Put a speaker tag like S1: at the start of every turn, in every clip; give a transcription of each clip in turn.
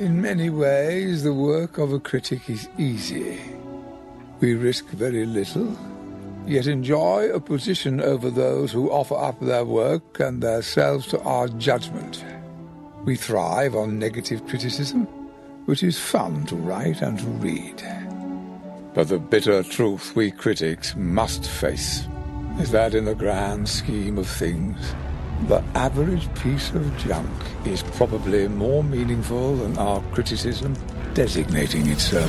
S1: In many ways, the work of a critic is easy. We risk very little, yet enjoy a position over those who offer up their work and themselves to our judgment. We thrive on negative criticism, which is fun to write and to read. But the bitter truth we critics must face is that in the grand scheme of things, the average piece of junk is probably more meaningful than our criticism designating it so.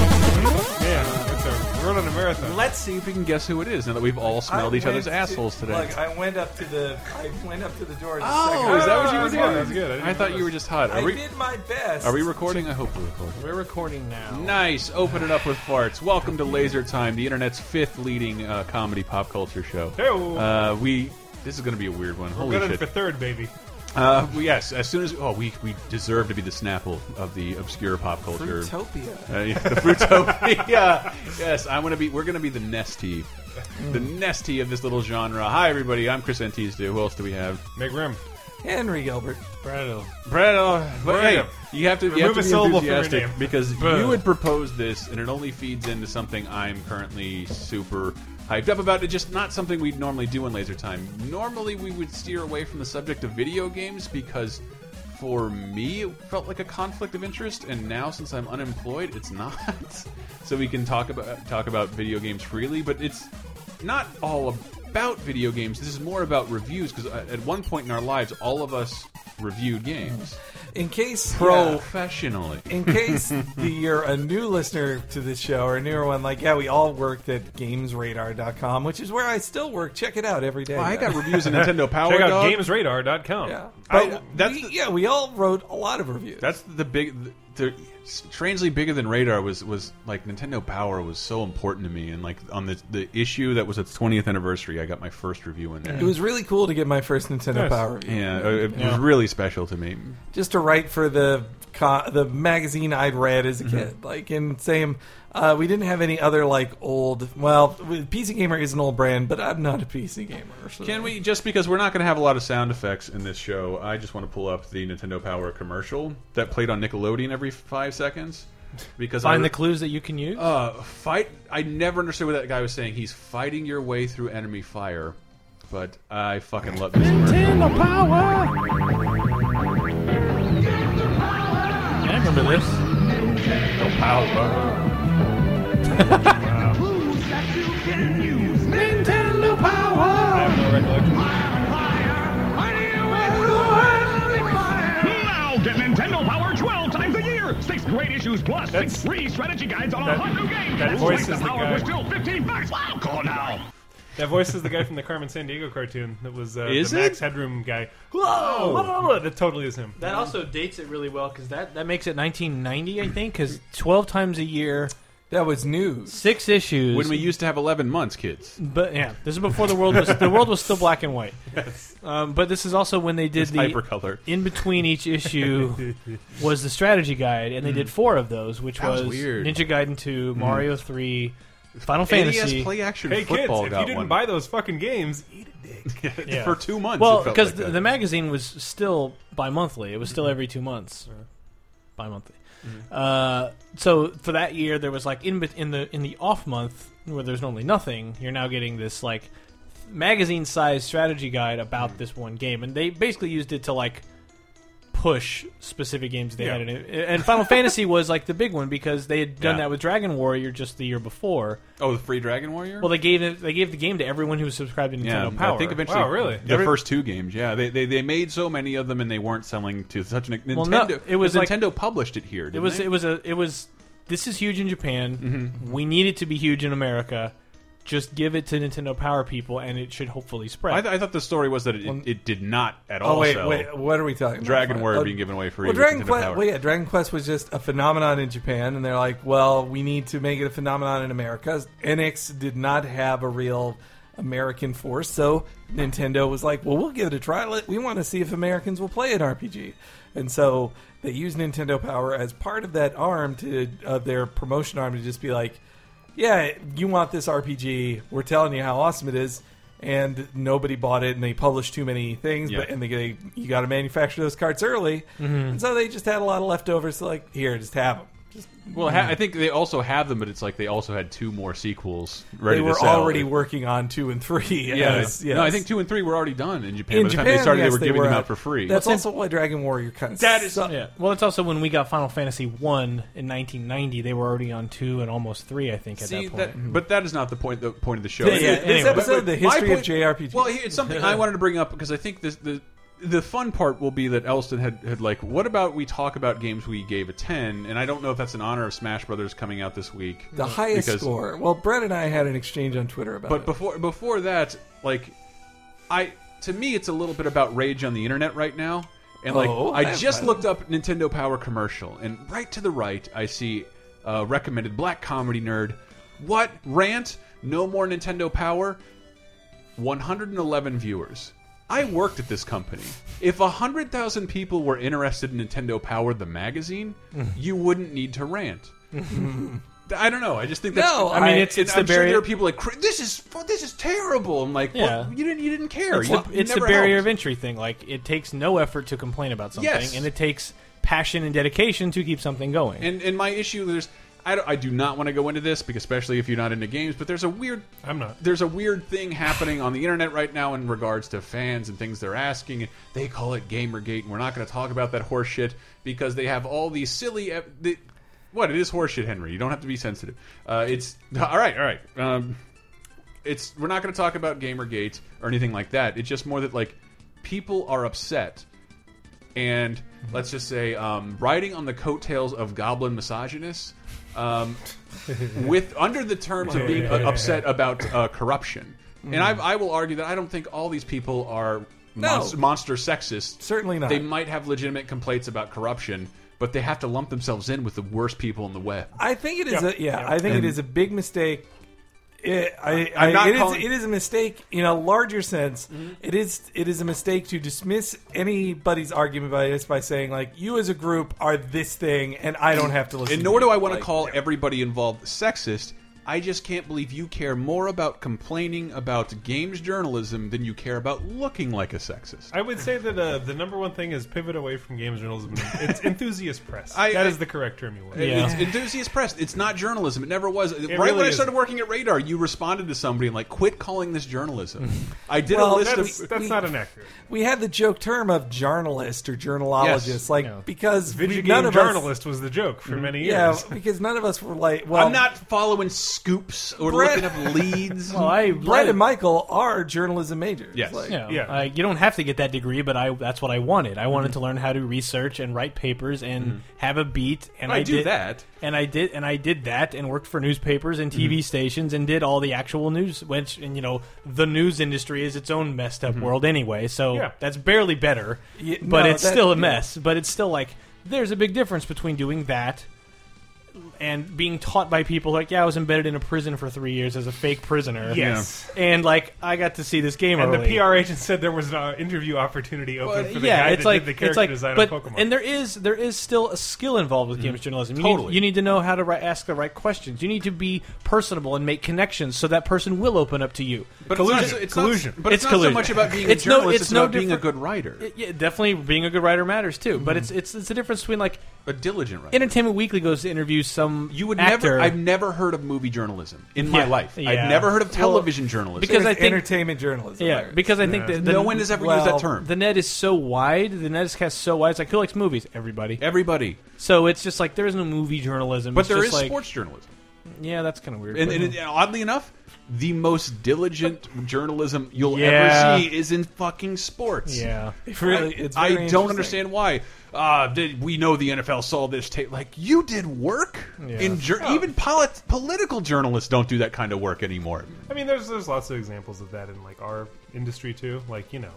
S2: Yeah, it's a, we're running a marathon.
S3: Let's see if we can guess who it is now that we've all smelled
S4: I
S3: each other's
S4: went to-
S3: assholes today.
S4: Look, I went up to the I went up to the door. To
S3: oh, is that what you were
S2: that's
S3: doing?
S2: good, that's good. I didn't
S3: I thought you were just hot.
S4: I
S3: Are we,
S4: did my best.
S3: are we recording? I hope we're recording.
S2: We're recording now.
S3: Nice. Open it up with farts. Welcome to Laser Time, the internet's fifth leading uh, comedy pop culture show.
S2: Hey-o.
S3: Uh, we. This is going to be a weird one.
S2: We're
S3: Holy
S2: gunning for
S3: shit!
S2: third, baby.
S3: Uh, we- yes, as soon as oh, we we deserve to be the Snapple of the obscure pop culture.
S4: Fruitopia.
S3: Uh, yeah, the Fruitopia. yes, I want to be. We're going to be the nesty, the
S4: Mm.
S3: nesty of this little genre. Hi, everybody. I'm Chris Antista. Who else do we have?
S2: Meg Rim.
S4: Henry Gilbert.
S2: Brando.
S3: Brad, uh, but hey,
S2: Brad.
S3: you have to you
S2: Remove
S3: have to
S2: a
S3: be
S2: syllable from your
S3: enthusiastic
S2: name.
S3: because
S2: Brad.
S3: you would propose this, and it only feeds into something I'm currently super hyped up about. It's just not something we'd normally do in Laser Time. Normally, we would steer away from the subject of video games because. For me, it felt like a conflict of interest, and now since I'm unemployed, it's not. So we can talk about talk about video games freely, but it's not all about video games. This is more about reviews because at one point in our lives, all of us reviewed games
S4: In case yeah.
S3: professionally.
S4: in case the, you're a new listener to this show or a newer one, like yeah, we all worked at GamesRadar.com, which is where I still work. Check it out every day.
S3: I got reviews of Nintendo Power
S2: Check out
S3: Dog.
S2: GamesRadar.com.
S4: yeah, but
S3: I- that's
S4: we-
S3: the-
S4: yeah, we all wrote a lot of reviews.
S3: That's the big, the, strangely bigger than Radar was was like Nintendo Power was so important to me, and like on the the issue that was its 20th anniversary, I got my first review in there.
S4: it was really cool to get my first Nintendo
S2: Nice.
S4: Power review.
S3: Yeah, it, it was really special to me.
S4: just to write for the co- the magazine I'd read as a
S3: Mm-hmm.
S4: kid. Like, and same, uh, we didn't have any other like old. Well, we- PC Gamer is an old brand, but I'm not a PC gamer. So.
S3: Can we just because we're not going to have a lot of sound effects in this show? I just want to pull up the Nintendo Power commercial that played on Nickelodeon every five seconds because I
S5: Find the clues that you can use.
S3: Uh, fight. I never understood what that guy was saying. He's fighting your way through enemy fire, but I fucking love this commercial.
S5: I remember this.
S2: I have no recollection.
S6: Now get Nintendo Power 12 times a year. Six great issues plus
S2: That's-
S6: six free strategy guides on
S2: that-
S6: a hot new game.
S2: that voice
S6: Nintendo
S2: is the
S6: Power
S2: guy.
S6: for still 15 bucks. Wow, call now.
S2: That voice is the guy from the Carmen San Diego cartoon that was uh,
S3: Is
S2: the
S3: it?
S2: Max Headroom guy. Whoa! That totally is him.
S3: Um,
S5: That also dates it really well because that, that makes it 1990, I think, because 12 times a year,
S4: That was news.
S5: six issues.
S3: When we used to have eleven months, kids.
S5: but yeah, this is before the world was the world was still black and white. Um, but this is also when they did
S3: It's
S5: the
S3: hypercolor.
S5: in between each issue was the strategy guide, and they did four of those, which
S3: Mm. That was
S5: was,
S3: weird. Mm.
S5: Ninja Gaiden 2, Mario 3, Final
S3: NES
S5: Fantasy.
S3: play action
S2: Hey kids,
S3: football
S2: if
S3: got
S2: you didn't
S3: one
S2: buy those fucking games, eat a dick.
S5: yeah.
S3: for two months.
S5: well,
S3: because
S5: because the, the magazine was still bi-monthly. It was
S3: Mm-hmm.
S5: still every two months, or bi-monthly. Uh, so for that year, there was like in bet- in the in the off month where there's normally nothing. You're now getting this like magazine-sized strategy guide
S3: Mm-hmm.
S5: about this one game, and they basically used it to like push specific games they
S2: Yeah.
S5: had in it. And Final Fantasy was like the big one because they had done
S3: Yeah.
S5: that with Dragon Warrior just the year before.
S3: oh, the free Dragon Warrior.
S5: Well, they gave it, they gave the game to everyone who was subscribed to Nintendo
S3: yeah,
S5: Power.
S3: I think eventually.
S2: Wow, really?
S3: The
S2: Every-
S3: first two games. Yeah, they, they they made so many of them, and they weren't selling to such an Nintendo.
S5: Well, no, it was like-
S3: Nintendo published it here.
S5: It
S3: didn't
S5: was
S3: they? Mm-hmm.
S5: it was a it was this is huge in Japan. We need it to be huge in America. Just give it to Nintendo Power people, and it should hopefully spread.
S3: I, th I thought the story was that it, it did not at all.
S4: Oh wait,
S3: sell.
S4: wait, what are we talking? about?
S3: Dragon
S4: Fine.
S3: Warrior
S4: Oh,
S3: being given away free.
S4: Well,
S3: with
S4: Dragon
S3: Nintendo
S4: Quest.
S3: Power.
S4: Well, yeah, Dragon Quest was just a phenomenon in Japan, and they're like, well, we need to make it a phenomenon in America. NX did not have a real. American force. So Nintendo was like, well, we'll give it a try. Let- We want to see if Americans will play an RPG. And so they used Nintendo Power as part of that arm to uh, their promotion arm to just be like, yeah, you want this RPG. We're telling you how awesome it is. And nobody bought it, and they published too many things. But
S3: Yeah.
S4: and they, they you got to manufacture those carts early,
S3: Mm-hmm.
S4: and so they just had a lot of leftovers. So like, here, just have them. Just,
S3: Well, ha I think they also have them, but it's like they also had two more sequels ready
S4: they were
S3: to sell.
S4: already working on two and three.
S3: yeah,
S4: as-
S3: no, I
S4: yes.
S3: think two and three were already done in Japan.
S4: in
S3: By the
S4: Japan
S3: time they started,
S4: yes,
S3: they were giving them
S4: uh,
S3: out for free.
S4: That's also why Dragon Warrior kind of
S3: That is-
S4: sucked.
S5: Yeah. Well, it's also when we got Final Fantasy One in 1990, they were already on two and almost three, I think, at
S3: See,
S5: that
S3: that
S5: point.
S3: but that is not the point. The point of the show.
S4: Yeah,
S3: It-
S4: yeah,
S3: it-
S4: this
S5: anyway,
S4: episode, the
S3: my
S4: history of
S3: point-
S4: JRPGs.
S3: Well, here- it's something I wanted to bring up because I think this the the fun part will be that Elston had had like, what about we talk about games we gave a ten? And I don't know if that's in honor of Smash Brothers coming out this week.
S4: the highest
S3: because-
S4: score. Well, Brett and I had an exchange on Twitter about
S3: But
S4: it.
S3: before before that, like I to me it's a little bit about rage on the internet right now. And like
S4: Oh,
S3: I
S4: that's
S3: just
S4: fine.
S3: looked up Nintendo Power commercial and right to the right I see uh, recommended black comedy nerd. What rant? No more Nintendo Power. 111 viewers. I worked at this company. If 100,000 people were interested in Nintendo Power the magazine,
S4: Mm-hmm.
S3: you wouldn't need to rant. I don't know. I just think that's
S4: No,
S5: I mean,
S4: I-
S5: it's it's
S3: I'm
S5: the
S3: sure
S5: barrier.
S3: there are people like "Cr- this is fu- this is terrible. I'm like,
S5: Yeah.
S3: well, you didn't you didn't care.
S5: it's
S3: You-
S5: the,
S3: you
S5: it's the
S3: never
S5: barrier
S3: helped.
S5: of entry thing. Like it takes no effort to complain about something,
S3: Yes.
S5: and it takes passion and dedication to keep something going.
S3: And and my issue there's I, don't, I do not want to go into this because especially if you're not into games, but there's a weird
S2: I'm not.
S3: there's a weird thing happening on the internet right now in regards to fans and things they're asking. They call it Gamergate, and we're not going to talk about that horseshit because they have all these silly. ep- The, what it is horseshit, Henry. You don't have to be sensitive. Uh, it's all right, all right. Um, it's we're not going to talk about Gamergate or anything like that. It's just more that like people are upset and let's just say um, riding on the coattails of goblin misogynists um, with under the terms of being uh, upset about uh, corruption and I've, i will argue that i don't think all these people are monst- monster sexists
S4: Certainly not.
S3: they might have legitimate complaints about corruption but they have to lump themselves in with the worst people in the web
S4: I think it is a yeah. I think it is a big mistake. It, I,
S3: I'm
S4: I-
S3: not
S4: it is-
S3: calling- Mm-hmm.
S4: it is a mistake in a larger sense. It is it is a mistake to dismiss anybody's argument by this by saying like you as a group are this thing and I don't have to listen.
S3: and
S4: to
S3: nor
S4: you.
S3: do i want
S4: Like,
S3: to call everybody involved sexist I just can't believe you care more about complaining about games journalism than you care about looking like a sexist.
S2: I would say that uh, the number one thing is pivot away from games journalism. It's enthusiast press.
S3: I-
S2: that
S3: I-
S2: is the correct term you want.
S5: Yeah.
S3: It's enthusiast press. It's not journalism. It never was. right
S2: really
S3: when I
S2: isn't.
S3: started working at Radar, you responded to somebody and like, quit calling this journalism. I did
S4: Well,
S3: a list
S2: That's,
S3: of.
S2: that's
S4: we-
S2: not inaccurate.
S4: we had the joke term of journalist or journalologist
S3: Yes.
S4: like
S5: Yeah.
S4: because we-
S2: Video
S4: none
S2: game
S4: of us
S2: journalist was the joke for many
S4: yeah
S2: years.
S4: because none of us were like well
S3: I'm not following scoops or
S4: Brett-
S3: looking up leads.
S5: well, I
S4: Brett
S5: like-
S4: and Michael are journalism majors.
S3: Yes.
S4: Like,
S5: Yeah,
S2: Yeah.
S5: I- you don't have to get that degree, but I that's what I wanted. I wanted to learn how to research and write papers and have a beat, and I,
S3: I, do
S5: did
S3: that.
S5: and I did, and I did that, and worked for newspapers and TV stations, and did all the actual news. Which, and you know, the news industry is its own messed up world anyway. So
S2: Yeah.
S5: that's barely better,
S4: Yeah,
S5: but
S4: no,
S5: it's
S4: that-
S5: still a
S4: yeah.
S5: mess. But it's still like there's a big difference between doing that and being taught by people like, yeah, I was embedded in a prison for three years as a fake prisoner.
S2: Yes.
S5: And like I got to see this game
S2: And
S5: early.
S2: the PR agent said there was an uh, interview opportunity open
S3: But,
S2: for the
S5: yeah,
S2: guy
S5: it's
S2: that
S5: like
S2: did the
S5: it's
S2: character
S5: like,
S2: design
S5: but
S2: on Pokemon. Mm-hmm.
S5: and there is there is still a skill involved with games journalism. You
S3: Totally.
S5: need, you need to know how to write, ask the right questions. You need to be personable and make connections so that person will open up to you.
S3: But
S2: Collusion.
S3: It's not, it's
S2: Collusion.
S3: Not, but it's, not
S5: It's collusion.
S3: so much about being
S5: It's
S3: a
S5: no-
S3: journalist.
S5: it's
S3: it's
S5: no
S3: about being a
S5: different-
S3: good writer, Mm-hmm.
S5: It- yeah, definitely being a good writer matters too. But it's it's it's the difference between like
S3: a diligent writer.
S5: Entertainment Weekly goes to interview some
S3: you would
S5: actor.
S3: never. I've never heard of movie journalism in my
S5: Yeah.
S3: life.
S5: Yeah.
S3: I've never heard of
S5: Well,
S3: television journalism
S5: because I
S4: it's
S5: think
S4: entertainment journalism.
S5: yeah
S4: Larry.
S5: because I think that the,
S3: no one has ever used
S4: well,
S3: that term.
S5: the net is so wide. The net is cast so wide. It's like who likes movies? Everybody.
S3: Everybody,
S5: So it's just like there is no movie journalism.
S3: but
S5: it's
S3: there
S5: just
S3: is
S5: like,
S3: sports journalism.
S5: Yeah, that's kind of weird.
S3: And,
S5: but-
S3: and, and
S4: Uh-huh.
S3: oddly enough, the most diligent journalism you'll
S5: Yeah.
S3: ever see is in fucking sports.
S5: yeah.
S4: It really, it's
S3: I
S4: very
S3: don't
S4: interesting.
S3: understand why. Uh, did, we know the NFL saw this tape. Like you did work in jour-
S4: Oh.
S3: even polit- political journalists don't do that kind of work anymore.
S2: I mean, there's there's lots of examples of that in like our industry too. Like you know,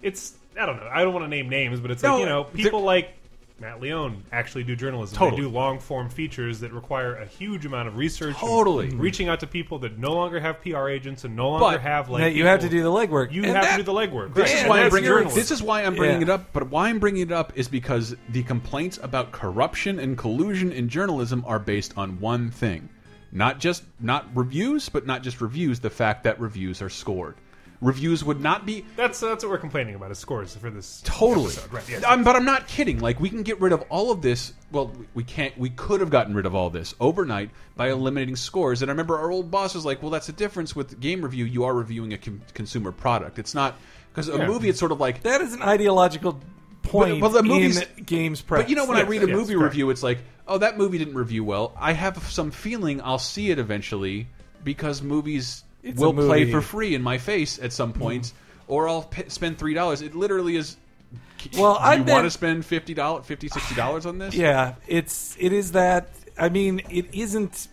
S2: it's I don't know. I don't want to name names, but it's
S3: No,
S2: like you know
S3: there-
S2: people like Matt Leone actually do journalism.
S3: Totally.
S2: They do long form features that require a huge amount of research. and
S3: Totally.
S2: reaching out to people that no longer have PR agents and no longer
S3: But-
S2: have like
S4: Now, you have to
S2: people-
S4: do the legwork.
S2: You
S4: And
S2: have
S4: that-
S2: to do the legwork.
S3: This
S4: Yeah,
S3: is why I'm
S4: that's your-
S3: bringing this is why I'm bringing
S4: Yeah.
S3: it up. But why I'm bringing it up is because the complaints about corruption and collusion in journalism are based on one thing, not just not reviews, but not just reviews. The fact that reviews are scored. Reviews would not be
S2: that's that's what we're complaining about is scores for this
S3: totally.
S2: episode. Right, yes.
S3: Um, but I'm not kidding. Like we can get rid of all of this. Well, we- we can't. We could have gotten rid of all this overnight by eliminating scores. And I remember our old boss was like, "Well, that's the difference with game review. You are reviewing a con consumer product. It's not." Because a movie, it's sort of like
S4: That is an ideological point
S3: But- but the movies-
S4: in games press.
S3: But you know, when I
S2: Yes,
S3: read a
S2: yes,
S3: movie
S2: correct.
S3: review, it's like, oh, that movie didn't review well. I have some feeling I'll see it eventually because movies
S4: It's
S3: will
S4: a movie. Mm-hmm.
S3: play for free in my face at some point, or I'll p- spend three dollars. It literally is.
S4: Well,
S3: do
S4: I've
S3: you
S4: been-
S3: want to spend fifty dollars, fifty, sixty dollars on this?
S4: Yeah, it's it is that. I mean, it isn't.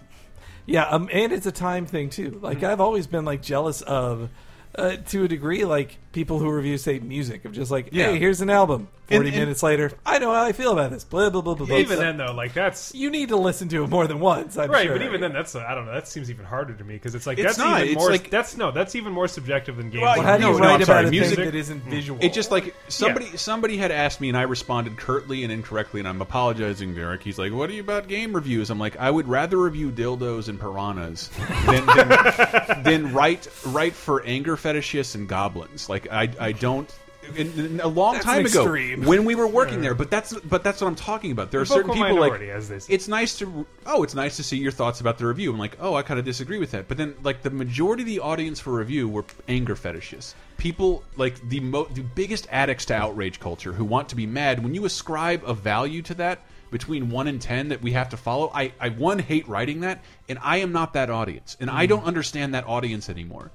S4: Yeah, um, and it's a time thing too. Like
S3: Mm-hmm.
S4: I've always been like jealous of, uh, to a degree, like people who review say music of just like,
S3: Yeah.
S4: hey, here's an album. Forty
S3: And- and-
S4: minutes later, I know how I feel about this. Blah blah blah blah. blah.
S2: even
S4: So
S2: then though, like that's
S4: you need to listen to it more than once. I'm
S2: Right,
S4: sure.
S2: but even then, that's I I don't know. That seems even harder to me because it's like
S3: It's
S2: that's
S3: not,
S2: even
S3: it's
S2: more.
S3: like-
S2: that's no, that's even more subjective than games.
S3: Well,
S4: Well, how do you
S3: No, no,
S4: write
S3: I'm
S4: about
S3: sorry,
S4: a
S3: music- Hmm.
S4: thing that isn't visual?
S3: It just like somebody somebody had asked me, and I responded curtly and incorrectly, and I'm apologizing, Derek. He's like, "What are you about game reviews?" I'm like, "I would rather review dildos and piranhas than than, than write write for anger fetishists and goblins." Like, I I don't. and- and a long
S4: That's an
S3: time ago,
S4: extreme.
S3: when we were working there, but that's but that's what I'm talking about. There are certain
S2: vocal
S3: people like
S2: minority, as they say.
S3: it's nice to oh it's nice to see your thoughts about the review i'm like oh i kind of disagree with that but then like the majority of the audience for review were anger fetishes people like the mo the biggest addicts to outrage culture who want to be mad when you ascribe a value to that between 1 and 10 that we have to follow i i one hate writing that and i am not that audience and i don't understand that audience anymore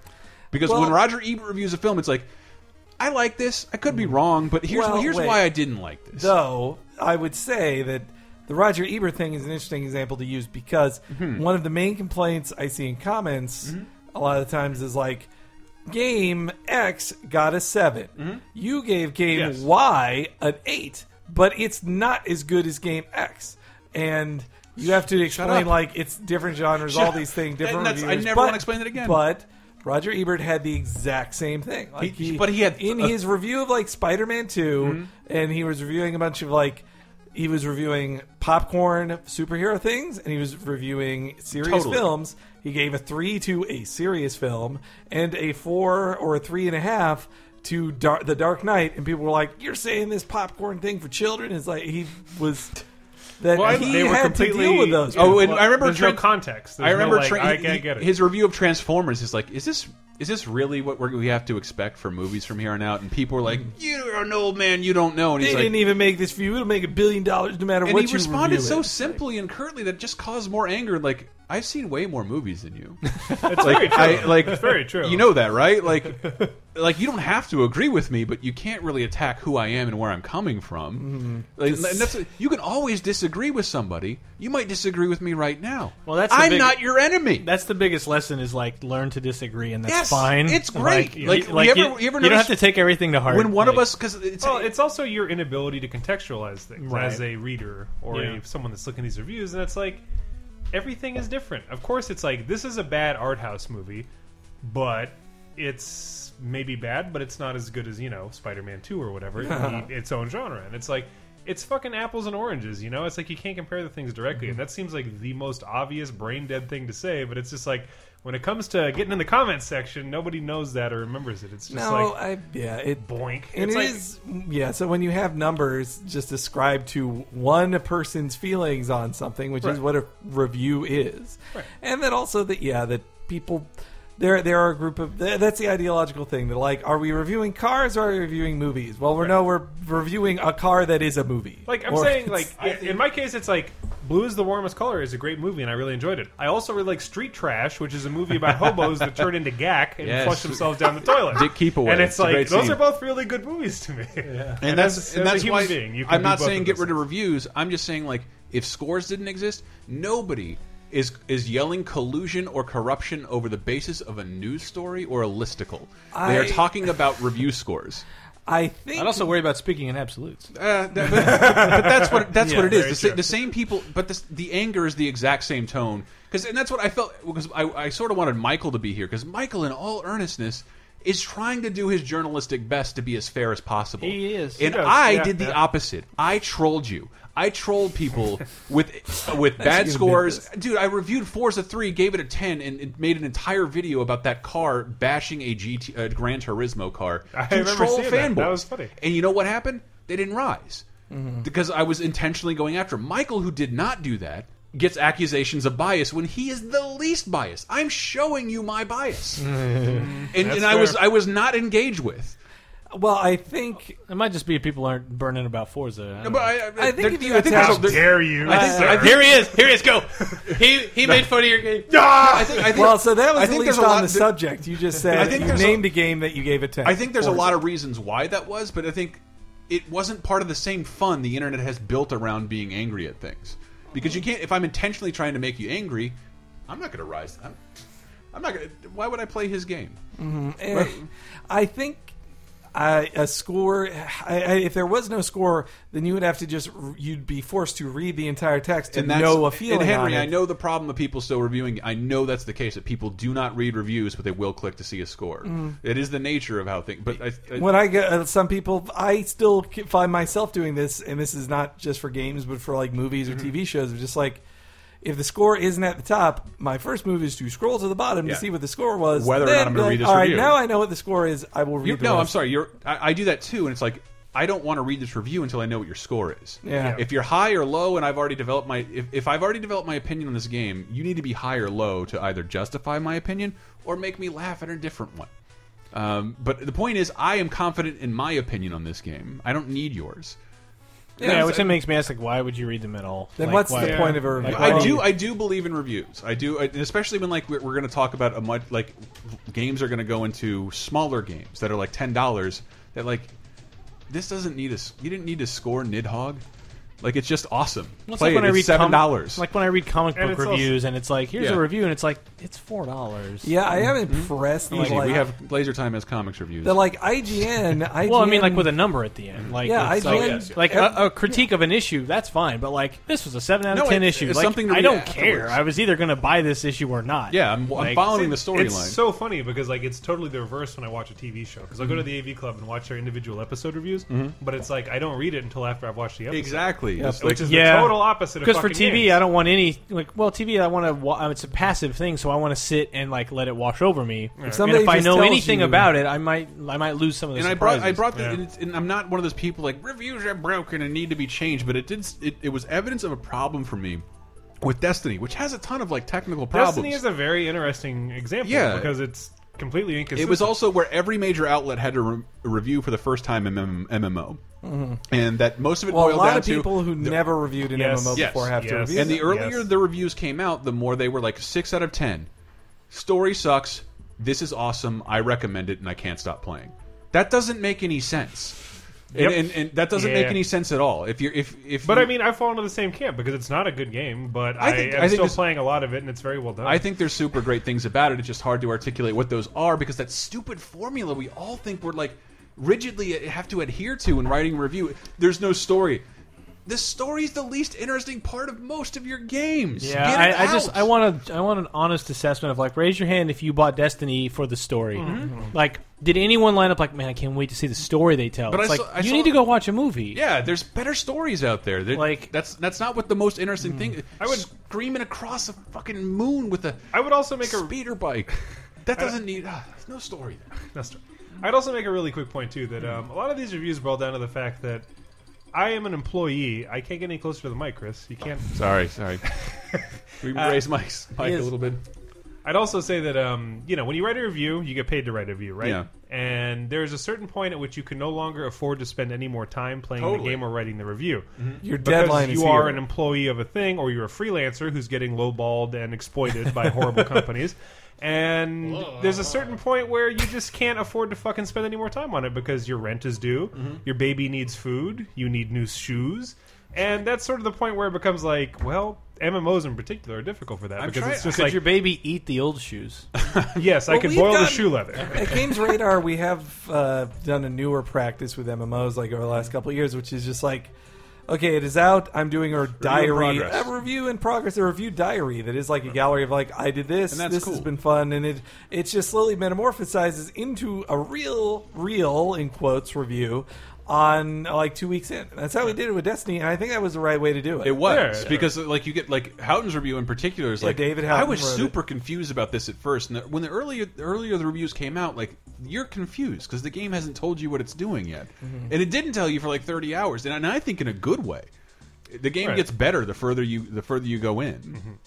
S3: because
S4: Hmm. Well-
S3: when roger ebert reviews a film it's like i like this i could be wrong but here's
S4: Hmm. Well,
S3: here's
S4: wait.
S3: why i didn't like this
S4: Though I would say that the Roger Ebert thing is an interesting example to use because
S3: Mm-hmm.
S4: one of the main complaints I see in comments a lot of times is like game X got a 7
S3: Mm-hmm.
S4: You gave game
S2: Yes.
S4: Y an eight, but it's not as good as game X, and you have to explain
S3: up.
S4: like it's different genres,
S3: Shut
S4: all
S3: up.
S4: these things,
S3: And
S4: different.
S3: that's- I
S4: reviewers,
S3: never
S4: but-
S3: wanna explain it again.
S4: But Roger Ebert had the exact same thing. Like
S3: He- but he had
S4: in
S3: a-
S4: his review of like Spider-Man 2
S2: Mm-hmm.
S4: and he was reviewing a bunch of like he was reviewing popcorn superhero things and he was reviewing serious
S3: Totally.
S4: films. He gave a three to a serious film and a four or a three and a half to Dar- the Dark Knight, and people were like, "You're saying this popcorn thing for children?" It's like he was that
S2: Well, I-
S4: he
S2: they were
S4: had to
S2: completely-
S4: deal with those.
S2: Oh,
S3: Oh, and I remember
S2: There's no
S3: Trent-
S2: context. There's
S3: I
S2: no,
S3: remember
S2: like,
S3: Trent-
S2: I can't get it.
S3: his review of Transformers is like, is this is this really what we're, we have to expect for movies from here on out? And people are like,
S2: Mm-hmm.
S3: you're an old man, you don't know. And
S4: they
S3: he's
S4: didn't
S3: like,
S4: even make this for you. It'll make a billion dollars no matter
S3: and
S4: what
S3: he
S4: you
S3: responded
S4: review
S3: so
S4: it.
S3: simply and curtly that just caused more anger. Like, I've seen way more movies than you.
S2: It's very true.
S3: I like
S2: It's very true.
S3: You know that, right? Like, like you don't have to agree with me, but you can't really attack who I am and where I'm coming
S2: Mm-hmm.
S3: from. Like, and that's- you can always disagree with somebody. You might disagree with me right now.
S5: Well, that's the
S3: I'm
S5: big-
S3: not your enemy.
S5: That's the biggest lesson is like learn to disagree and that's
S3: Yes,
S5: fine.
S3: it's great. Like,
S5: you-
S3: you ever-
S5: you,
S3: you ever
S5: don't have
S3: notice-
S5: to take everything to heart.
S3: when one of
S5: Like,
S3: us because it's,
S2: Well, it's also your inability to contextualize things
S5: Right.
S2: as a reader or
S5: Yeah.
S2: a, someone that's looking at these reviews, and it's like everything is different. Of course, it's like this is a bad art house movie, but it's maybe bad, but it's not as good as you know Spider-Man Two or whatever in the- its own genre, and it's like. It's fucking apples and oranges, you know? It's like you can't compare the things
S4: Mm-hmm.
S2: directly, and that seems like the most obvious brain dead thing to say, but it's just like when it comes to getting in the comments section, nobody knows that or remembers it. It's just
S4: No,
S2: like
S4: I, yeah, it
S2: boink.
S4: And
S2: it's
S4: it
S2: like,
S4: is, yeah. So when you have numbers, just ascribe to one person's feelings on something, which is
S2: Right.
S4: what a review is. And then also that, yeah, that people there there are a group of th- that's the ideological thing. That like, are we reviewing cars or are we reviewing movies? Well, we're no, we're reviewing a car that is a movie.
S2: Like I'm
S4: Or
S2: saying,
S4: it's-
S2: like i- in my case, it's like Blue is the Warmest Color is a great movie, and I really enjoyed it. I also really like Street Trash, which is a movie about hobos that turn into gack and
S3: Yes.
S2: flush themselves down the toilet.
S3: Dick Keepaway.
S2: and it's,
S3: It's a
S2: like
S3: great
S2: those
S3: scene.
S2: are both really good movies to me. And,
S3: and that's
S2: as-
S3: and
S2: as a
S3: that's
S2: human
S3: why
S2: being, you can
S3: I'm
S2: do
S3: not
S2: both
S3: saying get
S2: those
S3: rid of
S2: things.
S3: reviews. I'm just saying like if scores didn't exist, nobody is is yelling collusion or corruption over the basis of a news story or a listicle. they
S4: I-
S3: are talking about review scores.
S4: I think
S5: I'd also worry about speaking in absolutes.
S3: Uh, that- but, but that's what that's what it is.
S2: very
S3: The, sa-
S2: true.
S3: the same people, but this, the anger is the exact same tone. Because and that's what I felt. Because I, I sort of wanted Michael to be here. Because Michael, in all earnestness, is trying to do his journalistic best to be as fair as possible.
S5: He is. He
S3: And
S2: does.
S3: I
S2: Yeah,
S3: did the
S2: yeah.
S3: opposite. I trolled you. I trolled people with with bad scores. Dude, I reviewed Forza 3, gave it a 10, and it made an entire video about that car bashing a GT, uh, Gran Turismo car.
S2: I
S3: to
S2: remember
S3: troll
S2: seeing that. That
S3: fanboys.
S2: was funny.
S3: And you know what happened? They didn't rise because I was intentionally going after him. Michael, who did not do that. Gets accusations of bias when he is the least biased. I'm showing you my bias, and, and I was
S2: Mm-hmm. fair.
S3: I was not engaged with.
S4: well, I think
S5: It might just be people aren't burning about Forza. I
S3: No,
S5: don't
S3: but
S5: know.
S3: I,
S4: I think if you
S3: there's a-
S2: How
S4: attack-
S3: there-
S2: dare you?
S3: I think-
S2: sir.
S3: I think-
S5: here he is. Here he is. Go. He he made fun of your game.
S2: Ah!
S3: I think, I think,
S4: Well, so that
S3: I
S4: was at
S3: think
S4: least
S3: there's a
S4: on
S3: lot-
S4: the
S3: there-
S4: subject. You just said
S3: I think
S4: you
S3: there's a-
S4: named a game that you gave a ten.
S3: I think there's a
S4: Forza.
S3: lot of reasons why that was, but I think it wasn't part of the same fun the internet has built around being angry at things. Because you can't. If I'm intentionally trying to make you angry, I'm not going to rise. I'm, I'm not going. to... Why would I play his game?
S4: Eh, I think I, a score. I, I, if there was no score, then you would have to just you'd be forced to read the entire text to
S3: And that's
S4: know a feeling.
S3: And Henry,
S4: on it.
S3: I know the problem of people still reviewing. I know that's the case that people do not read reviews, but they will click to see a score. It is the nature of how things. But I, I,
S4: Mm. When I get uh, some people, I still c- find myself doing this, and this is not just for games, but for like movies or
S3: Mm-hmm.
S4: TV shows. Of just like, if the score isn't at the top, my first move is to scroll to the bottom
S3: Yeah.
S4: to see what the score was.
S3: Whether or
S4: then
S3: not I'm gonna
S4: be
S3: read
S4: like,
S3: this
S4: All right,
S3: review."
S4: now I know what the score is. I will read.
S3: You-
S4: the
S3: no, I'm
S4: rest."
S3: sorry. You're I, I do that too, and it's like I don't want to read this review until I know what your score is.
S4: Yeah.
S3: If you're high or low, and I've already developed my if, if I've already developed my opinion on this game, you need to be high or low to either justify my opinion or make me laugh at a different one. Um, but the point is, I am confident in my opinion on this game. I don't need yours.
S5: Yeah, which then makes me ask, like, why would you read them at all?
S4: Then
S5: Like,
S4: what's
S5: why-
S4: the point of a review?
S5: Like,
S3: I
S5: why-
S3: do. I do believe in reviews. I do, I- and especially when like we're, we're going to talk about a much like games are going to go into smaller games that are like ten dollars. That like this doesn't need a s- you didn't need to score Nidhogg. Like it's just awesome.
S5: It's
S3: Play
S5: like when
S3: it.
S5: I
S3: It's
S5: read
S3: seven
S5: com-
S3: dollars.
S5: Like when I read comic
S2: And
S5: book
S2: it's also-
S5: reviews, and it's like, here's
S3: Yeah.
S5: a review, and it's like, it's four dollars.
S4: Yeah, I am impressed.
S3: Easy.
S4: Like,
S3: Mm-hmm. we have Laser Time as comics reviews.
S4: the like IGN. IGN
S5: Well, I mean, like with a number at the end. Like,
S4: Yeah,
S5: it's
S4: I
S5: like,
S4: joined- Yes, yeah.
S5: like a, a critique of an issue. That's fine, but like this was a seven out of
S3: No,
S5: ten
S3: it's-
S5: issue.
S3: it's
S5: like,
S3: something to
S5: I
S3: read
S5: don't
S3: afterwards.
S5: care. I was either going to buy this issue or not.
S3: yeah, I'm, I'm
S5: Like,
S3: following the
S2: It's
S3: storyline.
S2: so funny because like it's totally the reverse when I watch a TV show because I'll go to the
S3: Mm-hmm.
S2: AV Club and watch their individual episode reviews, but it's like I don't read it until after I've watched the episode,
S3: exactly. It's like-
S2: which is
S5: Yeah.
S2: the total opposite.
S5: Because
S2: of
S5: for
S2: fucking
S5: TV,
S2: games.
S5: I don't want any like. Well, TV, I want to. Wa- uh, it's a passive thing, so I want to sit and like let it wash over me. And
S4: somebody
S5: if I
S4: just
S5: know
S4: tells
S5: anything
S4: you-
S5: about it, I might, I might lose some of the.
S3: and I brought I
S5: surprises.
S3: brought the,
S2: Yeah.
S3: and, it's, and I'm not one of those people like reviews are broken and need to be changed, but it did s- it, it was evidence of a problem for me with Destiny, which has a ton of like technical problems.
S2: Destiny is a very interesting example
S3: Yeah.
S2: because it's completely inconsistent.
S3: it was also where every major outlet had to re review for the first time MM MMO, and that most of it
S4: Mm-hmm. well, a
S3: boiled
S4: lot
S3: down
S4: of people
S3: to.
S4: who never reviewed an
S2: Yes,
S4: MMO
S3: yes,
S4: before have to
S2: yes.
S4: review.
S3: And the
S4: them.
S3: earlier
S2: Yes.
S3: the reviews came out, the more they were like six out of ten. Story sucks. This is awesome. I recommend it, and I can't stop playing. That doesn't make any sense.
S2: Yep.
S3: And, and, and that doesn't make
S2: Yeah.
S3: any sense at all. If you're if if
S2: But
S3: you-
S2: I mean, I fall into the same camp because it's not a good game, but
S3: I
S2: I,
S3: think- I
S2: am
S3: think
S2: still
S3: this-
S2: playing a lot of it, and it's very well done.
S3: I think there's super great things about it. It's just hard to articulate what those are because that stupid formula we all think we're like rigidly have to adhere to when writing a review. There's no story. The story's the least interesting part of most of your games.
S5: Yeah,
S3: Get it
S5: I, I
S3: out.
S5: just I want a I want an honest assessment of like raise your hand if you bought Destiny for the story.
S3: Mm-hmm.
S5: Like, did anyone line up like, man, I can't wait to see the story they tell?
S3: But
S5: it's
S3: I
S5: like
S3: saw- I
S5: you
S3: saw-
S5: need to go watch a movie.
S3: Yeah, there's better stories out there. There-
S5: Like-
S3: that's that's not what the most interesting thing. I
S2: hmm. would-
S3: screaming across a fucking moon with a
S2: I would also make a
S3: speeder bike. That doesn't need. ah, there's no story there.
S2: That's true. I'd also make a really quick point too that um, a lot of these reviews boil down to the fact that I am an employee. I can't get any closer to the mic, Chris. You can't.
S3: Sorry, sorry. we raise Mike's Mike a
S2: Uh, is-
S3: little bit.
S2: I'd also say that um, you know when you write a review, you get paid to write a review, right?
S3: Yeah.
S2: And there's a certain point at which you can no longer afford to spend any more time playing
S3: Totally.
S2: the game or writing the review.
S4: Mm-hmm. your
S2: Because
S4: deadline
S2: you
S4: is
S2: are
S4: here.
S2: an employee of a thing, or you're a freelancer who's getting lowballed and exploited by horrible companies. And there's a certain point where you just can't afford to fucking spend any more time on it because your rent is due,
S4: Mm-hmm.
S2: your baby needs food, you need new shoes, and that's sort of the point where it becomes like, well, MMOs in particular are difficult for that because
S3: trying-
S2: it's just
S5: Could
S2: like
S5: your baby eat the old shoes?
S2: yes, I
S4: Well,
S2: can
S4: we've
S2: boil the
S4: gotten-
S2: shoe leather.
S4: At Games Radar, we have uh, done a newer practice with MMOs like over the last couple of years, which is just like, okay, it is out. I'm doing a diary,
S3: progress.
S4: a review in progress, a review diary that is like a gallery of like, I did this,
S3: And that's
S4: this has
S3: cool.
S4: been fun, and it it just slowly metamorphosizes into a real, real in quotes review on like two weeks in. That's how we did it with Destiny, and I think that was the right way to do it.
S3: It was
S2: Yeah.
S3: because like you get like Houghton's review in particular is like
S4: David
S3: I
S4: Houghton
S3: was
S4: wrote
S3: super confused about this at first, and the, when the earlier the earlier the reviews came out, like you're confused because the game hasn't told you what it's doing yet,
S4: Mm-hmm.
S3: and it didn't tell you for like 30 hours, and, and I think in a good way. The game
S2: Right. Mm-hmm.
S3: gets better the further you the further you go in.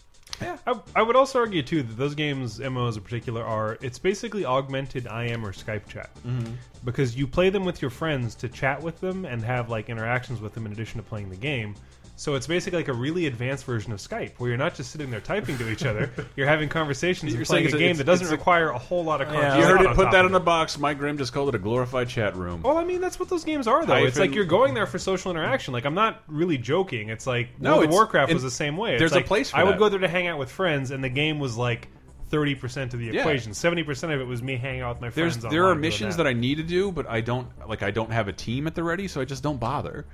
S2: I, I would also argue too that those games, MMOs in particular, are it's basically augmented IM or Skype chat
S3: Mm-hmm.
S2: because you play them with your friends to chat with them and have like interactions with them in addition to playing the game. So it's basically like a really advanced version of Skype where you're not just sitting there typing to each other; you're having conversations
S3: You're
S2: and
S3: saying
S2: playing a
S3: it's a-
S2: game
S3: it's-
S2: that doesn't
S3: it's a-
S2: require a whole lot of conscious
S3: You heard
S2: thought
S3: it.
S2: Oh, on
S3: Put
S2: top
S3: that
S2: of
S3: in a box. Mike Grimm just called it a glorified chat room.
S2: Well, I mean, that's what those games are, though. It's
S3: Hyphen-
S2: like you're going there for social interaction. Like, I'm not really joking. It's like
S3: No,
S2: World of
S3: it's-
S2: Warcraft was
S3: and
S2: the same way. It's
S3: there's a
S2: like,
S3: place for
S2: I would
S3: that.
S2: go there to hang out with friends, and the game was like 30% of the
S3: Yeah.
S2: equation. 70% of it was me hanging out with my
S3: There's
S2: friends.
S3: there are missions that I need to do, but I don't like I don't have a team at the ready, so I just don't bother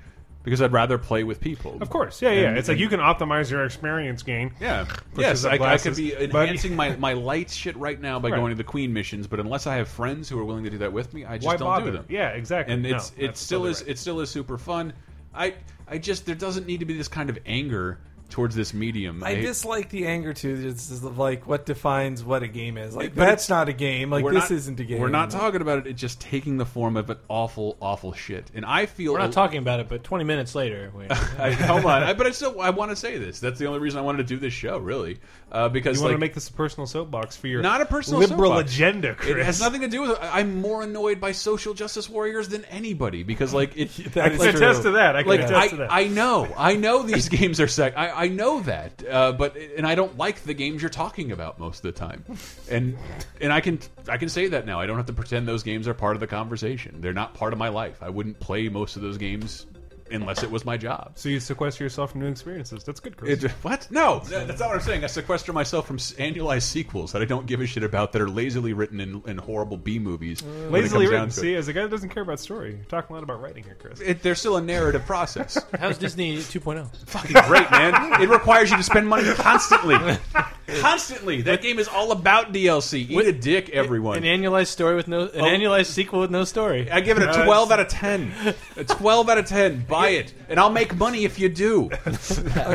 S3: because I'd rather play with people.
S2: Of course. Yeah, yeah.
S3: And-
S2: it's like you can optimize your experience gain.
S3: Yeah.
S2: Pushes
S3: Yes,
S2: up
S3: I, I could
S2: glasses.
S3: be
S2: But-
S3: enhancing my, my light shit right now by
S2: Right.
S3: going to the queen missions, but unless I have friends who are willing to do that with me, I just
S2: Why
S3: don't
S2: bother?
S3: do them.
S2: Yeah, exactly.
S3: And
S2: No,
S3: it's it
S2: that's
S3: still
S2: totally
S3: is
S2: right.
S3: it still is super fun. I I just there doesn't need to be this kind of anger towards this medium.
S4: I dislike the anger too. This is like what defines what a game is. Like
S3: But
S4: that's not a game. Like
S3: we're
S4: this
S3: not-
S4: isn't a game.
S3: We're not talking about it. It's just taking the form of an awful, awful shit. And I feel
S5: We're not talking about it, but 20 minutes later, we,
S3: I, hold on, I, but I still I want to say this. That's the only reason I wanted to do this show, really, uh, because
S2: You
S3: like
S2: want to make this a personal soapbox for your
S3: Not a personal
S2: liberal
S3: soapbox.
S2: agenda, Chris.
S3: It has nothing to do with. I- I'm more annoyed by social justice warriors than anybody because, like, it,
S2: I
S4: That's
S2: can
S4: true.
S2: attest to that. I can
S3: like
S2: attest
S3: I,
S2: to that.
S3: I know, I know these games are sex. I, I know that, uh, but and I don't like the games you're talking about most of the time, and and I can I can say that now. I don't have to pretend those games are part of the conversation. They're not part of my life. I wouldn't play most of those games unless it was my job.
S2: so you sequester yourself from new experiences. That's good, Chris.
S3: It, what? No, that- that's not what I'm saying. I sequester myself from s- annualized sequels that I don't give a shit about that are lazily written in, in horrible B movies. when it
S2: Lazily
S3: comes down
S2: written.
S3: to
S2: See,
S3: it.
S2: as a guy that doesn't care about story, you're talking a lot about writing here, Chris.
S3: It- there's still a narrative process.
S5: how's Disney oh? 2.0?
S3: Fucking great, man! It requires you to spend money constantly, constantly. That game is all about DLC. Eat a dick, everyone.
S5: An annualized story with no, an annualized sequel with no story.
S3: I give it a 12 out of 10. A 12 out of 10. Buy it. And I'll make money if you do.
S5: I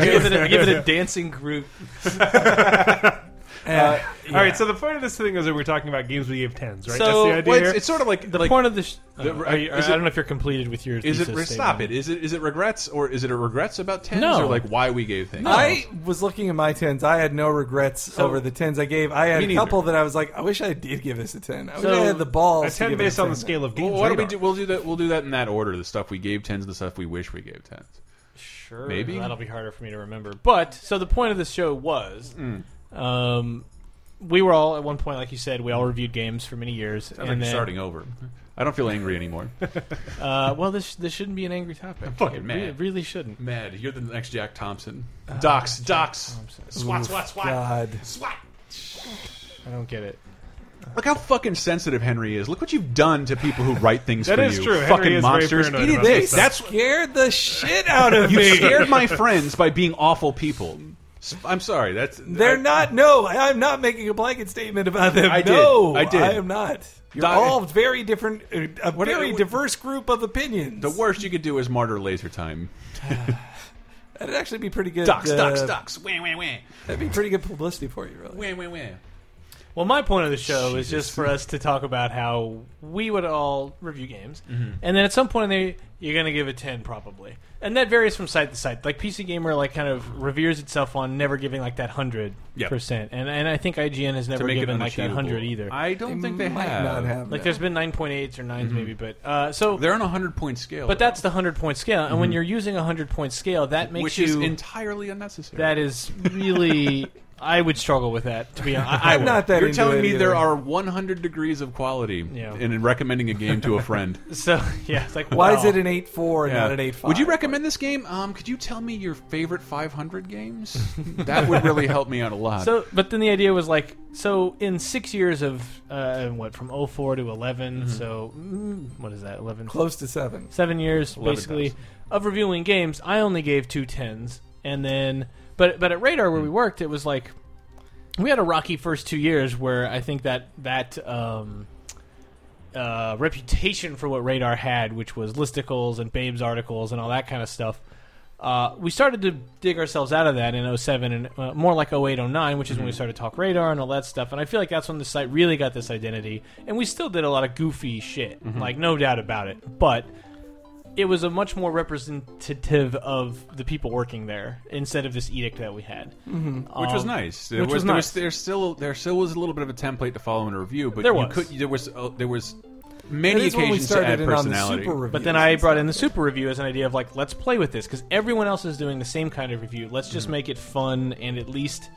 S5: give, it a, I give it a dancing group.
S2: All right, so the point of this thing is that we're talking about games we gave tens, right?
S5: So,
S2: That's the idea
S3: Well,
S2: here?
S3: it's, it's sort of like...
S5: The
S3: like,
S5: point of the. Sh- I,
S3: The-
S5: don't know, are you-
S3: is
S5: I
S3: it-
S5: don't know if you're completed with your.
S3: Is it
S5: thesis
S3: stop
S5: statement.
S3: it? Is it is it regrets or is it a regrets about tens
S5: No.
S3: or like why we gave things?
S4: I was looking at my tens. I had no regrets over the tens I gave. I had
S3: Me
S4: a
S3: neither.
S4: couple that I was like, I wish I did give this a ten. I wish
S5: So,
S4: I had the balls.
S2: a
S4: to
S2: ten
S4: give it
S2: based on the
S4: 10.
S2: scale of
S3: Well,
S2: games.
S3: why don't we
S2: Radar.
S3: do? We'll do that. We'll do that in that order. The stuff we gave tens, and the stuff we wish we gave tens.
S5: Sure,
S3: Maybe.
S5: that'll be harder for me to remember. Mm. But so the point of this show was, um, we were all at one point, like you said, we all reviewed games for many years,
S3: I'm
S5: and
S3: like
S5: then
S3: starting over. I don't feel angry anymore.
S5: uh, well, this this shouldn't be an angry topic.
S3: fucking
S5: It
S3: mad.
S5: re- It really shouldn't.
S3: Mad. You're the next Jack Thompson. Docs. Docs. Swat. Swat. Swat.
S4: God,
S3: Swat.
S5: I don't get it.
S3: Look how fucking sensitive Henry is. Look what you've done to people who write things
S2: That
S3: for
S2: is
S3: you.
S2: true. Henry
S3: Fucking
S2: is very
S3: monsters.
S2: paranoid
S3: Eat a
S2: about
S3: dick.
S2: this stuff.
S3: That's
S4: scared the shit out of
S3: you
S4: me.
S3: scared my friends by being awful people. S- I'm sorry. That's
S4: They're
S3: I-
S4: not. No, I, I'm not making a blanket statement about them.
S3: I did.
S4: No,
S3: I did.
S4: I am not. You're
S3: Doc-
S4: all very different. uh, A very
S3: what-
S4: diverse group of opinions.
S3: The worst you could do is martyr laser time.
S4: That'd actually be pretty good.
S3: Docs,
S4: uh,
S3: docs, docs. Wah, wah, wah.
S4: That'd be pretty good publicity for you, really.
S3: Wah, wah, wah.
S5: Well, my point of the show is just for us to talk about how we would all review games,
S4: Mm-hmm.
S5: and then at some point they you're going to give a ten probably, and that varies from site to site. Like PC Gamer, like kind of reveres itself on never giving like that hundred
S3: Yep.
S5: percent, and and I think IGN has never given like that hundred either.
S3: I don't think they
S4: might
S3: have.
S4: not have.
S5: like
S4: that.
S5: there's been nine point eights or
S4: Mm-hmm.
S5: 9s maybe, but uh, so
S3: They're on a hundred point scale,
S5: but
S3: though,
S5: that's the hundred point scale, and when
S4: Mm-hmm.
S5: you're using a hundred point scale, that makes
S3: which
S5: you
S3: is entirely unnecessary.
S5: that is really I would struggle with that to be honest. I, I
S4: I'm
S5: would.
S4: not that.
S3: You're
S4: into
S3: telling
S4: it
S3: me
S4: either.
S3: there are 100 degrees of quality
S5: Yeah.
S3: in recommending a game to a friend.
S5: So yeah, it's like
S4: Why
S5: wow.
S4: is it an eight four and
S3: Yeah.
S4: not an eight five?
S3: Would you recommend this game? Um, could you tell me your favorite 500 games? that would really help me out a lot.
S5: So, but then the idea was like, so in six years of uh, what from 04 to 11, so mm, what is that? 11,
S4: close to seven?
S5: seven years
S3: 11,000.
S5: basically of reviewing games. I only gave two tens, and then but but at Radar where we worked, it was like we had a rocky first two years where I think that that um, uh, reputation for what Radar had, which was listicles and Babe's articles and all that kind of stuff. Uh, we started to dig ourselves out of that in 07 and uh, more like 08, 09, which is when we started Talk Radar and all that stuff. And I feel like that's when the site really got this identity. And we still did a lot of goofy shit, like, no doubt about it. But it was a much more representative of the people working there instead of this edict that we had.
S3: which was
S5: Um,
S3: nice. There
S5: which was
S3: there
S5: nice.
S3: there still there still was a little bit of a template to follow in a review, but
S5: There
S3: you
S5: was.
S3: could there was uh, there was
S4: It
S3: many
S4: is when we
S3: occasions to
S4: started
S3: add
S4: in on the
S3: personality.
S4: super reviews.
S5: But then I brought in the super review as an idea of like, let's play with this because everyone else is doing the same kind of review. Let's just
S3: Mm-hmm.
S5: make it fun and at least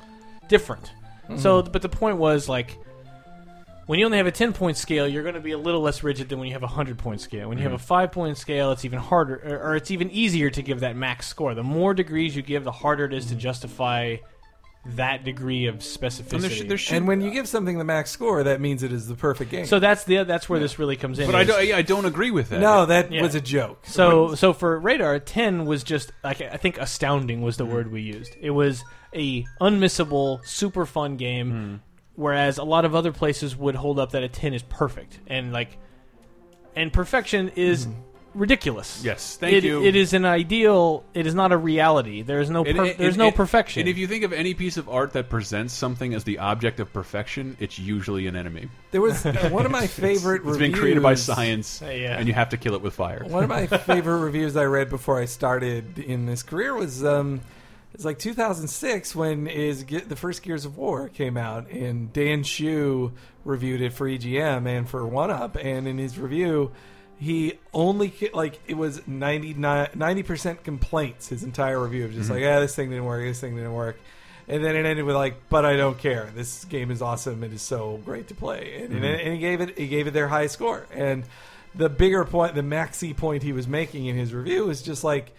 S5: different.
S3: Mm-hmm.
S5: So, but the point was like, when you only have a ten point scale, you're going to be a little less rigid than when you have a hundred point scale. When you
S3: Mm-hmm.
S5: have a five point scale, it's even harder, or, or it's even easier to give that max score. The more degrees you give, the harder it is to justify that degree of specificity.
S3: Mm-hmm. And there should, there should,
S4: and when you give something the max score, that means it is the perfect game.
S5: so that's the that's where this really comes in.
S3: but I
S5: is-
S3: don't, I don't agree with that.
S4: no, that
S5: Yeah.
S4: was a joke.
S5: So so for radar, ten was just like I think astounding was the word we used. It was a unmissable, super fun game.
S3: Hmm.
S5: Whereas a lot of other places would hold up that a ten is perfect and like, and perfection is ridiculous.
S3: Hmm. Yes, thank
S5: It-
S3: you.
S5: It is an ideal. It is not a reality. There is no
S3: It-
S5: per-
S3: it-
S5: there's
S3: it-
S5: no
S3: it-
S5: perfection.
S3: And if you think of any piece of art that presents something as the object of perfection, it's usually an enemy.
S4: There was one of my favorite
S3: It's
S4: reviews.
S3: been created by science,
S5: Uh, yeah.
S3: and you have to kill it with fire.
S4: One of my favorite reviews I read before I started in this career was um, it's like 2006 when is Ge- the first Gears of War came out, and Dan Shu reviewed it for EGM and for One Up, and in his review. He only ki- like it was 90 percent complaints. His entire review of just like, ah, this thing didn't work, this thing didn't work, and then it ended with like, but I don't care. This game is awesome. It is so great to play, and, and,
S2: Mm-hmm.
S4: and he gave it he gave it their high score. And the bigger point, the maxi point he was making in his review is just like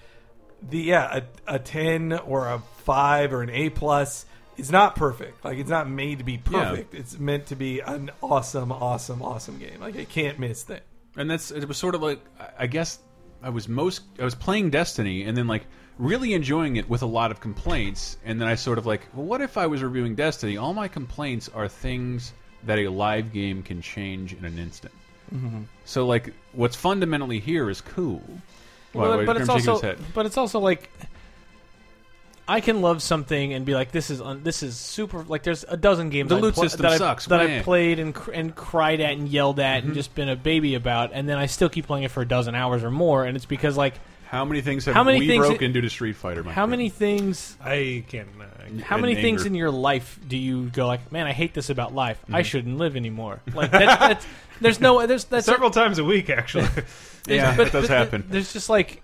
S4: the yeah a, a 10 or a 5 or an a plus is not perfect like it's not made to be perfect it's meant to be an awesome awesome awesome game like it can't miss thing
S3: and that's it was sort of like I- I guess I was most I was playing Destiny and then like really enjoying it with a lot of complaints and then I sort of like well what if I was reviewing Destiny all my complaints are things that a live game can change in an instant
S5: Mm-hmm.
S3: so like what's fundamentally here is cool Why-
S5: Well,
S3: why
S5: but it's
S3: Grim shaking
S5: also
S3: his head?
S5: but it's also like I can love something and be like, this is un- this is super. Like, there's a dozen games
S3: The
S5: I
S3: loot
S5: pla-
S3: system
S5: that I-
S3: sucks, Mm-hmm.
S5: that I
S3: meh.
S5: played and cr- and cried at and yelled at and just been a baby about, and then I still keep playing it for a dozen hours or more, and it's because like
S3: how many things have
S5: How many
S3: we
S5: things-
S3: broken due to Street Fighter my
S5: how
S3: friend?
S5: many things
S2: I can't. Uh, I can't.
S5: how
S3: And
S5: many things
S3: anger.
S5: in your life do you go like, man, I hate this about life.
S3: Mm-hmm.
S5: I shouldn't live anymore. Like that's, that's there's no there's that's
S2: Several times a week, actually.
S3: yeah
S5: but
S3: that does
S5: th-
S3: happen
S5: There's just like,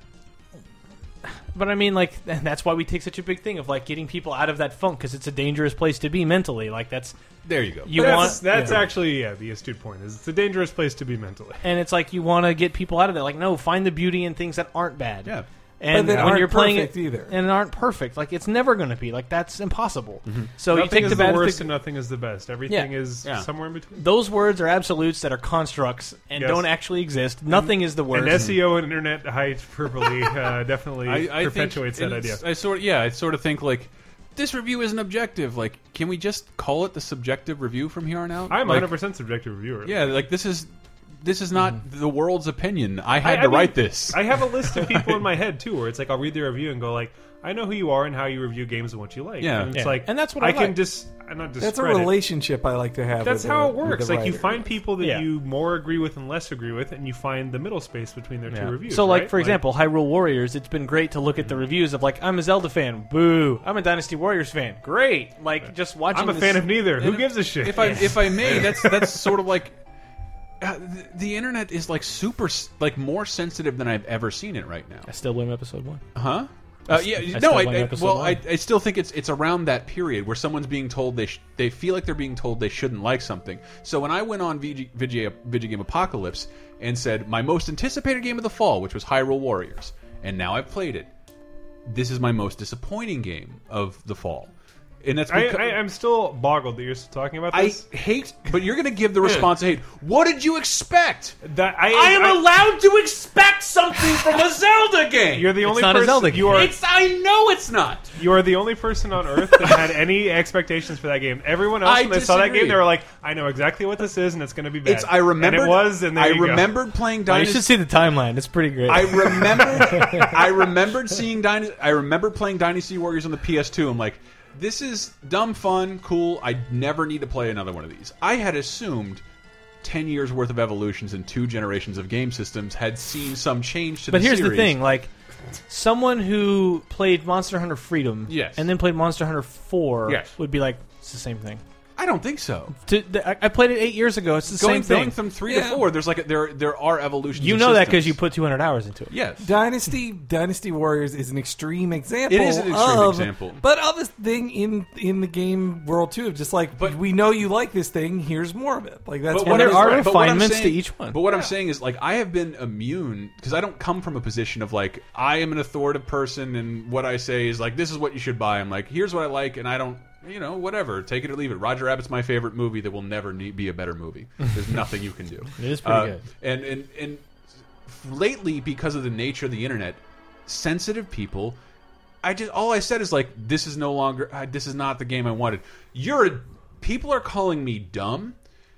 S5: but I mean, like and that's why we take such a big thing of like getting people out of that funk because it's a dangerous place to be mentally. Like that's
S3: there you go
S5: you
S2: that's
S5: want
S2: that's
S5: yeah.
S2: actually yeah the astute point is it's a dangerous place to be mentally.
S5: and it's like you want to get people out of that. Like no, find the beauty in things that aren't bad.
S3: yeah
S5: And
S4: But that
S5: when
S4: aren't
S5: you're playing
S4: perfect
S5: it,
S4: either.
S5: and aren't perfect, like it's never going to be like that's impossible. So you
S2: Mm-hmm. nothing
S5: take
S2: is
S5: the
S2: the,
S5: bad.
S2: worst
S5: with
S2: and
S5: the-
S2: nothing is the best. Everything
S5: Yeah.
S2: is
S3: Yeah.
S2: somewhere in between.
S5: those words are absolutes that are constructs and
S2: Yes.
S5: don't actually exist. Nothing is the worst.
S2: And SEO and internet hyperbole uh, definitely
S3: think
S2: perpetuates that idea.
S3: it's- I sort yeah, I sort of think like this review isn't objective. Like, can we just call it the subjective review from here on out?
S2: I'm
S3: like,
S2: 100% subjective reviewer.
S3: Yeah, like this is this is not the world's opinion. I had
S2: I- I
S3: to
S2: mean,
S3: write this.
S2: I have a list of people in my head too, where it's like I'll read their review and go like, I know who you are and how you review games and what you like.
S3: Yeah.
S2: and it's
S5: Yeah.
S2: like,
S5: And that's what I
S2: can
S5: like.
S2: just I'm not
S4: that's a
S2: discredit.
S4: relationship i like to have
S2: That's
S4: with the-
S2: how it
S4: with the
S2: works. Like you
S4: writer.
S2: find people that
S5: Yeah.
S2: you more agree with and less agree with, and you find the middle space between their
S3: Yeah.
S2: two reviews.
S5: So, like
S2: right?
S5: for example, Hyrule Warriors. It's been great to look at the reviews of like I'm a Zelda fan, boo. I'm a Dynasty Warriors fan, great. Like just watching.
S2: I'm a
S5: this-
S2: fan of neither. Who gives a shit?
S3: if I if I may, that's that's sort of like uh, the, the internet is like super s- like more sensitive than I've ever seen it right now.
S5: I still blame episode one.
S3: Huh? Uh, yeah,
S5: I
S3: no,
S5: still
S3: I,
S5: like
S3: I
S5: episode
S3: well, I,
S5: one.
S3: I still think it's it's around that period where someone's being told they sh they feel like they're being told they shouldn't like something. So when I went on VG, VG, VG Game Apocalypse and said my most anticipated game of the fall, which was Hyrule Warriors, and now I've played it. This is my most disappointing game of the fall, and that's
S2: I,
S3: becau-
S2: I, I'm still boggled that you're still talking about
S3: I
S2: this.
S3: hate, but you're going to give the response I hate. What did you expect?
S2: that, I,
S3: I am allowed to expect something from a Zelda game.
S2: You're the only
S5: not a
S2: person.
S5: Zelda game.
S2: You are
S3: it's I know it's not.
S2: you are the only person on earth that had any expectations for that game. Everyone else,
S3: I
S2: when they saw that
S3: disagree.
S2: game, they were like, "I know exactly what this is, and it's going to be bad."
S3: It's I remembered
S2: And it was, and there
S3: I
S2: you go.
S3: remembered playing
S5: You
S3: Dynasty.
S5: should see the timeline. It's pretty great.
S3: I remembered I remembered seeing Dynasty. I remember playing Dynasty Warriors on the PS2. I'm like, this is dumb fun, cool. I never need to play another one of these. I had assumed. 10 years worth of evolutions and two generations of game systems had seen some change to
S5: But
S3: the
S5: here's the
S3: series.
S5: thing, like someone who played Monster Hunter Freedom
S3: Yes.
S5: and then played Monster Hunter 4
S3: Yes.
S5: would be like it's the same thing.
S3: I don't think so.
S5: To- th- I I played it 8 years ago. It's the
S3: Going,
S5: same thing.
S3: going from 3 to 4, there's like a, there there are evolutions.
S5: you
S3: of
S5: know that
S3: systems.
S5: cuz you put 200 hours into it.
S3: Yes.
S4: Dynasty Dynasty Warriors is an extreme example.
S3: It is an extreme
S4: of-
S3: example.
S4: but of this thing in in the game world too. Of just like,
S3: But-
S4: we know you like this thing. Here's more of it. Like that's
S3: But
S5: And
S3: what
S5: there
S3: I'm-
S5: are
S3: right, but what I'm
S5: refinements to
S3: saying-
S5: each one.
S3: But what I'm saying is, like, I have been immune because I don't come from a position of like I am an authoritative person, and what I say is like this is what you should buy. I'm like, here's what I like, and I don't, you know, whatever, take it or leave it. Roger Rabbit's my favorite movie. There will never need, be a better movie. There's nothing you can do. Uh,
S5: It is pretty good.
S3: And and and lately, because of the nature of the internet, sensitive people. I just all I said is like this is no longer uh, this is not the game I wanted. You're a, people are calling me dumb,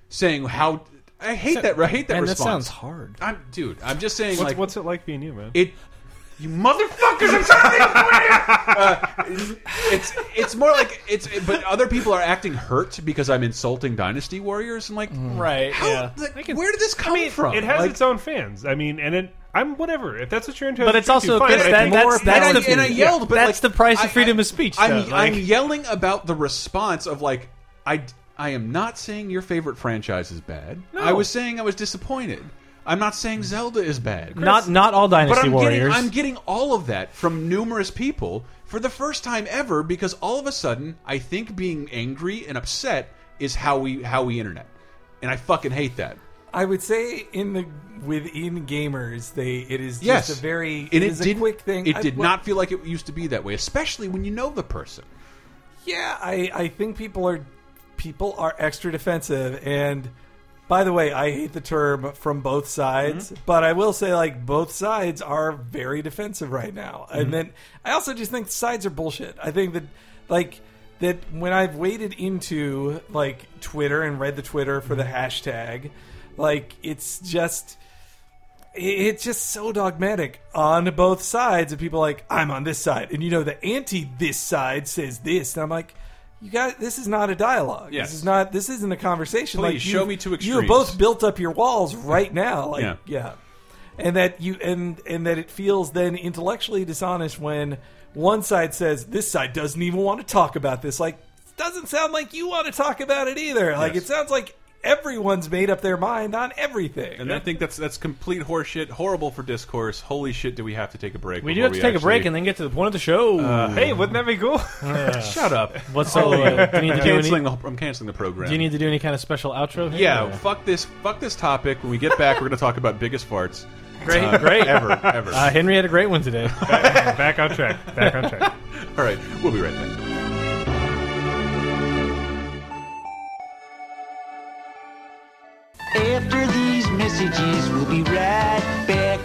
S3: saying how I hate that I hate that
S5: Man, that
S3: response.
S5: sounds hard.
S3: I'm dude. I'm just saying
S2: What's,
S3: like
S2: what's it like being you, man?
S3: it. You motherfuckers! I'm sorry. Uh, it's it's more like it's. But other people are acting hurt because I'm insulting Dynasty Warriors. I'm like,
S5: Right.
S3: how, like, where did this come from?
S2: It has
S3: Like,
S2: its own fans. I mean, and it, I'm whatever. If that's what you're into,
S5: But it's
S2: that's
S5: also
S2: fine,
S5: that's,
S2: but I
S5: that,
S2: think-
S5: that's,
S3: and I-
S5: that's the
S3: and I yelled, but
S5: that's
S3: like,
S5: the price
S3: I-
S5: of freedom
S3: I-
S5: of speech.
S3: I'm,
S5: though.
S3: I'm
S5: Like,
S3: yelling about the response of like I I am not saying your favorite franchise is bad. I was saying I was disappointed. I'm not saying Zelda is bad.
S5: not not all
S3: but
S5: Dynasty
S3: I'm
S5: Warriors.
S3: getting I'm getting all of that from numerous people for the first time ever because all of a sudden I think being angry and upset is how we how we internet. And I fucking hate that.
S4: I would say in the within gamers, they it is
S3: Yes,
S4: just a very
S3: and it
S4: is
S3: did,
S4: a quick thing.
S3: It
S4: I-
S3: did
S4: well,
S3: not feel like it used to be that way, especially when you know the person.
S4: Yeah, I I think people are people are extra defensive and. By the way, I hate the term from both sides, but I will say like both sides are very defensive right now. And then I also just think sides are bullshit. I think that like that when I've waded into like Twitter and read the Twitter for the hashtag, like it's just it- it's just so dogmatic on both sides and people are like i'm on this side and you know the anti this side says this and i'm like you guys this is not a dialogue
S3: Yes.
S4: this is not this isn't a conversation
S3: Please,
S4: like
S3: show
S4: you've-
S3: me two
S4: you have
S3: extremes.
S4: both built up your walls right now like
S3: Yeah.
S4: yeah. and that you and and that it feels then intellectually dishonest when one side says this side doesn't even want to talk about this like doesn't sound like you want to talk about it either like
S3: Yes.
S4: it sounds like everyone's made up their mind on everything
S3: And I think that's that's complete horseshit, horrible for discourse. Holy shit, do we have to take a break?
S5: we do have to take a break and then get to the point of the show.
S2: Uh, Hey, wouldn't that be cool?
S3: shut up.
S5: What's so? Uh, do you need to do any?
S3: Canceling the, I'm canceling the program.
S5: Do you need to do any kind of special outro? Here?
S3: yeah,
S5: Or-
S3: fuck this, fuck this topic. When we get back, we're going to talk about biggest farts.
S5: Great,
S3: Uh,
S5: great.
S3: ever, ever.
S5: Uh, Henry had a great one today.
S2: back on track. Back on track.
S3: All right, we'll be right back.
S7: After these messages, we'll be right back.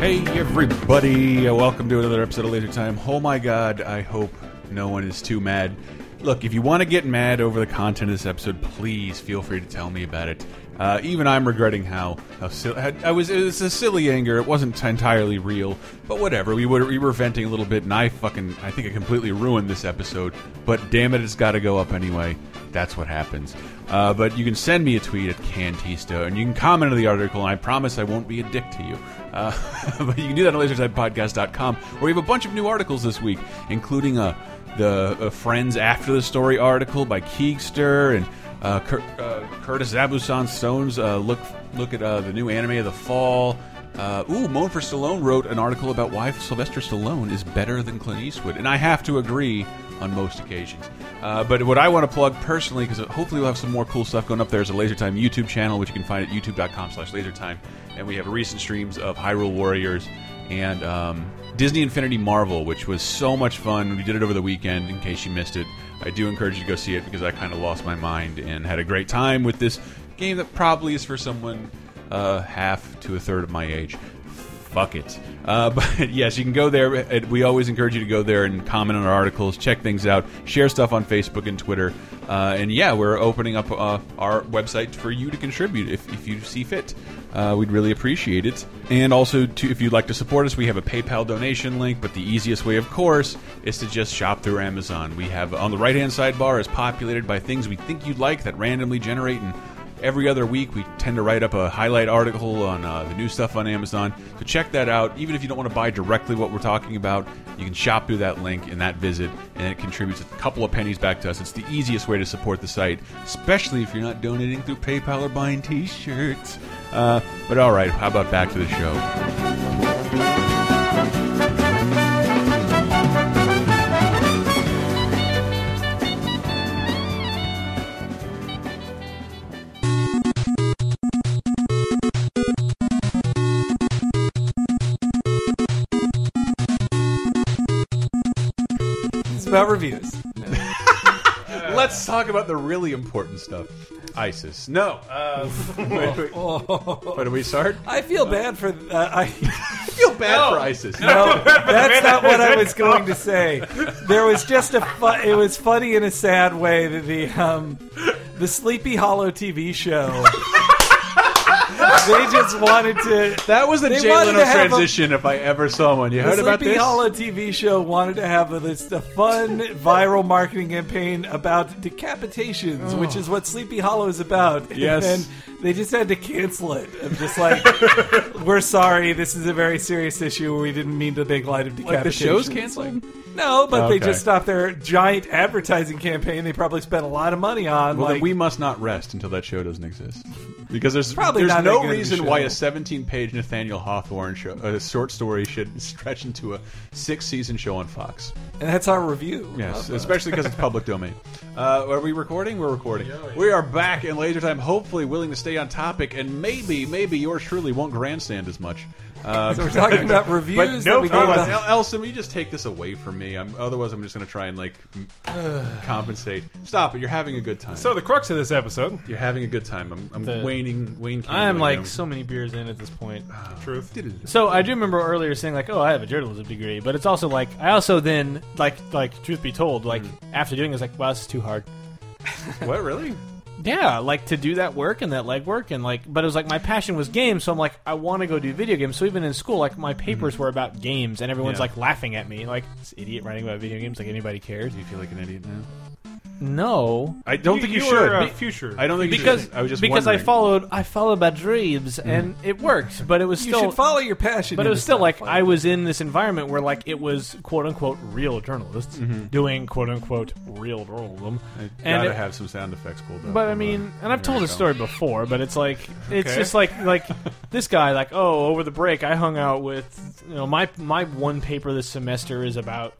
S3: Hey everybody, uh, welcome to another episode of Laser Time. Oh my god, I hope no one is too mad. Look, if you want to get mad over the content of this episode, please feel free to tell me about it. Uh, even I'm regretting how how silly I was. It was a silly anger. It wasn't entirely real, but whatever. We were we were venting a little bit, and I fucking I think I completely ruined this episode. But damn it, it's got to go up anyway. That's what happens. Uh, but you can send me a tweet at Cantista, and you can comment on the article, and I promise I won't be a dick to you. Uh, but you can do that on lasersidepodcast.com, where we have a bunch of new articles this week, including uh, the uh, Friends After the Story article by Keegster and uh, Cur- uh, Curtis Abusan Stone's uh, look look at uh, the new anime of the fall. Uh, ooh, Moan for Stallone wrote an article about why Sylvester Stallone is better than Clint Eastwood, and I have to agree on most occasions. Uh, but what I want to plug personally, because hopefully we'll have some more cool stuff going up there, is a LaserTime YouTube channel, which you can find at youtube.com slash lasertime. And we have recent streams of Hyrule Warriors and um, Disney Infinity Marvel, which was so much fun. We did it over the weekend. In case you missed it, I do encourage you to go see it because I kind of lost my mind and had a great time with this game that probably is for someone uh, half to a third of my age. Fuck it. Uh, but yes, you can go there. And We always encourage you to go there and comment on our articles, check things out, share stuff on Facebook and Twitter. Uh, and yeah, we're opening up uh, our website for you to contribute if, if you see fit. Uh, we'd really appreciate it. And also, to, if you'd like to support us, we have a PayPal donation link. But the easiest way, of course, is to just shop through Amazon. We have on the right hand sidebar is populated by things we think you'd like that randomly generate and every other week we tend to write up a highlight article on uh, the new stuff on amazon so check that out even if you don't want to buy directly what we're talking about you can shop through that link and that visit and it contributes a couple of pennies back to us it's the easiest way to support the site especially if you're not donating through paypal or buying t-shirts uh, but all right how about back to the show
S4: It's about reviews.
S3: let's talk about the really important stuff isis no uh, wait, wait. where do we start
S4: I feel bad for. Uh, I
S3: i feel bad for isis
S4: no, that's not what I was going to say. There was just a. Fu- it was funny in a sad way that the um, the Sleepy Hollow TV show. they just wanted to.
S3: That was the
S4: They
S3: Jay
S4: wanted
S3: Leno
S4: to have a-
S3: transition. if I ever saw one, you
S4: The
S3: heard about
S4: Sleepy
S3: this?
S4: Hollow TV show wanted to have a, this a fun viral marketing campaign about decapitations, which is what Sleepy Hollow is about.
S3: Oh. Yes.
S4: And then they just had to cancel it. I'm just like, we're sorry, this is a very serious issue. We didn't mean to make light of decapitations.
S3: Like the show's canceled.
S4: No, but they
S3: Okay.
S4: just stopped their giant advertising campaign. They probably spent a lot of money on.
S3: Well,
S4: like,
S3: then we must not rest until that show doesn't exist, because there's
S4: Probably
S3: there's
S4: not that
S3: no
S4: good of a
S3: reason
S4: show.
S3: why a 17-page Nathaniel Hawthorne show, a short story, should stretch into a six-season show on Fox.
S4: and that's our review.
S3: Yes, especially because it's public domain. Uh, are we recording? We're recording. We are back in laser time, hopefully willing to stay on topic, and maybe, maybe yours truly won't grandstand as much. Uh,
S4: So we're talking about
S3: But
S4: reviews. that
S2: no
S4: we gave
S2: comment.
S4: out.
S3: El- Elson, will you just take this away from me. I'm, otherwise, I'm just going to try and like m- compensate. Stop it. You're having a good time.
S2: So the crux of this episode,
S3: you're having a good time. I'm, I'm
S5: The-
S3: waning, Wayne.
S5: I am
S3: Campbell,
S5: like
S3: you
S5: so many beers in at this point.
S2: truth.
S5: So I do remember earlier saying like, "Oh, I have a journalism degree," but it's also like I also then like like truth be told, like after doing this, like, wow, this is too hard.
S3: know. what really?
S5: Yeah, like to do that work and that leg work and like, but it was like my passion was games, so I'm like, I want to go do video games. So even in school, like my papers were about games, and everyone's
S3: Yeah.
S5: like laughing at me, like this idiot writing about video games, like anybody cares.
S3: Do you feel like an idiot now?
S5: No,
S3: I don't think you,
S2: you
S3: should.
S2: Were, uh,
S3: Be-
S2: future.
S3: I don't think you
S5: because
S3: should. I was just
S5: because I
S3: wondering.
S5: followed I followed my dreams and it worked, but it was
S4: You
S5: still
S4: should follow your passion.
S5: but it
S4: in
S5: was
S4: this
S5: still
S4: stuff.
S5: like I was in this environment where like it was quote unquote real journalists doing quote unquote real journalism,
S3: I
S5: and
S3: gotta
S5: it-
S3: have some sound effects pulled up.
S5: But I
S3: Hold
S5: mean,
S3: on.
S5: and I've
S3: There
S5: told
S3: we
S5: this
S3: go.
S5: story before, but it's like it's
S2: Okay.
S5: just like like this guy like oh over the break I hung out with you know my my one paper this semester is about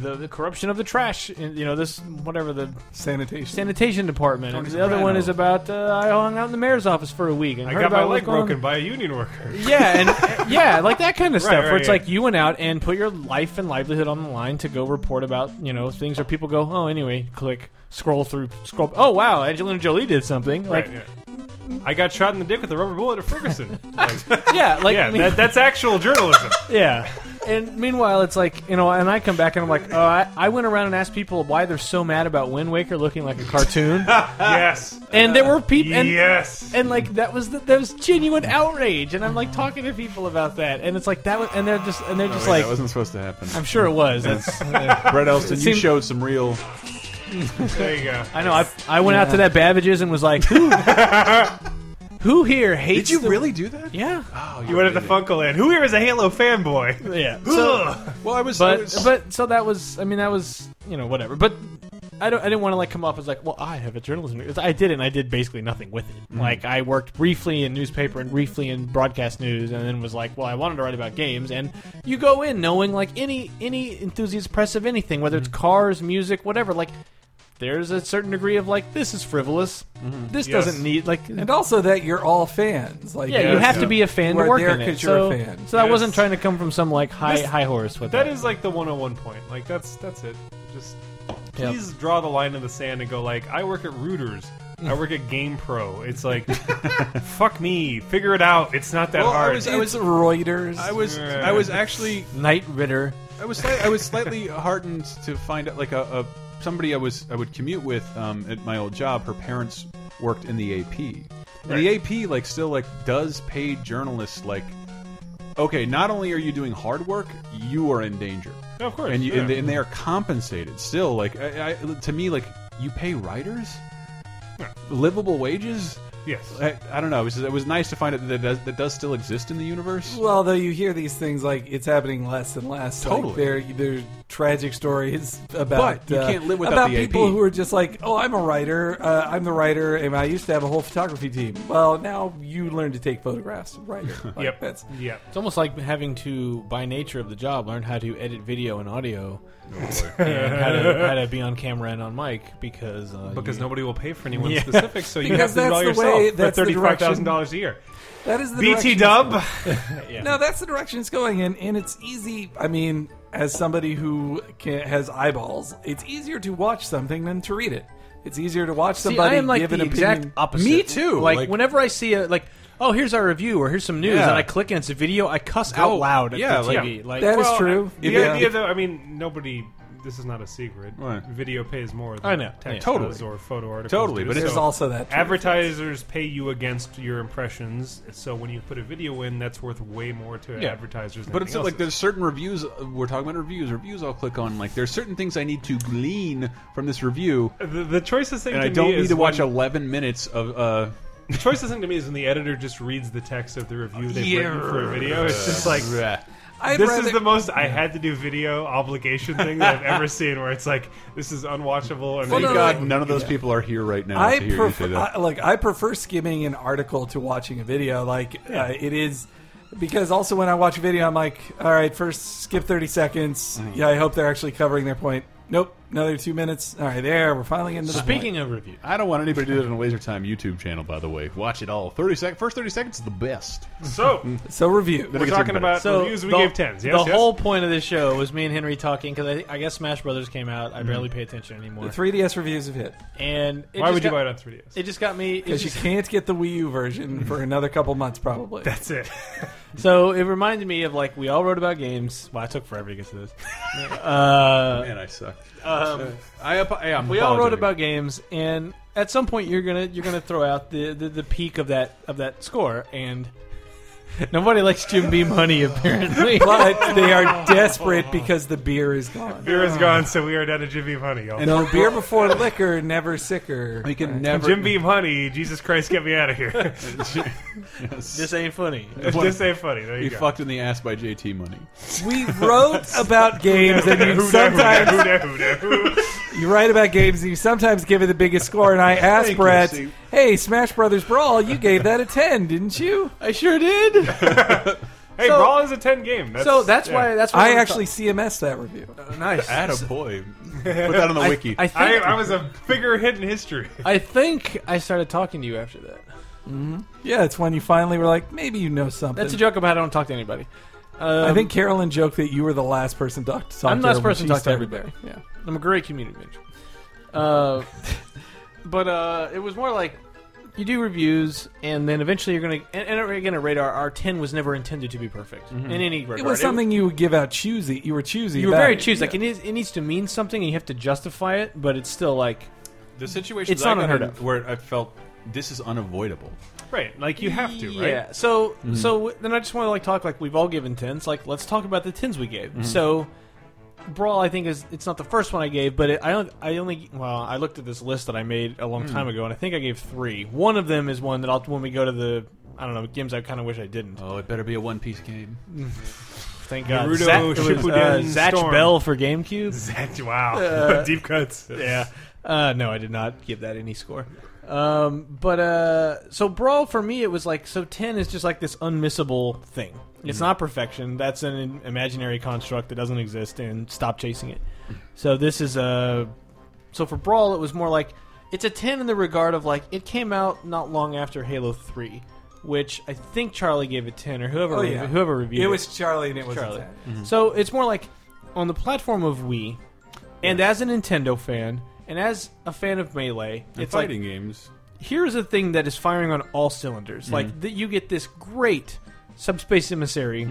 S5: the, the corruption of the trash in you know this whatever the
S4: sanitation.
S5: sanitation department and the
S3: Tony
S5: other one
S3: Soprano.
S5: is about uh, I hung out in the mayor's office for a week and
S2: I
S5: heard
S2: got my
S5: about what
S2: leg
S5: was going on.
S2: broken by a union worker.
S5: Yeah, and uh, yeah, like that kind of stuff. where
S2: right,
S5: it's
S2: yeah.
S5: like you went out and put your life and livelihood on the line to go report about you know things where people go, oh, anyway, click, scroll through, scroll. Oh wow, Angelina Jolie did something. Like
S2: Right, yeah. I got shot in the dick with a rubber bullet at Ferguson. Like,
S5: yeah, like
S2: yeah,
S5: I mean-
S2: that, that's actual journalism.
S5: yeah. And meanwhile, it's like you know, and I come back and I'm like, oh, I, I went around and asked people why they're so mad about Wind Waker looking like a cartoon,
S2: yes.
S5: and there were people, and,
S2: yes.
S5: and like that was the, that was genuine outrage, and I'm like talking to people about that, and it's like that, was, and they're just and they're just
S3: Wait,
S5: like,
S3: that wasn't supposed to happen.
S5: I'm sure it was. That's
S3: Brett Elston, you
S5: seemed-
S3: showed some real.
S2: there you go.
S5: I know. I, I went out to that Babbage's and was like, who, who here hates?
S3: Did you
S5: the-
S3: really do that?
S5: Yeah.
S3: Oh,
S2: You went at the Funko Land. Who here is a Halo fanboy?
S5: Yeah. So,
S2: Ugh.
S3: Well, I was. I
S5: but
S3: was-
S5: but so that was. I mean, that was you know whatever. But I don't. I didn't want to like come off as like, well, I have a journalism. degree." I didn't. I did basically nothing with it. Like I worked briefly in newspaper and briefly in broadcast news, and then was like, well, I wanted to write about games. And you go in knowing like any any enthusiast press of anything, whether it's cars, music, whatever. Like there's a certain degree of like this is frivolous. This
S2: Yes.
S5: doesn't need like.
S4: and also that you're all fans. Like
S5: yeah, you
S2: Yes,
S5: have
S2: yeah.
S5: to be a fan
S4: You are
S5: to work
S4: there
S5: in it.
S4: 'cause you're
S5: So,
S4: a fan.
S5: so I wasn't
S2: Yes.
S5: trying to come from some like high
S2: This-
S5: high horse with
S2: That is like the 101 point. Like that's that's it. Just
S5: Yep.
S2: please draw the line in the sand and go like I work at Reuters. I work at GamePro. It's like fuck me, figure it out. It's not that
S3: Well, I
S2: hard.
S3: was-
S4: It's Reuters.
S3: I was I was actually
S5: Knight Ritter.
S3: I was slight, I was slightly heartened to find out like a, a somebody I was I would commute with um, at my old job. Her parents worked in the AP. And The AP like still like does paid journalists like okay. Not only are you doing hard work, you are in danger.
S2: Of course,
S3: and you, and,
S2: yeah.
S3: they, and they are compensated still. Like I, I, to me, like you pay writers livable wages.
S2: yes.
S3: I, I don't know. It was, it was nice to find out that that does, that does still exist in the universe.
S4: Well, though you hear these things like it's happening less and less.
S3: Totally.
S4: like, there, there are tragic stories about.
S3: But you
S4: uh,
S3: can't live without
S4: about
S3: the AP.
S4: people who are just like, oh, I'm a writer. Uh, I'm the writer, and I used to have a whole photography team. Well, now you learn to take photographs, of writer. Like,
S2: yep.
S4: That's,
S2: Yep.
S5: It's almost like having to, by nature of the job, learn how to edit video and audio, and how to, how to be on camera and on mic because uh,
S2: Because
S5: you-
S2: nobody will pay for anyone
S5: Yeah.
S2: specific, so you have to
S4: Because
S2: draw
S4: that's the
S2: yourself
S4: way-
S2: for
S4: that's the
S2: thirty-five thousand dollars a year.
S4: that is the
S2: BT
S4: direction-
S2: Dub.
S4: No, that's the direction it's going in, and it's easy. I mean, as somebody who can, has eyeballs, it's easier to watch something than to read it. It's easier to watch
S5: See,
S4: somebody
S5: I am like
S4: give
S5: the
S4: an
S5: exact
S4: opinion.
S5: opposite.
S3: Me too,
S5: Like,
S3: like-
S5: whenever I see a like, oh, here's our review or here's some news,
S3: Yeah.
S5: and I click and it's a video, I cuss out loud at
S3: yeah,
S5: the
S3: like-
S5: TV. Like,
S4: That is
S2: Well, uh,
S4: true.
S2: The
S4: Yeah.
S2: idea that I mean, nobody. This is not a secret.
S3: Right.
S2: Video pays more. Than
S5: I know.
S2: Text
S5: Yeah.
S2: does
S3: Totally.
S2: Or photo articles.
S3: Totally,
S2: do,
S3: but
S4: There's
S2: so-
S4: also that. too.
S2: Advertisers pay you against your impressions, so when you put a video in, that's worth way more to
S5: Yeah.
S2: advertisers. Than
S3: But it's
S2: anything
S3: like
S2: else.
S3: there's certain reviews. We're talking about reviews. Reviews I'll click on. Like there's certain things I need to glean from this review,
S2: the, the choicest thing
S3: and
S2: to
S3: I don't
S2: me
S3: need
S2: is
S3: to watch
S2: when,
S3: 11 minutes of. Uh,
S2: the choicest thing to me is when the editor just reads the text of the review they've written for a video. It's just like
S3: bleh.
S4: I'd
S2: this
S4: rather-
S2: is the most I had to do video obligation thing that I've ever seen. Where it's like this is unwatchable. And
S4: Well,
S3: Thank
S4: no,
S3: God,
S4: no.
S3: none of those people are here right now.
S4: I
S3: to hear
S4: prefer
S3: you say that.
S4: I, like I prefer skimming an article to watching a video. Like uh, it is because also when I watch a video, I'm like, all right, first skip 30 seconds. Yeah, I hope they're actually covering their point. Nope, another two minutes. All right, there we're finally getting to the point.
S5: speaking of review,
S3: I don't want anybody to do that on the Laser Time YouTube channel. By the way, watch it all. 30 sec- first 30 seconds is the best.
S2: so
S4: So review.
S2: we're
S3: gets
S2: talking
S3: even better.
S2: about
S5: so
S2: reviews. We
S5: the,
S2: gave tens. Yes,
S5: the
S2: yes.
S5: whole point of this show was me and Henry talking because I, I guess Smash Brothers came out. I barely pay attention anymore.
S4: The 3DS reviews have hit
S5: and it
S2: Why
S5: just
S2: would you
S5: got-
S2: buy it on 3ds?
S5: It just got me. It
S4: because you
S5: just,
S4: can't get the Wii U version for another couple months probably.
S2: That's it.
S5: so it reminded me of like we all wrote about games. Well, I took forever to get to this. uh,
S3: Man, I suck.
S5: um,
S3: I, ap- I am
S5: we all wrote
S3: apologizing.
S5: about games and at some point you're gonna you're gonna throw out the, the, the peak of that of that score and nobody likes Jim B money apparently
S4: but they are desperate because the beer is gone.
S2: Beer is gone, so we are down to Jim Beam Honey. Y'all.
S4: No beer before liquor, never sicker.
S3: We can never.
S2: Jim Beam Honey, Jesus Christ, get me out of here.
S5: this ain't funny
S2: this ain't funny. There you
S3: He
S2: go.
S3: fucked in the ass by JT money.
S4: We wrote about games, and you
S2: Who da, who da,
S4: sometimes
S2: who da, who da, who da.
S4: you write about games, and you sometimes give it the biggest score. And I asked
S3: Thank you,
S4: Brett,
S3: Steve.
S4: "Hey, Smash Brothers Brawl, you gave that a ten, didn't you?"
S5: I sure did
S2: Hey,
S5: So-
S2: Brawl is a ten game. That's,
S5: so that's
S2: yeah.
S5: why that's why
S4: I
S5: we
S4: actually CMS that review.
S5: thought- nice
S3: Add a boy. Put that on the
S5: I,
S3: wiki.
S5: I
S2: I,
S5: think
S2: I
S5: I,
S2: was a bigger hit in history.
S5: think I started talking to you after that
S4: Yeah, it's when you finally were like, maybe you know something.
S5: that's a joke about I don't talk to anybody
S4: I think Carolyn joked that you were the last person to talk to.
S5: Um, I'm the last
S4: her when
S5: person
S4: she
S5: to talk to
S4: started
S5: everybody.
S4: there. Yeah.
S5: I'm a great community manager. Uh, but uh, it was more like you do reviews, and then eventually you're gonna. And, and again, a radar R ten was never intended to be perfect in any regard.
S4: It was something you would give out choosy. You were choosy.
S5: you were
S4: about
S5: very
S4: it.
S5: choose. Like
S4: Yeah.
S5: it needs, it needs to mean something, and you have to justify it. But it's still like
S3: the situation
S5: It's not unheard of.
S3: where I felt this is unavoidable.
S2: Right, like you have to, right?
S5: Yeah. So so w- then I just want to like talk like we've all given tens. Like let's talk about the tens we gave. So brawl I think is it's not the first one I gave, but it, I don't I only well I looked at this list that I made a long time ago and I think I gave three. One of them is one that I'll when we go to the I don't know games I kind of wish I didn't.
S3: Oh, it better be a one piece game.
S5: Thank God.
S2: Naruto
S5: Zach, it was,
S2: Shippuden
S5: uh, Zach
S2: Storm.
S5: Bell for GameCube.
S2: Zach, wow,
S5: Uh,
S2: deep cuts.
S5: yeah. Uh, no, I did not give that any score. Um, but uh, so brawl for me, it was like so. Ten is just like this unmissable thing.
S4: Mm-hmm.
S5: It's not perfection. That's an imaginary construct that doesn't exist, and stop chasing it. So this is a. So for brawl, it was more like it's a ten in the regard of like it came out not long after Halo Three, which I think Charlie gave it ten or whoever
S4: Oh,
S5: re-
S4: yeah.
S5: whoever reviewed
S4: It was Charlie, and it was
S5: Charlie. So it's more like on the platform of Wii, and as a Nintendo fan, and as a fan of Melee,
S3: It's
S5: it's
S3: fighting
S5: like
S3: games.
S5: here's a thing that is firing on all cylinders. Like that, you get this great Subspace Emissary,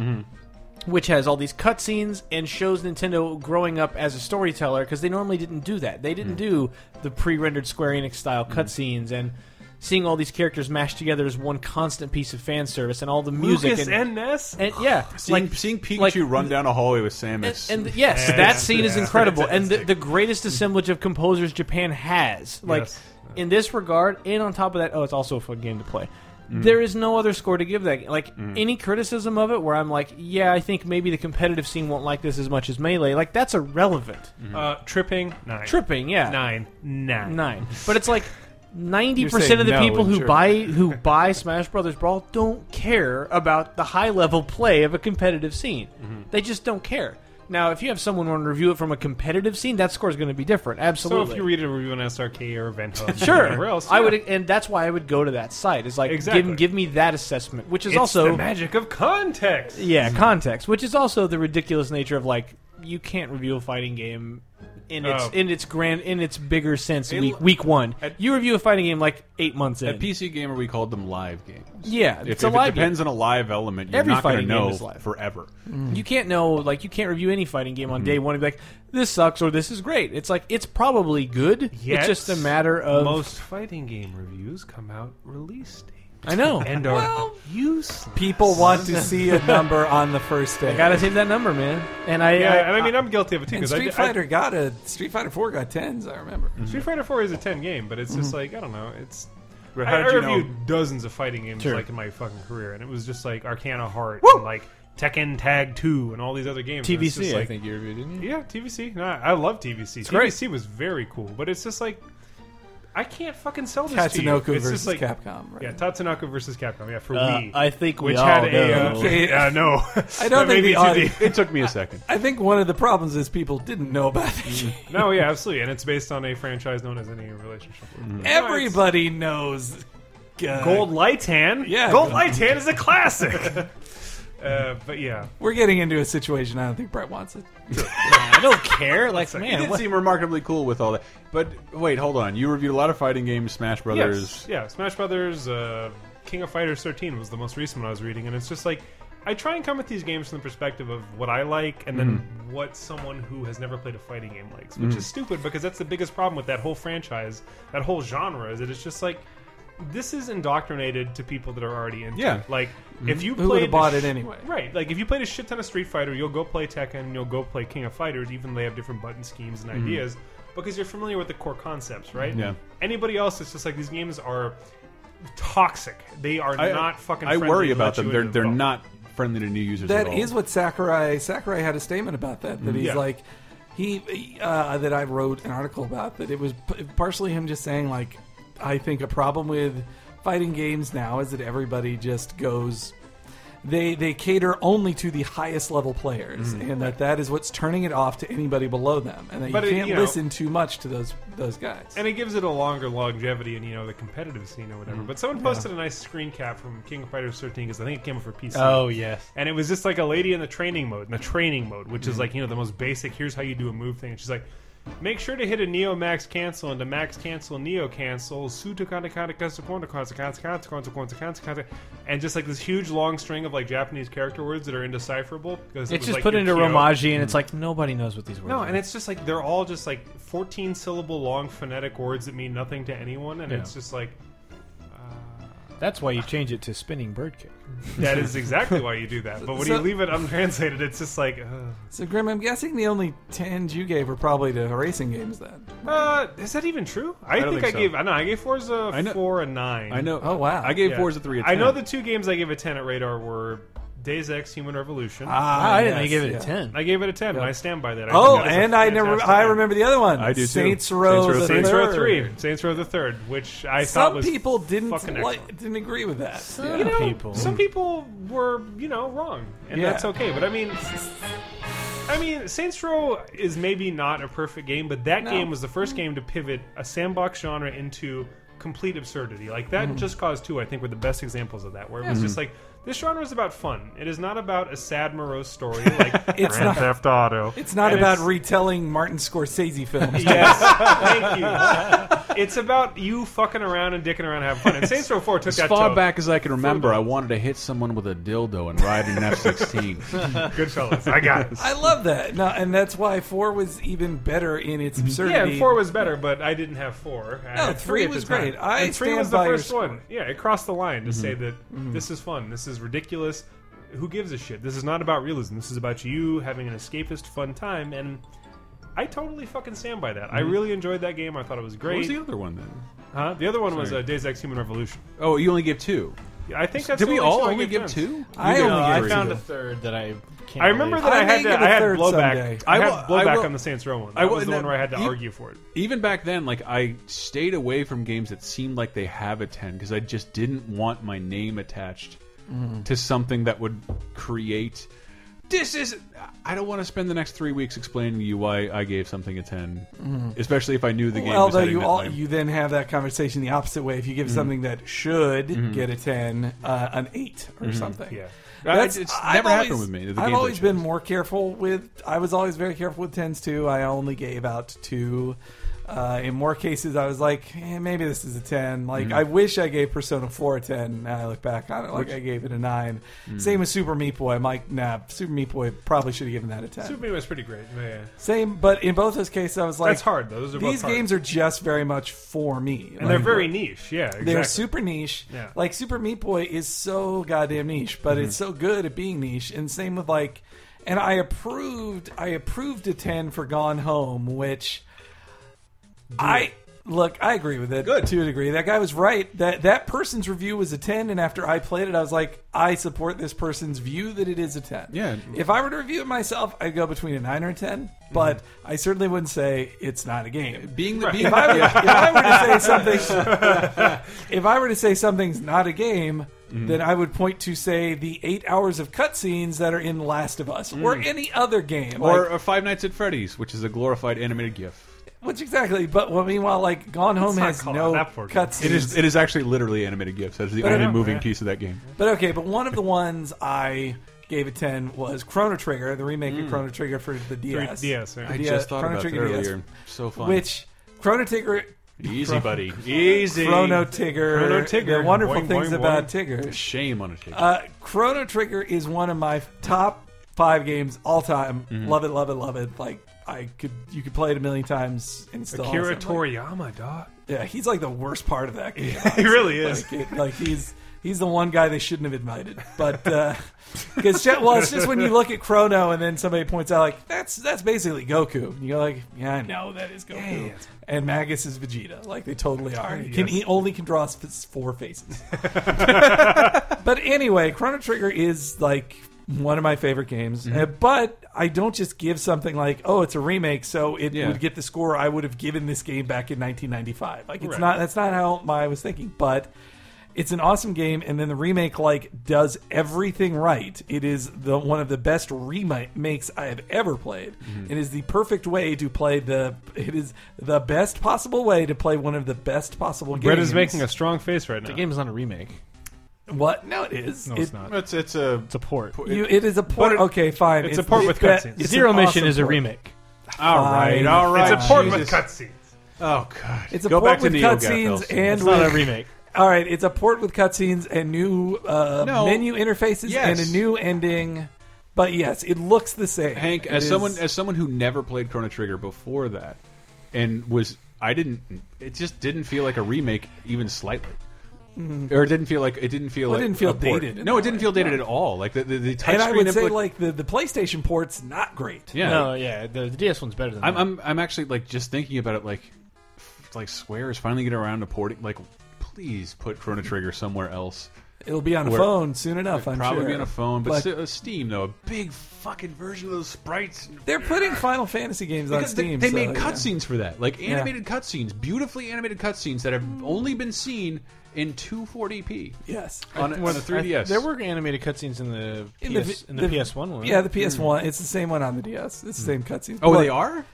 S5: which has all these cutscenes and shows Nintendo growing up as a storyteller because they normally didn't do that. They didn't do the pre-rendered Square Enix style cutscenes and. Seeing all these characters mashed together as one constant piece of fan service, and all the music
S2: Lucas
S5: and,
S2: and Ness.
S5: and yeah,
S3: Seeing,
S5: like
S3: seeing Pikachu
S5: like-
S3: run down a hallway with Samus.
S5: and, and th- yes,
S2: Yeah,
S5: that
S2: it's-
S5: scene is
S2: yeah.
S5: incredible, and the, the greatest assemblage of composers Japan has. Like
S2: Yes.
S5: in this regard, and on top of that, oh, it's also a fun game to play.
S2: Mm.
S5: There is no other score to give that. Like any criticism of it, where I'm like, yeah, I think maybe the competitive scene won't like this as much as melee. Like that's irrelevant.
S3: Mm-hmm.
S2: uh, tripping nine.
S5: Tripping, yeah,
S2: nine. Nine.
S5: nine. But it's like ninety
S4: You're saying
S5: percent of the
S4: no
S5: people
S4: in
S5: who
S4: German.
S5: buy who buy Smash Brothers Brawl don't care about the high level play of a competitive scene.
S2: Mm-hmm.
S5: They just don't care. Now, if you have someone want to review it from a competitive scene, that score is going to be different.
S2: So
S5: Absolutely.
S2: if you read a review on SRK or Event Hub, or
S5: sure,
S2: whatever else,
S5: I
S2: yeah.
S5: would, and that's why I would go to that site. Is like
S2: Exactly.
S5: give give me that assessment, which is
S2: It's
S5: also
S2: the magic of context.
S5: yeah, context, which is also the ridiculous nature of like you can't review a fighting game in its
S2: Oh.
S5: in its grand in its bigger sense
S2: It-
S5: week week one.
S2: at-
S5: you review a fighting game like eight months in.
S3: At PC Gamer, we called them live games.
S5: yeah,
S3: If,
S5: it's a
S3: if
S5: live
S3: it depends on a live element, you're
S5: Every
S3: not going to
S5: fighting game
S3: know
S5: is live. Mm.
S3: forever.
S5: game. You can't know like you can't review any fighting game on
S2: Mm-hmm.
S5: day one and be like this sucks or this is great. It's like it's probably good.
S2: Yet,
S5: it's just a matter of
S2: most fighting game reviews come out release date
S5: I know.
S2: and are useless.
S4: People want to see a number on the first day.
S5: I gotta save that number, man. And I
S2: Yeah,
S5: I,
S2: and I mean, I'm guilty of it too.
S4: and
S2: 'cause I-
S4: Street
S2: I-
S4: Fighter got a Street Fighter Four got tens. I remember.
S5: Mm-hmm.
S2: Street Fighter Four is a ten game, but it's just like I don't know. It's
S3: But
S2: I,
S3: how
S2: I
S3: did you know?
S2: reviewed dozens of fighting games
S5: Sure.
S2: like in my fucking career, and it was just like Arcana Heart, and like Tekken Tag Two, and all these other games. and it's
S5: TVC,
S2: just
S5: I
S2: like,
S5: think
S3: you reviewed, didn't
S2: Yeah, TVC. No, I love TVC. TVC
S5: great.
S2: was very cool, but it's just like I can't fucking sell this to you.
S4: Tatsunoko
S2: It's
S4: versus
S2: just like
S4: Capcom. Right?
S2: yeah, Tatsunoko versus Capcom. Yeah, for
S5: uh,
S2: Wii.
S5: I think we
S2: which
S5: all
S2: had a
S5: know.
S2: uh, yeah, no.
S4: I don't think
S2: maybe
S4: the audience.
S2: 2D.
S3: It took me a second.
S4: I think one of the problems is people didn't know about that.
S5: Mm-hmm.
S4: game.
S2: No, yeah, absolutely, and it's based on a franchise known as any relationship.
S4: Mm. Everybody knows. uh,
S2: Gold Lightan.
S4: Yeah.
S2: Gold Lightan is a classic. uh, but yeah,
S4: We're getting into a situation I don't think Brett wants it.
S5: I don't care. Like
S3: It
S5: man,
S3: did
S5: what,
S3: seem remarkably cool with all that. But wait, hold on. You reviewed a lot of fighting games, Smash Brothers.
S2: yes, yeah, Smash Brothers, uh, King of Fighters 13 was the most recent one I was reading, and it's just like I try and come at these games from the perspective of what I like, and then
S4: Mm-hmm.
S2: what someone who has never played a fighting game likes, which is stupid because that's the biggest problem with that whole franchise, that whole genre, is that it's just like. This is indoctrinated to people that are already into
S3: Yeah.
S2: it. Like, if you
S4: Mm-hmm. Who would
S2: played
S4: have bought
S2: the
S4: it
S2: sh-
S4: anyway?
S2: Right. Like if you played a shit ton of Street Fighter, you'll go play Tekken, you'll go play King of Fighters, even though they have different button schemes and ideas, because you're familiar with the core concepts, right?
S3: Mm-hmm. Yeah.
S2: Anybody else, it's just like these games are toxic. They are
S3: I,
S2: not fucking.
S3: I
S2: friendly
S3: worry
S2: to let
S3: about them.
S2: you
S3: They're
S2: into the
S3: they're
S2: boat.
S3: not friendly to new users.
S4: That
S3: at all.
S4: is what Sakurai Sakurai had a statement about that. That he's
S2: Yeah.
S4: like he uh, that I wrote an article about that it was p- partially him just saying like I think a problem with fighting games now is that everybody just goes they they cater only to the highest level players and that that is what's turning it off to anybody below them and that
S2: But it-
S4: you can't
S2: you know-
S4: listen too much to those those guys.
S2: And it gives it a longer longevity and you know the competitive scene or
S5: Mm.
S2: whatever. But someone posted a nice screen cap from King of Fighters 13 because I think it came out for PC.
S5: Oh yes. Mm.
S2: And it was just like a lady in the training mode, in the training mode, which is like, you know, the most basic, here's how you do a move thing. And she's like, make sure to hit a Neo Max cancel and to Max cancel, Neo cancel, Suta Kata Kata Kata Kata Kata Kata Kata Kata Kata Kata Kata And just like this huge long string of like Japanese character words that are indecipherable. Because it
S5: It's
S2: was,
S5: just
S2: like,
S5: put
S2: your
S5: into
S2: Kyo.
S5: Romaji, and it's like nobody knows what these words.
S2: No,
S5: are.
S2: and it's just like, they're all just like 14 syllable long phonetic words that mean nothing to anyone. And
S5: Yeah.
S2: it's just like,
S5: that's why you change it to spinning bird kick.
S2: that is exactly why you do that. But when
S4: So-
S2: you leave it untranslated, it's just like, uh, ugh.
S4: So Grim, I'm guessing the only tens you gave were probably to racing games then.
S2: Uh, is that even true? I,
S3: don't
S2: think,
S3: think
S2: I
S3: so.
S2: gave. I know I gave Forza
S3: know-
S2: four a nine.
S3: I know.
S4: Oh, wow.
S3: I gave
S2: Yeah.
S3: fours a three. A
S2: I know the
S3: that
S2: two games I gave a ten at Radar were Days X Human Revolution.
S4: Ah,
S5: I didn't
S4: yes,
S5: give it
S4: yeah.
S5: a ten.
S2: I gave it a 10, and I stand by that. I
S4: Oh,
S2: think that is a
S4: and I never.
S2: fantastic
S4: I
S2: game.
S4: remember the other one.
S3: I do too.
S4: Saints
S3: Saints
S4: Row.
S3: Row
S4: the
S2: Saints Row
S4: Third.
S2: 3. Saints Row the Third, which I thought
S4: Some
S2: was
S4: people didn't
S2: fucking
S4: like,
S2: excellent.
S4: didn't agree with that.
S5: Some
S2: you know,
S5: people.
S2: Some people were, you know, wrong, and
S4: Yeah.
S2: that's okay. But I mean, I mean, Saints Row is maybe not a perfect game, but that game was the first game to pivot a sandbox genre into complete absurdity. Like that, and Just Cause Two, I think, were the best examples of that, where it was just like. This genre is about fun. It is not about a sad, morose story like
S4: It's
S2: Grand
S4: not-
S2: Theft Auto.
S4: It's not
S2: And
S4: about
S2: it's-
S4: retelling Martin Scorsese films.
S2: Yes, thank you. It's about you fucking around and dicking around, and having fun. And Saints Row Four took
S3: As
S2: that
S3: far
S2: to
S3: back as I can remember, I wanted to hit someone with a dildo and ride in an F-16.
S2: good fellas. I got it.
S4: I love that. No, and that's why four was even better in its absurdity.
S2: Yeah, and four was better, but I didn't have four. I
S4: No,
S2: had
S4: three
S2: at the
S4: was
S2: time.
S4: great. I
S2: and three
S4: stand
S2: was the
S4: by your
S2: first
S4: score.
S2: one. Yeah, it crossed the line to say that this is fun, this is ridiculous. Who gives a shit? This is not about realism. This is about you having an escapist, fun time, and I totally fucking stand by that. I really enjoyed that game. I thought it was
S3: what
S2: great.
S3: was the other one then?
S2: Huh? The other one was uh,
S3: Sorry.
S2: Days X Human Revolution.
S3: Oh, you only give two.
S2: Yeah, I think that's.
S3: Did
S2: the
S3: we
S2: only
S3: all
S2: two I
S3: only
S2: gave
S3: give
S2: friends.
S3: two?
S4: I
S3: You
S4: only
S3: gave
S4: gave
S5: I
S3: three.
S5: found a third that I can't.
S2: I remember
S5: believe.
S2: that I,
S4: I may
S2: had to,
S4: give a
S2: I had
S4: third
S2: blowback.
S4: someday.
S2: I
S3: I
S2: had
S3: will- I
S2: blowback
S3: will-
S2: on the Saints Row one. That
S3: I will-
S2: was the
S3: and
S2: one
S3: that-
S2: where I had to
S3: you-
S2: argue for it.
S3: even back then, like I stayed away from games that seemed like they have a ten because I just didn't want my name attached to something that would create. This is. I don't want to spend the next three weeks explaining to you why I gave something a ten, especially if I knew the game. was
S4: Although
S3: heading
S4: you
S3: that Mm-hmm.
S4: all
S3: way.
S4: you then have that conversation the opposite way. If you give something that should
S3: Mm-hmm.
S4: get a ten, uh, an eight or something.
S2: Yeah.
S4: That's,
S3: I- it's
S4: I've
S3: never happened
S4: always-
S3: with me. The
S4: I've
S3: games I
S4: always
S3: chose.
S4: been more careful with. I was always very careful with tens too. I only gave out two. Uh, in more cases, I was like, eh, maybe this is a ten.
S3: Mm-hmm.
S4: Like, I wish I gave Persona Four a ten. Now I look back on it, like I gave it a nine.
S3: Mm.
S4: Same with Super Meat Boy. I'm like, nah, Super Meat Boy probably should have given that a ten.
S2: Super Meat was pretty great. Yeah.
S4: Same, but in both those cases, I was like,
S2: That's hard, though. Those are both
S4: These
S2: hard.
S4: games are just very much for me,
S2: And they're very niche. Yeah, exactly.
S4: they're super niche.
S2: Yeah. Mm-hmm.
S4: Like Super Meat Boy is so goddamn niche, but it's so good at being niche. And same with like, and I approved. I approved a ten for Gone Home, which I look. I agree with it good. to a degree. That guy was right. That that person's review was a ten, and after I played it, I was like, I support this person's view that it is a ten.
S3: Yeah.
S4: If I were to review it myself, I'd go between a nine or a 10
S2: Mm-hmm.
S4: But I certainly wouldn't say it's not a game
S3: being the being
S4: if I, were, if I were to say something, if I were to say something's not a game,
S2: Mm-hmm.
S4: then I would point to say the eight hours of cutscenes that are in Last of Us or
S2: Mm.
S4: any other game,
S3: or
S4: like,
S3: uh, Five Nights at Freddy's, which is a glorified animated GIF.
S4: which exactly. But well, meanwhile, like Gone Home
S2: not
S4: has
S2: called
S4: no
S2: that for a game.
S4: cutscenes.
S3: It is. It is actually literally animated GIFs. That's the only
S2: know,
S3: moving
S2: yeah.
S3: piece of that game.
S4: But okay, but one of the ones I gave a ten was Chrono Trigger, the remake
S2: Mm.
S4: of Chrono Trigger for the DS.
S2: DS, yeah.
S3: I
S4: Yeah,
S3: just thought
S4: Chrono
S3: about that
S4: Trigger DS.
S3: earlier. So fun.
S4: Which Chrono Trigger
S3: easy, buddy. Easy.
S4: Chrono Trigger
S2: Chrono Trigger.
S4: the wonderful
S2: Boing,
S4: things
S2: boing,
S4: about
S2: boing.
S4: Tigger.
S3: Shame on a ticket.
S4: Uh, Chrono Trigger is one of my top five games all time.
S2: Mm-hmm.
S4: Love it, love it, love it. Like I could, you could play it a million times and still.
S2: Akira
S4: awesome. Like,
S2: Toriyama, dog.
S4: yeah, he's like the worst part of that game.
S2: He really is.
S4: like, it, like he's he's the one guy they shouldn't have invited. But because well, it's just when you look at Chrono and then somebody points out like that's that's basically Goku. And you go like, yeah, I know that is Goku. and Magus is Vegeta. Like they totally are. He Can he only can draw s- four faces. but anyway, Chrono Trigger is like one of my favorite games. Uh, but I don't just give something like, oh, it's a remake, so it
S3: Yeah.
S4: would get the score I would have given this game back in 1995. Like it's
S2: Right.
S4: not that's not how my I was thinking, but it's an awesome game and then the remake like does everything right. It is the one of the best remakes I have ever played. It is the perfect way to play the it is the best possible way to play one of the best possible games.
S2: Brett is making a strong face right now.
S5: The game is not a remake.
S4: What? No, it is.
S5: No,
S4: It-
S5: it's not.
S3: it's it's a
S5: It's a port.
S4: You, it is a port.
S2: it-
S4: okay, fine.
S2: it's a port with
S4: that-
S2: cutscenes.
S4: it's
S5: Zero
S4: an
S5: Mission
S4: awesome
S5: is a
S4: port.
S5: remake.
S3: all right, all right.
S2: it's a port with
S3: Jesus.
S2: cutscenes.
S3: Oh god.
S4: It's a
S3: Go
S4: port
S3: back to
S4: with
S3: NeoGAF,
S4: cutscenes
S3: Elson.
S4: and
S5: It's not a
S4: with,
S5: remake.
S4: all right. It's a port with cutscenes and new uh,
S3: No.
S4: menu interfaces
S3: Yes.
S4: and a new ending. But yes, it looks the same.
S3: Hank,
S4: It
S3: as
S4: is-
S3: someone as someone who never played Chrono Trigger before that, and was I didn't it just didn't feel like a remake even slightly. Or it didn't feel like it didn't feel
S4: Mm-hmm. Well, it
S3: like
S4: didn't feel
S3: a port.
S4: dated in
S3: No,
S4: that
S3: it didn't
S4: way.
S3: feel dated at all. Like the the, the touch
S4: and I would
S3: screen
S4: say
S3: impl-
S4: like the, the PlayStation port's not great.
S3: yeah.
S5: No, yeah, the, the DS one's better than
S3: I'm,
S5: that.
S3: I'm I'm actually like just thinking about it like f- like Square is finally getting around to porting like please put Chrono Trigger somewhere else
S4: It'll be on a
S3: We're-
S4: phone soon enough. I'm
S3: Probably
S4: sure.
S3: be on a phone, but
S4: Like,
S3: si- uh, Steam though, a big fucking version of those sprites.
S4: they're putting Final Fantasy games on
S3: Because they-
S4: Steam.
S3: they,
S4: so,
S3: made
S4: yeah.
S3: cutscenes for that, like animated cutscenes, beautifully animated cutscenes that have only been seen in 240p
S4: Yes.
S3: on a- on the 3ds.
S5: there were animated cutscenes in the PS,
S4: In
S5: in
S4: the
S5: the,
S4: vi- the-
S5: PS1 one.
S4: Yeah, the PS1. It's the same one on the DS. It's the same cutscenes.
S3: oh,
S4: Well,
S3: they are.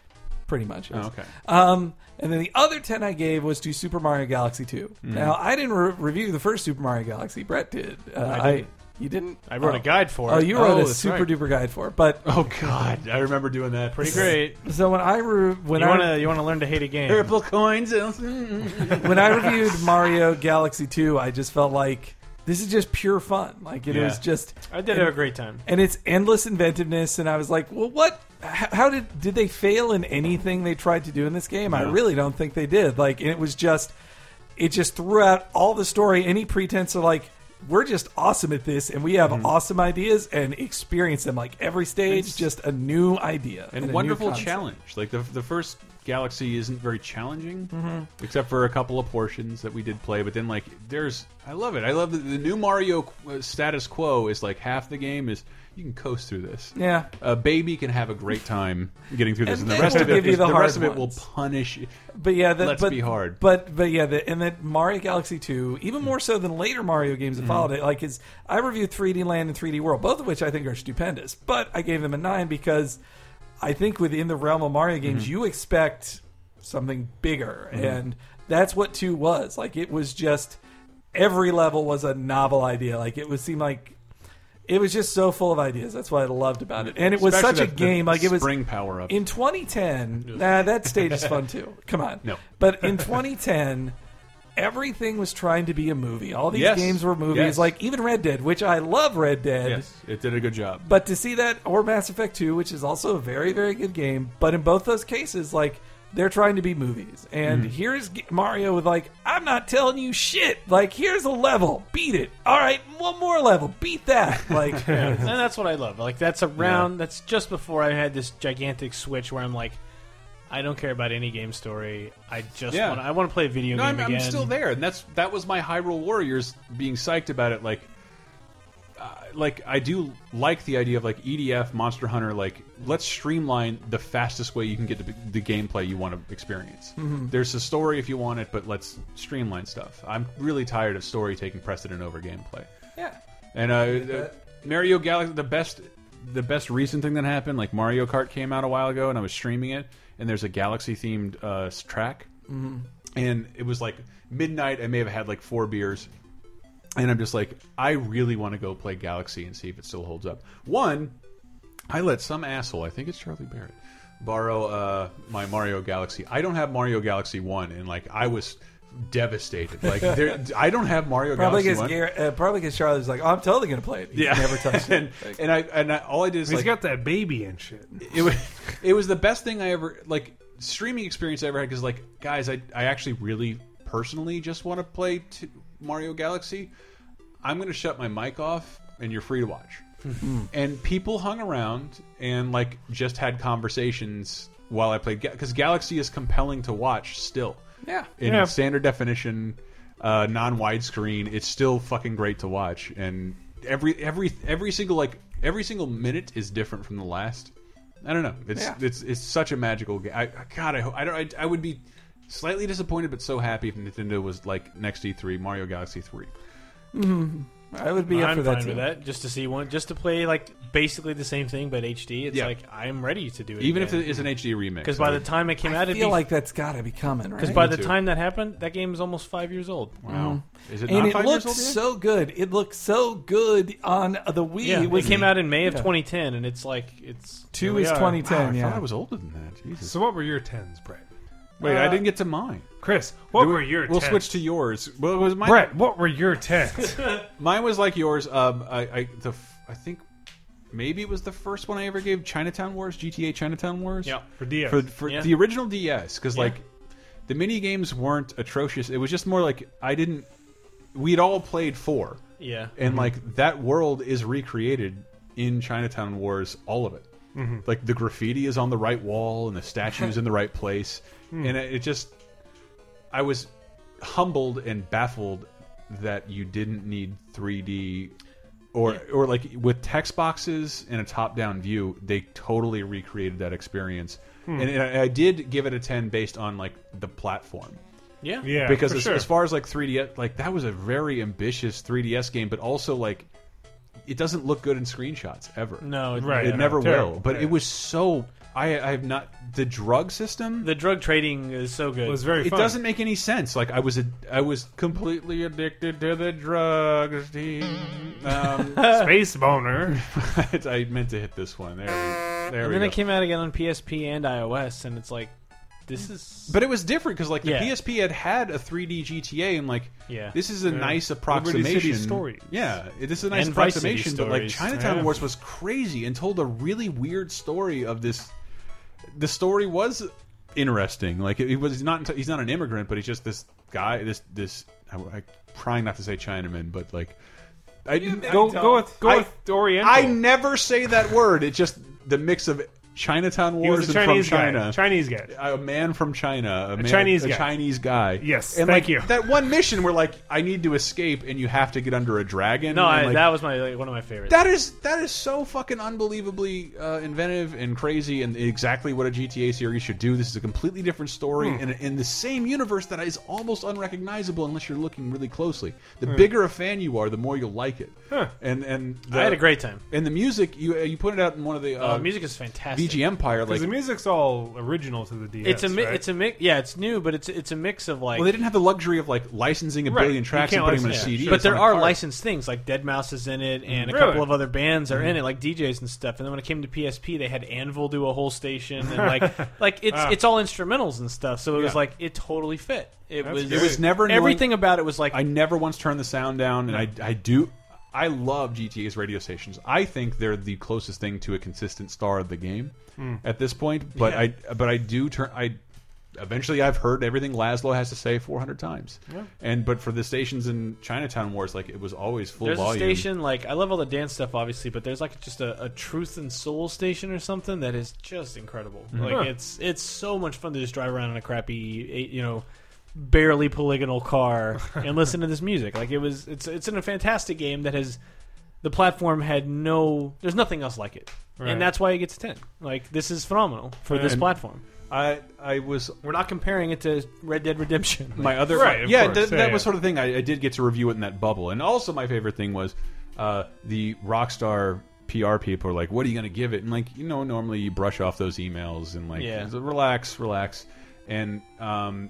S4: Pretty much. yes.
S3: Oh, okay.
S4: Um, and then the other 10 I gave was to Super Mario Galaxy 2.
S5: Hmm.
S4: Now, I didn't re- review the first Super Mario Galaxy. Brett did. Uh, I,
S5: didn't.
S4: You didn't?
S5: I wrote
S4: Oh.
S5: a guide for it.
S4: Oh, you wrote a
S5: that's
S4: super
S5: right.
S4: duper guide for it. But
S3: Oh god, I remember doing that.
S5: Pretty great.
S4: so when I re- when
S5: You
S4: I
S5: want to you want to learn to hate a game.
S3: Purple coins.
S4: when I reviewed Mario Galaxy 2, I just felt like this is just pure fun. Like it
S3: Yeah.
S4: was just
S5: I did have a great time.
S4: and it's endless inventiveness and I was like, "Well, what how, how did did they fail in anything they tried to do in this game?" I
S3: No.
S4: really don't think they did. Like it was just it just threw out all the story any pretense of like we're just awesome at this and we have
S3: Mm-hmm.
S4: awesome ideas and experience them like every stage just a new idea
S3: and
S4: a new
S3: wonderful
S4: concept.
S3: challenge. Like the the first Galaxy isn't very challenging,
S4: Mm-hmm.
S3: except for a couple of portions that we did play. But then like there's, I love it. I love that the new Mario uh, status quo is like half the game is you can coast through this.
S4: Yeah.
S3: a baby can have a great time getting through this,
S4: And
S3: and, the
S4: then
S3: rest
S4: we'll
S3: of it,
S4: give you
S3: is,
S4: the
S3: the,
S4: hard
S3: rest of it will
S4: ones.
S3: punish. you.
S4: But yeah, that,
S3: Let's
S4: but,
S3: be hard.
S4: But but yeah, the, and that Mario Galaxy Two, even more so than later Mario games
S3: Mm-hmm.
S4: that followed it. Like, is I reviewed 3D Land and 3D World, both of which I think are stupendous. But I gave them a nine because I think within the realm of Mario
S3: Mm-hmm.
S4: games, you expect something bigger, and that's what two was. Like, it was just every level was a novel idea. Like, it would seem like. It was just so full of ideas. That's what I loved about it, and it was
S3: Especially
S4: such a
S3: the- the
S4: game. Like it was
S3: spring power up.
S4: in 2010, nah, that stage is fun too. Come on.
S3: No.
S4: But in 2010, everything was trying to be a movie. All these
S3: Yes.
S4: games were movies,
S3: Yes.
S4: like even Red Dead, which I love Red Dead.
S3: yes, it did a good job.
S4: But to see that, or Mass Effect 2, which is also a very, very good game, but in both those cases, like, they're trying to be movies. And
S3: Mm.
S4: here's G- Mario with, like, I'm not telling you shit. Like, here's a level. Beat it. All right, one more level. Beat that. Like,
S5: and that's what I love. Like that's around. That's just before I had this gigantic switch where I'm like, I don't care about any game story. I just
S3: Yeah.
S5: want I want to play a video
S3: No,
S5: game
S3: I'm, I'm
S5: again.
S3: still there, and that's that was my Hyrule Warriors being psyched about it. Like, uh, like I do like the idea of like EDF Monster Hunter. Like, let's streamline the fastest way you can get the, the gameplay you want to experience.
S5: Mm-hmm.
S3: There's a story if you want it, but let's streamline stuff. I'm really tired of story taking precedent over gameplay.
S4: yeah.
S3: And uh, uh, Mario Galaxy, the best, the best recent thing that happened, like Mario Kart came out a while ago, and I was streaming it, and there's a Galaxy themed uh, s- track,
S4: Mm-hmm.
S3: and it was like midnight. I may have had like four beers, and I'm just like, I really want to go play Galaxy and see if it still holds up. One, I let some asshole, I think it's Charlie Barrett, borrow uh, my Mario Galaxy. I don't have Mario Galaxy One, and like I was devastated. Like there, I don't have Mario
S4: Probably
S3: Galaxy
S4: because
S3: One.
S4: Gar- uh, probably because Charlie's like, oh, I'm totally gonna play it. He's
S3: Yeah.
S4: never touched it.
S3: and, and I and I, all I did is
S2: He's
S3: like
S2: got that baby and shit.
S3: it was it was the best thing I ever like streaming experience I ever had because like guys I I actually really personally just want to play t- Mario Galaxy. I'm gonna shut my mic off and you're free to watch.
S4: Hmm.
S3: and people hung around and like just had conversations while I played because Galaxy is compelling to watch still.
S4: Yeah.
S3: in
S5: Yeah.
S3: standard definition, uh, non widescreen, it's still fucking great to watch. And every every every single like every single minute is different from the last. I don't know. It's
S4: Yeah.
S3: it's it's such a magical game. I, I- God, I ho- I don't. I, I would be slightly disappointed, but so happy if Nintendo was like next E3 Mario Galaxy three.
S4: I would be up
S5: I'm
S4: for
S5: fine
S4: that too.
S5: with that. Just to see one, just to play like basically the same thing but HD. It's
S3: Yeah.
S5: like I'm ready to do it.
S3: Even if it is an HD remix,
S5: because
S3: I
S5: by the
S3: would-
S5: time it came out,
S4: I
S5: it'd
S4: feel
S5: be
S4: like that's gotta be coming,
S5: because
S4: right?
S5: by the
S3: too.
S5: time that happened, that game is almost five years old.
S3: wow, is it
S4: mm-hmm. and
S3: not
S4: it
S3: five years
S4: looked
S3: old yet?
S4: so good. It looked so good on the Wii.
S5: Yeah,
S4: it
S5: it
S4: was
S5: came out in May of
S4: Yeah.
S5: 2010, and it's like it's
S4: two
S5: here we
S4: is
S5: are.
S4: twenty
S3: Wow, I
S4: ten.
S3: thought I
S4: yeah,
S3: was older than that. Jesus.
S2: So what were your tens, Brett?
S3: Wait,
S4: Uh,
S3: I didn't get to mine.
S2: Chris, what were your
S3: We'll
S2: tens?
S3: switch to yours. Well, it was mine.
S2: Brett, what were your tens?
S3: Mine was like yours. Um, I, I the f- I think maybe it was the first one I ever gave Chinatown Wars, GTA Chinatown Wars.
S5: Yeah.
S2: For DS.
S3: for, for
S5: Yeah.
S3: the original DS, because like the mini games weren't atrocious. It was just more like I didn't. We'd all played four,
S5: Yeah,
S3: and like that world is recreated in Chinatown Wars. All of it. Like the graffiti is on the right wall, and the statue's in the right place, and it, it just I was humbled and baffled that you didn't need 3D or or like with text boxes and a top-down view, they totally recreated that experience. And, and I, I did give it a 10 based on like the platform.
S5: Yeah.
S2: Yeah,
S3: because
S2: for
S3: as,
S2: sure.
S3: as far as like 3DS, like that was a very ambitious 3DS game, but also like it doesn't look good in screenshots ever.
S5: No, it-
S2: Right.
S3: it
S2: Yeah,
S3: never
S2: terrible,
S3: will. But it
S2: terrible.
S3: was so I I have not the drug system.
S5: The drug trading is so good.
S2: It was very.
S3: it
S2: fun.
S3: doesn't make any sense. Like I was, a, I was completely addicted to the drugs. Dean. Um,
S2: space boner.
S3: I meant to hit this one. There, we, there
S5: and
S3: we
S5: then
S3: go.
S5: it came out again on PSP and iOS, and it's like, this is.
S3: Mm. But it was different because like the
S5: Yeah.
S3: PSP had had a 3D GTA and like
S5: Yeah.
S3: this is a nice approximation.
S2: City Stories.
S3: Yeah, it- this is a nice
S5: And Vice City
S3: approximation. But like
S5: Stories.
S3: Chinatown
S2: Yeah.
S3: Wars was crazy and told a really weird story of this. The story was interesting. Like it, it was not. He's not an immigrant, but he's just this guy. This this. I, I trying not to say Chinaman, but like. I,
S2: Go go with go
S3: I-
S2: with Oriental.
S3: I never say that word. It's just the mix of Chinatown
S2: He
S3: Wars
S2: was a
S3: and
S2: Chinese
S3: from
S2: guy.
S3: China
S2: Chinese guy.
S3: a man from China, a, man,
S2: Chinese
S3: a
S2: guy.
S3: Chinese guy.
S2: Yes,
S3: and
S2: thank
S3: like
S2: you.
S3: that one mission where like I need to escape and you have to get under a dragon.
S5: no,
S3: and,
S5: I,
S3: like,
S5: that was my like, one of my favorites.
S3: that is that is so fucking unbelievably uh, inventive and crazy and exactly what a GTA series should do. This is a completely different story
S5: Hmm.
S3: and in the same universe that is almost unrecognizable unless you're looking really closely. The bigger a fan you are, the more you'll like it. And and the,
S5: Hmm. I had a great time.
S3: and the music you uh, you pointed out in one of the uh,
S5: Uh, music is fantastic.
S3: VG Empire like
S2: Because the music's all original to the DS.
S5: It's a mi-
S2: right?
S5: it's a mix. Yeah, it's new, but it's it's a mix of like.
S3: Well, they didn't have the luxury of like licensing a
S2: Right.
S3: billion
S2: You
S3: tracks and
S2: can't
S3: putting them on a
S2: license-
S5: yeah,
S2: yeah,
S3: CD.
S2: sure.
S3: or
S5: but there
S3: something
S5: are
S3: apart.
S5: licensed things like Dead Mouse is in it, and a
S2: Really?
S5: couple of other bands
S3: Mm-hmm.
S5: are in it, like DJs and stuff. And then when it came to PSP, they had Anvil do a whole station, and
S2: Ah.
S5: like like it's it's all instrumentals and stuff. So it was
S2: Yeah.
S5: like it totally fit. It
S2: That's
S5: was
S2: great.
S3: It was never knowing-
S5: everything about it was like
S3: I never once turned the sound down, and I I do. I love GTA's radio stations. I think they're the closest thing to a consistent star of the game
S5: Hmm.
S3: at this point. But I but I do turn I. Eventually, I've heard everything Laszlo has to say 400 times, and but for the stations in Chinatown Wars, like it was always full
S5: there's
S3: volume.
S5: a station like I love all the dance stuff, obviously, but there's like just a, a Truth and Soul station or something that is just incredible. Like
S2: Huh.
S5: it's it's so much fun to just drive around in a crappy, you know, barely polygonal car and listen to this music. Like it was, it's it's in a fantastic game that has the platform had no, there's nothing else like it,
S2: Right.
S5: and that's why it gets a ten. Like this is phenomenal for this
S3: And-
S5: platform.
S3: I I was
S5: We're not comparing it to Red Dead Redemption.
S3: my other
S2: Right, of
S3: yeah,
S2: course.
S3: th-
S2: Yeah,
S3: that
S2: yeah.
S3: was sort of the thing I, I did get to review it in that bubble and also my favorite thing was uh, the rockstar pr people are like what are you going to give it and like you know normally you brush off those emails and like
S5: Yeah.
S3: relax relax and um,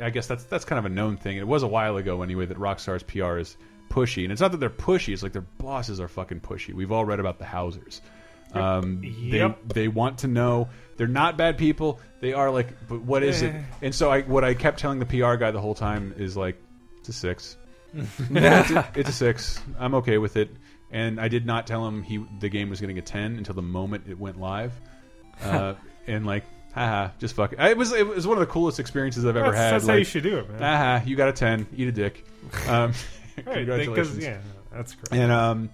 S3: I guess that's that's kind of a known thing. It was a while ago anyway that Rockstar's PR is pushy, and it's not that they're pushy. It's like their bosses are fucking pushy. We've all read about the Hausers. Um,
S2: Yep.
S3: They they want to know. They're not bad people. They are like, but what is it? And so I what I kept telling the PR guy the whole time is like, it's a six. it's, a, it's a six. I'm okay with it. And I did not tell him he the game was getting a ten until the moment it went live, uh, and like, haha, just fuck it. It was it was one of the coolest experiences I've ever
S2: that's,
S3: had.
S2: that's how
S3: like,
S2: you should do it, man.
S3: Haha, Uh-huh, you got a ten. Eat a dick. Um,
S2: Right,
S3: congratulations.
S2: Because, yeah, no, that's great.
S3: And um,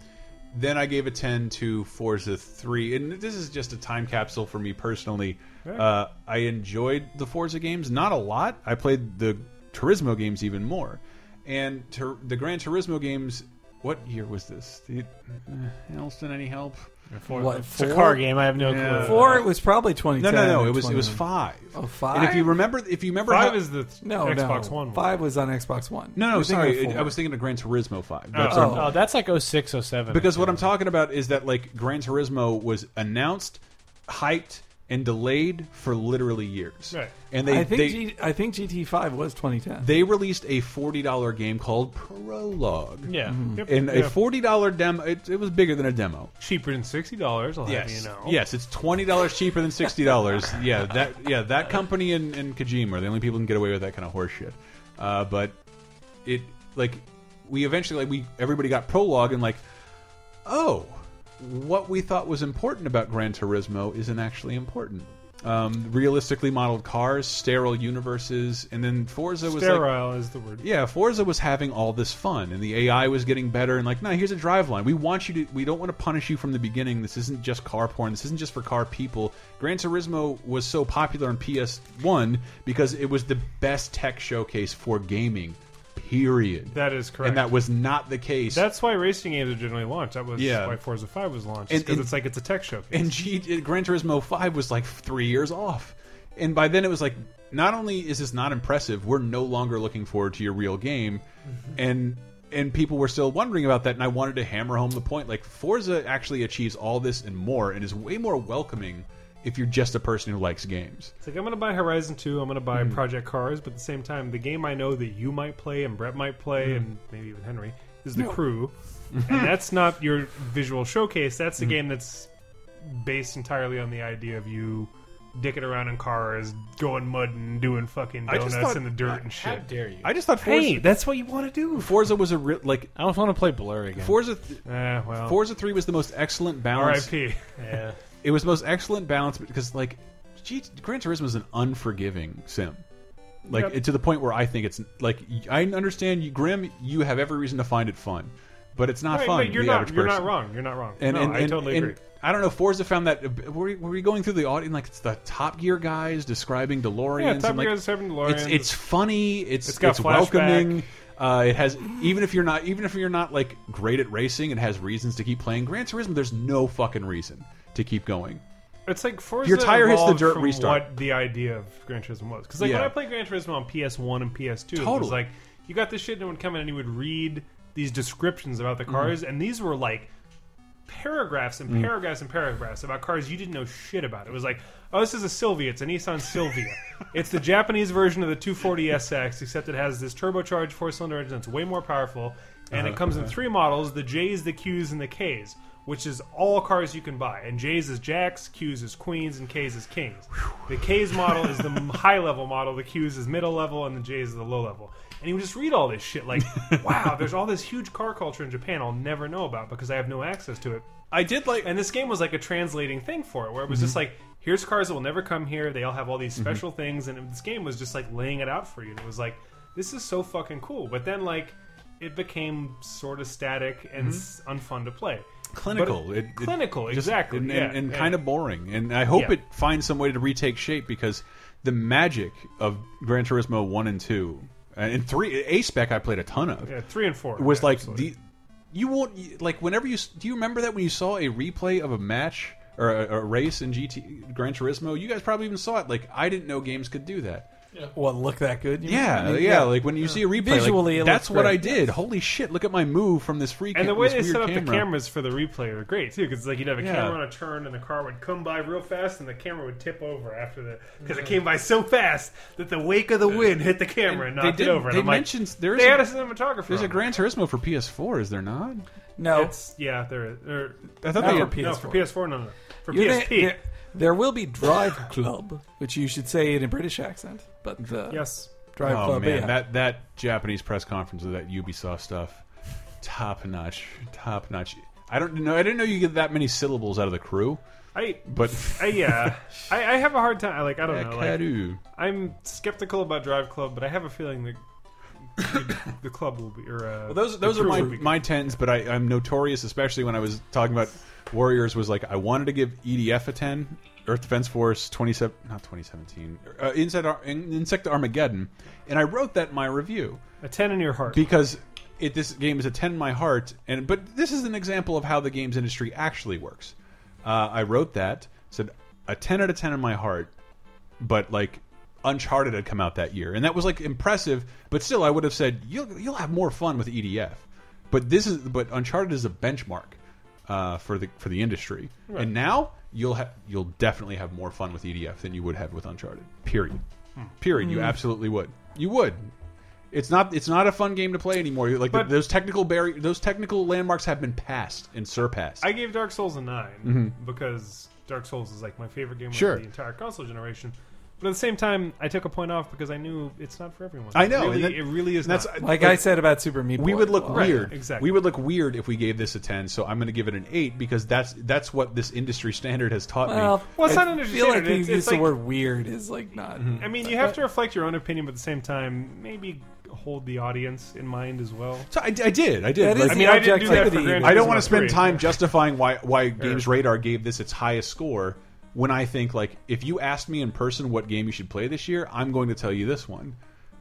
S3: then I gave a 10 to Forza 3. And this is just a time capsule for me personally. Uh, I enjoyed the Forza games, not a lot. I played the Turismo games even more. And Tur the Gran Turismo games, what year was this? The, uh, Elston, any help?
S4: What,
S5: it's a
S4: four?
S5: car game. I have no
S2: Yeah.
S5: clue.
S4: Four. It was probably twenty.
S3: No, no, no. It was it was five.
S4: Oh, five?
S3: And if you remember, if you remember,
S2: Five
S3: how,
S2: is the
S4: No,
S2: Xbox
S4: no.
S2: One. one.
S4: Five was on Xbox One.
S3: no, no.
S4: We're thinking of
S3: Sorry,
S4: four.
S3: I was thinking of Gran Turismo Five.
S2: Oh.
S3: That's what I'm-
S5: Oh, that's like 06, 07.
S3: Because what I'm talking about is that like Gran Turismo was announced, hyped, and delayed for literally years.
S2: Right.
S3: And they
S4: I think
S3: they,
S4: G, I think GT Five was 2010.
S3: they released a forty dollar game called Prologue.
S5: yeah.
S2: Yep,
S3: And
S2: yeah.
S3: a forty dollar demo. It, it was bigger than a demo.
S2: cheaper than sixty dollars. I'll have
S3: Yes.
S2: you know.
S3: Yes. It's twenty dollars cheaper than sixty dollars. yeah. That. Yeah. That company and, and Kojima are the only people who can get away with that kind of horseshit. Uh, but it like we eventually like we everybody got prologue and like oh what we thought was important about Gran Turismo isn't actually important. Um, realistically modeled cars, sterile universes, and then Forza was like
S2: Sterile is the word.
S3: yeah, Forza was having all this fun, and the AI was getting better. And like, no, here's a drive line. We want you to. We don't want to punish you from the beginning. This isn't just car porn. This isn't just for car people. Gran Turismo was so popular on PS One because it was the best tech showcase for gaming. Period.
S2: That is correct.
S3: And that was not the case.
S2: That's why racing games are generally launched. That was
S3: Yeah.
S2: why Forza Five was launched
S3: And-
S2: because
S3: and-
S2: it's like it's a tech showcase.
S3: and G, Gran Turismo 5 was like three years off. And by then it was like, not only is this not impressive, we're no longer looking forward to your real game. And and people were still wondering about that. And I wanted to hammer home the point like, Forza actually achieves all this and more and is way more welcoming if you're just a person who likes games.
S2: It's like I'm gonna buy Horizon Two, I'm gonna buy
S3: Hmm.
S2: Project Cars, but at the same time, the game I know that you might play and Brett might play
S3: Hmm.
S2: and maybe even Henry is The Crew, and that's not your visual showcase. That's
S3: Hmm.
S2: a game that's based entirely on the idea of you dicking around in cars, going mud and doing fucking
S3: I just
S2: donuts
S3: thought-
S2: in the dirt and shit.
S5: How dare you?
S3: I just thought Forza,
S2: hey, that's what you want to do.
S3: Forza was a real, like,
S5: I almost want to play Blur again.
S3: Forza. Th
S2: Eh, well,
S3: Forza 3 was the most excellent balance
S2: R.I.P.
S5: yeah.
S3: it was the most excellent balance because like G- Gran Turismo is an unforgiving sim. Like
S2: Yep.
S3: it- to the point where I think it's like y- I understand you, Grim. You have every reason to find it fun, but it's not
S2: Right,
S3: fun.
S2: but you're
S3: to the
S2: not
S3: average
S2: you're
S3: person.
S2: not wrong. You're not wrong.
S3: And,
S2: no,
S3: and-
S2: I
S3: and-
S2: totally
S3: and
S2: agree.
S3: I don't know. Forza found that. Were we, were we going through the audience like it's the Top Gear guys describing DeLoreans?
S2: Yeah,
S3: and,
S2: Top
S3: like,
S2: Gear is having
S3: it's
S2: DeLoreans.
S3: it's funny. It's
S2: It's got
S3: welcoming. Uh, it has even if you're not even if you're not like great at racing, it has reasons to keep playing Gran Turismo. There's no fucking reason to keep going.
S2: It's like Forza
S3: Your tire hits the
S2: evolved
S3: dirt,
S2: from
S3: restart.
S2: What the idea of Gran Turismo was? Because like when
S3: Yeah.
S2: I played Gran Turismo on PS1 and PS2, it
S3: Totally.
S2: was like you got this shit, and it would come in and you would read these descriptions about
S3: Mm-hmm.
S2: the cars, and these were like paragraphs and paragraphs and paragraphs about cars you didn't know shit about. It was like, oh, this is a Sylvia. It's a Nissan Sylvia. it's the Japanese version of the 240SX, except it has this turbocharged four-cylinder engine that's way more powerful, and it comes in three models: the J's, the Q's, and the K's, which is all cars you can buy. And J's is Jacks, Q's is Queens, and K's is Kings. The K's model is the high-level model, the Q's is middle level, and the J's is the low level. And you would just read all this shit like, wow, there's all this huge car culture in Japan I'll never know about because I have no access to it.
S3: I did like Mhm.
S2: And this game was like a translating thing for it, where it was just like, here's cars that will never come here. They all have all these special things, and this game was just like laying it out for you. And it was like, this is so fucking cool. But then like, it became sort of static
S3: Mhm.
S2: and s unfun to play.
S3: clinical.
S2: But-
S3: It- it-
S2: clinical,
S3: just-
S2: exactly,
S3: and,
S2: yeah,
S3: and, and
S2: yeah.
S3: kind of boring. And I hope
S2: Yeah.
S3: it finds some way to retake shape because the magic of Gran Turismo one and two and and three, A Spec I played a ton of.
S2: Yeah, three and four
S3: It was
S2: yeah,
S3: like
S2: absolutely.
S3: the you won't like whenever you s- do you remember that when you saw a replay of a match or a, a race in GT Gran Turismo? You guys probably even saw it. Like I didn't know games could do that.
S4: What look that good? you
S3: Yeah,
S4: mean? I mean,
S3: yeah, Like when you see a replay, like,
S4: Visually, it
S3: that's
S4: looks
S3: what
S4: great.
S3: I did. Holy shit! Look at my move from this free.
S2: And
S3: ca-
S2: the way
S3: this
S2: they
S3: weird
S2: set up the
S3: camera.
S2: cameras for the replay were great too, because like you'd have a
S3: Yeah.
S2: camera on a turn, and the car would come by real fast, and the camera would tip over after the because it came by so fast that the wake of the wind hit the camera and
S3: They
S2: knocked
S3: did-
S2: it over. And
S3: they
S2: I'm like,
S3: mentioned- there is
S2: they
S3: a-
S2: had a cinematographer.
S3: There's
S2: on
S3: a Gran Turismo for PS4, is there not?
S4: no,
S2: It's yeah, there. there
S3: I thought
S4: Not
S3: they
S4: for
S3: had-
S2: No,
S4: PS4.
S2: for PS4, no, no, for
S4: You're gonna-
S2: PSP.
S4: there, there will be Drive Club, which you should say in a British accent, but uh,
S2: yes,
S4: Drive
S3: Oh
S4: Club.
S3: man,
S4: yeah.
S3: that that Japanese press conference of that Ubisoft stuff, top notch, top notch. I don't know. I didn't know you get that many syllables out of the crew,
S2: I.
S3: but
S2: I, yeah, I, I have a hard time. Like I don't know. Like,
S3: Karu.
S2: I'm skeptical about Drive Club, but I have a feeling that the, the club will be. Or, uh,
S3: Well, those
S2: the
S3: those are
S2: crew
S3: my
S2: will be good.
S3: my tens, but I, I'm notorious, especially when I was talking about Warriors. Was like I wanted to give EDF a ten, Earth Defense Force twenty seven, not twenty seventeen, uh, Insect Ar- Insect Armageddon, and I wrote that in my review.
S2: a ten in your heart.
S3: because it this game is a 10 in my heart and but this is an example of how the games industry actually works uh, i wrote that said a 10 out of 10 in my heart but like uncharted had come out that year and that was like impressive but still i would have said you'll, you'll have more fun with edf but this is but uncharted is a benchmark uh, for the for the industry and now you'll have you'll definitely have more fun with edf than you would have with uncharted period
S2: Hmm.
S3: period
S4: Hmm.
S3: you absolutely would you would it's not it's not a fun game to play anymore. Like
S2: But-
S3: those technical barrier, those technical landmarks have been passed and surpassed.
S2: I gave Dark Souls a 9 because Dark Souls is like my favorite game
S3: Mm-hmm. Sure.
S2: of the entire console generation. But at the same time, I took a point off because I knew it's not for everyone.
S3: I know,
S2: Really,
S3: and that-
S2: it really is.
S3: and that's
S2: not.
S4: like I said about Super Meat Boy,
S3: we would look
S4: well,
S3: weird.
S2: exactly.
S3: We would look weird if we gave this a ten. So I'm going to give it an eight because that's that's what this industry standard has taught
S4: Well,
S3: me.
S2: Uh, Well, it's
S4: I
S2: not an industry
S4: feel like
S2: standard,
S4: you
S2: it's-
S4: use
S2: it's
S4: the
S2: like-
S4: word weird is like not.
S5: Mm-hmm.
S2: I mean, you have to reflect your own opinion, but at the same time, maybe hold the audience in mind as well.
S3: So I, I did. I did. Like,
S4: That is
S2: I
S4: the
S2: mean, I didn't do that for
S4: objectivity.
S2: granted.
S3: I don't want to
S2: It's
S3: spend
S2: free.
S3: time justifying why why Games Radar gave this its highest score when I think like if you asked me in person what game you should play this year, I'm going to tell you this one.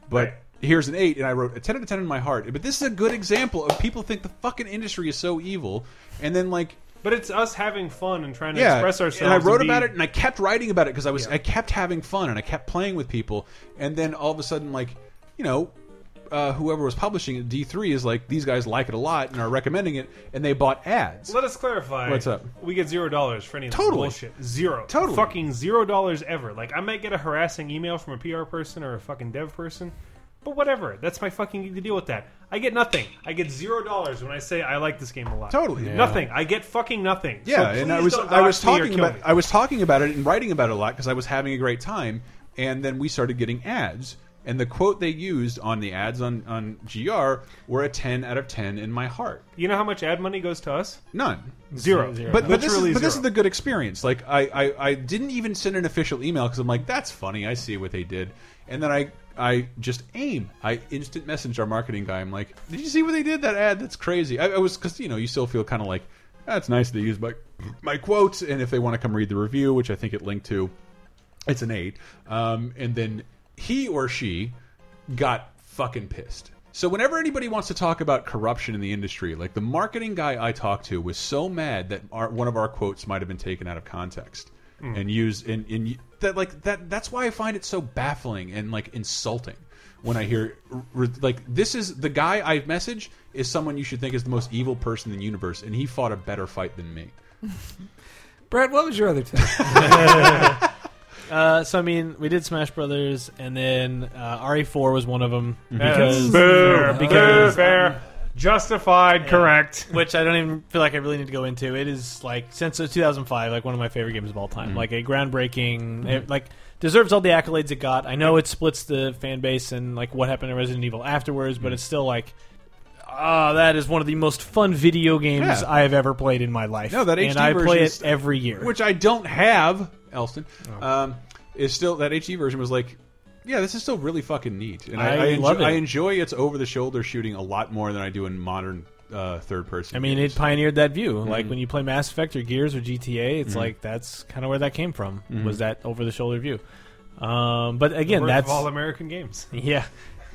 S3: But
S2: Right.
S3: here's an eight, and I wrote a ten out of ten in my heart. But this is a good example of people think the fucking industry is so evil, and then like
S2: But it's us having fun and trying to
S3: yeah,
S2: express ourselves.
S3: And I wrote
S2: be-
S3: about it, and I kept writing about it because I was
S2: Yeah.
S3: I kept having fun and I kept playing with people, and then all of a sudden, like you know. Uh, whoever was publishing it, D three is like these guys like it a lot and are recommending it, and they bought ads.
S2: Let us clarify.
S3: What's up?
S2: We get zero dollars for any of this
S3: Totally.
S2: bullshit. Zero.
S3: Totally.
S2: Fucking zero dollars ever. Like I might get a harassing email from a PR person or a fucking dev person, but whatever. That's my fucking gig to deal with that. I get nothing. I get zero dollars when I say I like this game a lot.
S3: Totally. Yeah.
S2: Nothing. I get fucking nothing.
S3: Yeah,
S2: So
S3: and I
S2: please
S3: was
S2: don't
S3: I was
S2: dox me or
S3: talking
S2: kill
S3: about
S2: me.
S3: I was talking about it and writing about it a lot because I was having a great time, and then we started getting ads. And the quote they used on the ads on on GR were a ten out of ten in my heart.
S2: You know how much ad money goes to us?
S3: None.
S2: Zero.
S3: But, but, this is,
S2: Literally
S3: but this
S2: zero.
S3: is the good experience. Like I, I, I didn't even send an official email because I'm like, that's funny. I see what they did, and then I I just aim. I instant message our marketing guy. I'm like, did you see what they did that ad? That's crazy. I, I was because you know you still feel kind of like that's nice they use my my quotes, and if they want to come read the review, which I think it linked to, it's an eight. Um, and then he or she got fucking pissed. So whenever anybody wants to talk about corruption in the industry, like the marketing guy I talked to was so mad that our, one of our quotes might have been taken out of context and used in in that like that that's why I find it so baffling and like insulting when I hear re- like this is the guy I message is someone you should think is the most evil person in the universe and he fought a better fight than me.
S4: Brad, what was your other tip?
S5: Uh, so I mean, we did Smash Brothers, and then uh, RE4 was one of them because,
S2: fair, fair,
S5: because
S2: fair. justified, correct.
S5: which I don't even feel like I really need to go into. It is like since 2005, like one of my favorite games of all time.
S3: Mm-hmm.
S5: Like a groundbreaking, it, like deserves all the accolades it got. I know it splits the fan base and like what happened to Resident Evil afterwards,
S3: Mm-hmm.
S5: but it's still like. Ah, that is one of the most fun video games
S3: Yeah.
S5: I have ever played in my life.
S3: No, that HD
S5: and I play
S3: version's-
S5: it every year.
S3: which I don't have, Elston,
S5: Oh.
S3: um, is still that HD version was like, yeah, this is still really fucking neat, and I,
S5: I
S3: I, enjoy,
S5: love it.
S3: I enjoy its over the shoulder shooting a lot more than I do in modern uh, third person.
S5: I mean,
S3: games.
S5: it pioneered that view. Like when you play Mass Effect or Gears or GTA, it's like that's kind of where that came from. Was that over the shoulder view? Um, but again,
S2: Worth
S5: that's
S2: of all American games.
S5: yeah.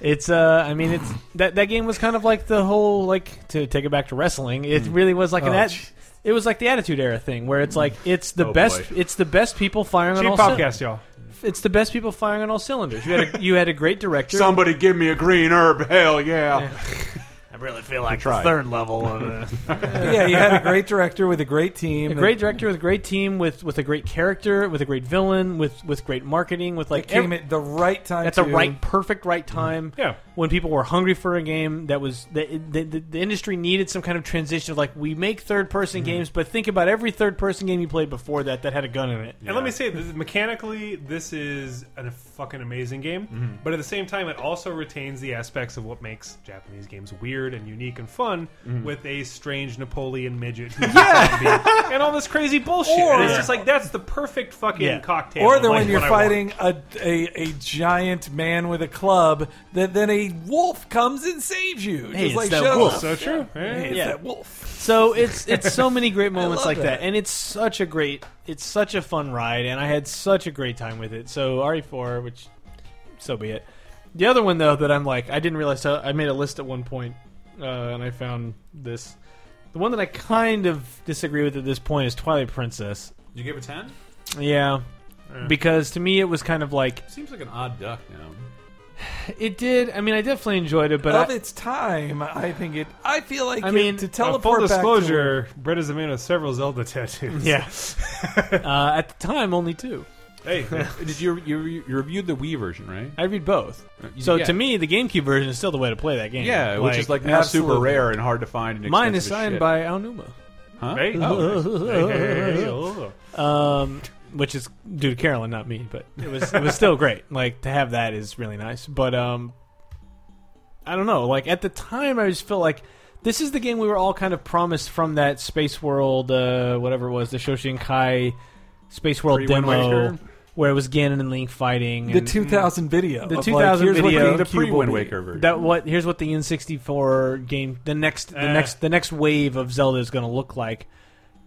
S5: It's uh, I mean, it's that that game was kind of like the whole like to take it back to wrestling. It really was like an
S4: Oh,
S5: at,
S4: jeez.
S5: it was like the Attitude Era thing where it's like it's the
S3: Oh,
S5: best
S3: boy.
S5: it's the best people firing on
S2: Cheap
S5: all
S2: podcast, y'all.
S5: cylinders. It's the best people firing on all cylinders. You had a, you had a great director.
S3: Somebody give me a green herb, hell yeah!
S5: I really feel like
S3: tried.
S5: third level of. Uh,
S4: yeah, you had a great director with a great team.
S5: a great director with a great team with with a great character with a great villain with with great marketing with
S4: It
S5: like
S4: came
S5: every-
S4: at the right time.
S5: that's a
S4: too. Mm-hmm.
S5: right perfect right time
S2: Yeah.
S5: when people were hungry for a game that was the, the, the, the industry needed some kind of transition of like we make third person
S4: Mm-hmm.
S5: games but think about every third person game you played before that that had a gun in it
S2: And let me say, this is, mechanically, this is a fucking amazing game.
S4: Mm-hmm.
S2: But at the same time, it also retains the aspects of what makes Japanese games weird and unique and fun,
S4: Mm-hmm.
S2: with a strange Napoleon midget who's a zombie and all this crazy bullshit. and it's
S4: Or-
S2: just like that's the perfect fucking
S5: Yeah.
S2: cocktail.
S4: Or
S2: of,
S4: the
S2: like,
S4: when you're
S2: what I want.
S4: fighting a, a a giant man with a club, that then a wolf comes and saves you. Just
S5: it's
S4: like
S5: that
S4: shows
S5: wolf.
S4: up.
S2: So true. Yeah.
S4: Hey, it's
S5: Yeah.
S4: that wolf.
S5: so it's it's so many great moments
S4: love
S5: like that.
S4: that.
S5: and it's such a great it's such a fun ride and i had such a great time with it so re4 which so be it the other one though that i'm like i didn't realize so i made a list at one point uh, and i found this the one that i kind of disagree with at this point is twilight princess
S3: You give a ten?
S5: yeah because to me it was kind of like
S3: Seems like an odd duck now.
S5: it did i mean i definitely enjoyed it but
S4: of
S5: I,
S4: its time, I think it. I feel like
S5: I
S4: it-
S5: mean,
S4: to
S2: Uh, full
S4: teleport back to
S2: disclosure: Brett is a man with several Zelda tattoos.
S5: yeah uh, at the time only two
S2: Hey,
S3: Did you, you you reviewed the Wii version, right?
S5: i read both
S3: You-
S5: So
S3: yeah.
S5: to me, the GameCube version is still the way to play that game.
S3: yeah, which is like now super
S4: absolutely.
S3: rare and hard to find. And
S5: mine is
S3: expensive as
S5: signed
S3: shit.
S5: by Aonuma,
S3: Huh?
S2: Hey.
S3: Oh, nice.
S2: Hey, hey, hey, hey, oh.
S5: um, which is due to Carolyn, not me. But it was it was still great. Like to have that is really nice. But um, I don't know. Like at the time, I just felt like this is the game we were all kind of promised from that Space World, uh, whatever it was, the Shoshinkai Space World
S3: Free Wind
S5: demo,
S3: Waker?
S5: where it was Ganon and Link fighting.
S4: The
S5: and,
S4: 2000 video.
S5: The
S4: of,
S5: 2000
S4: like, here's what
S5: video.
S4: GameCube
S3: the pre Wind
S4: will be.
S3: Waker version.
S5: That what here's what the N64 game the next the
S2: Eh.
S5: next the next wave of Zelda is going to look like.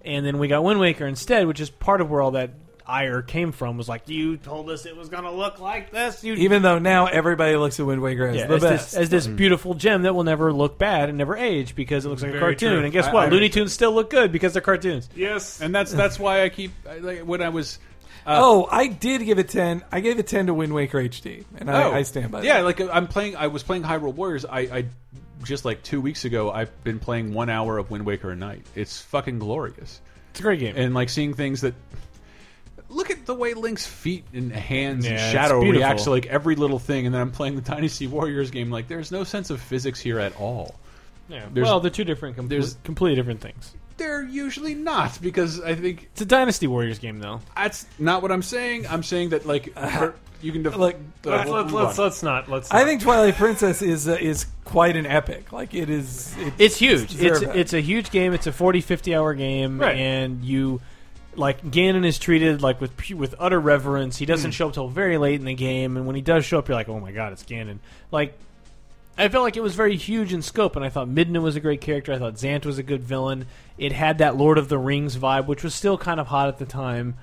S5: And then we got Wind Waker instead, which is part of where all that ire came from was like, you told us it was going to look like this. You
S4: Even though now everybody looks at Wind Waker as
S5: Yeah,
S4: the
S5: as,
S4: best.
S5: This, as
S3: Mm.
S5: this beautiful gem that will never look bad and never age because it looks like a
S2: Very
S5: cartoon.
S2: true.
S5: And guess
S3: I-
S5: what?
S3: I-
S5: Looney Tunes still look good because they're cartoons.
S2: Yes,
S3: and that's that's why I keep I, like, when I was.
S4: oh, I did give it ten. I gave it ten to Wind Waker HD, and I,
S3: oh,
S4: I stand by.
S3: Yeah,
S4: that.
S3: like I'm playing. I was playing Hyrule Warriors. I, I just like two weeks ago. I've been playing one hour of Wind Waker a night. It's fucking glorious.
S5: It's a great game.
S3: and like seeing things that look at the way Link's feet and hands and
S5: Yeah, it's
S3: shadow
S5: beautiful.
S3: reacts to like every little thing and then I'm playing the Dynasty Warriors game like there's no sense of physics here at all.
S5: Yeah.
S3: there's-
S5: Well, they're two different, com-
S3: there's-
S5: completely different things.
S3: They're usually not because I think
S5: It's a Dynasty Warriors game, though.
S3: that's not what I'm saying. I'm saying that like for- you can def-
S4: Look,
S2: let's,
S3: we'll
S2: let's,
S3: move
S2: let's,
S3: on.
S2: let's not. Let's.
S4: I
S2: not.
S4: think Twilight Princess is uh, is quite an epic. Like it is. It,
S5: It's huge.
S4: It's
S5: It's
S4: very bad.
S5: it's a huge game. It's a 40, 50 hour game,
S2: Right.
S5: and you like Ganon is treated like with pu- with utter reverence. He
S4: Hmm.
S5: doesn't show up till very late in the game, and when he does show up, you're like, oh my god, it's Ganon. Like. I felt like it was very huge in scope, and I thought Midna was a great character. I thought Xant was a good villain. It had that Lord of the Rings vibe, which was still kind of hot at the time.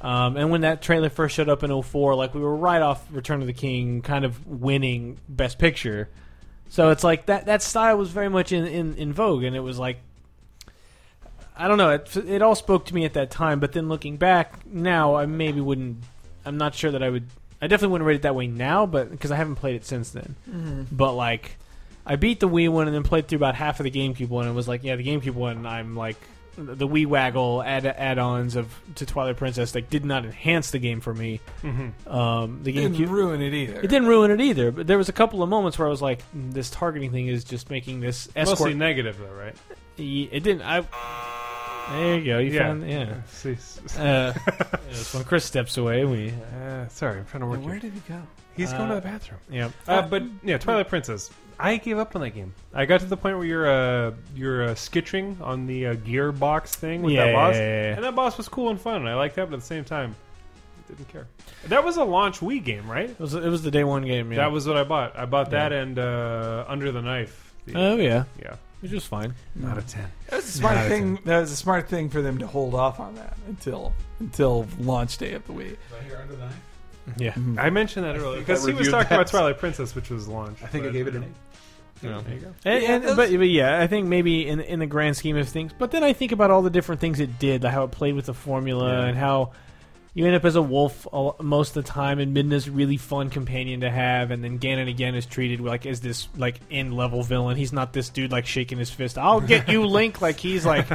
S5: Um, and when that trailer first showed up in 04, like we were right off Return of the King, kind of winning Best Picture. So it's like that that style was very much in, in, in vogue, and it was like I don't know, it, it all spoke to me at that time. But then looking back now, I maybe wouldn't. I'm not sure that I would. I definitely wouldn't rate it that way now, but because I haven't played it since then. But like, I beat the Wii one and then played through about half of the GameCube one, and was like, yeah, the GameCube one. I'm like the Wii waggle add add-ons of to Twilight Princess like did not enhance the game for me. Um, the
S4: didn't
S5: GameCube
S4: ruin Mm-hmm. it either.
S5: it didn't ruin it either, but there was a couple of moments where I was like, "Mm, "This targeting thing is just making this
S2: mostly
S5: escort."
S2: negative though, right?
S5: Y- it didn't. I. There you go. You
S2: Yeah.
S5: found yeah.
S2: See, s- s-
S5: Uh, it's when Chris steps away, we
S2: uh, sorry, I'm trying to work.
S4: Where
S2: here.
S4: did it go?
S2: He's
S5: uh,
S2: going to the bathroom.
S5: yeah.
S2: Uh, but
S5: mm,
S2: yeah, Twilight Princess. I gave up on that game. I got to the point where you're uh, you're uh, skitching on the uh, gearbox thing with
S5: Yeah,
S2: that boss,
S5: yeah, yeah, yeah.
S2: and that boss was cool and fun, and I liked that. But at the same time, I didn't care. That was a launch Wii game, right?
S5: It was it was the day one game. Yeah.
S2: That was what I bought. I bought that and uh, Under the Knife. The-
S5: Oh yeah,
S2: yeah,
S5: which was fine.
S2: not a ten.
S4: That was a smart thing. That was a smart thing for them to hold off on that until until launch day of the week.
S5: Yeah.
S2: I mentioned that earlier because he was
S3: reviewed
S2: talking
S3: that.
S2: about Twilight Princess, which was launch.
S3: I think I
S2: but-
S3: gave it an 8.
S2: Yeah, there you go.
S5: And,
S4: Yeah,
S5: and-
S4: those-
S5: but, but yeah, I think maybe in in the grand scheme of things. But then I think about all the different things it did, like how it played with the formula,
S2: Yeah.
S5: and how you end up as a wolf all, most of the time, and Midna's a really fun companion to have, and then Ganon again is treated like as this like end level villain. He's not this dude like shaking his fist, "I'll get you, Link!" Like he's like,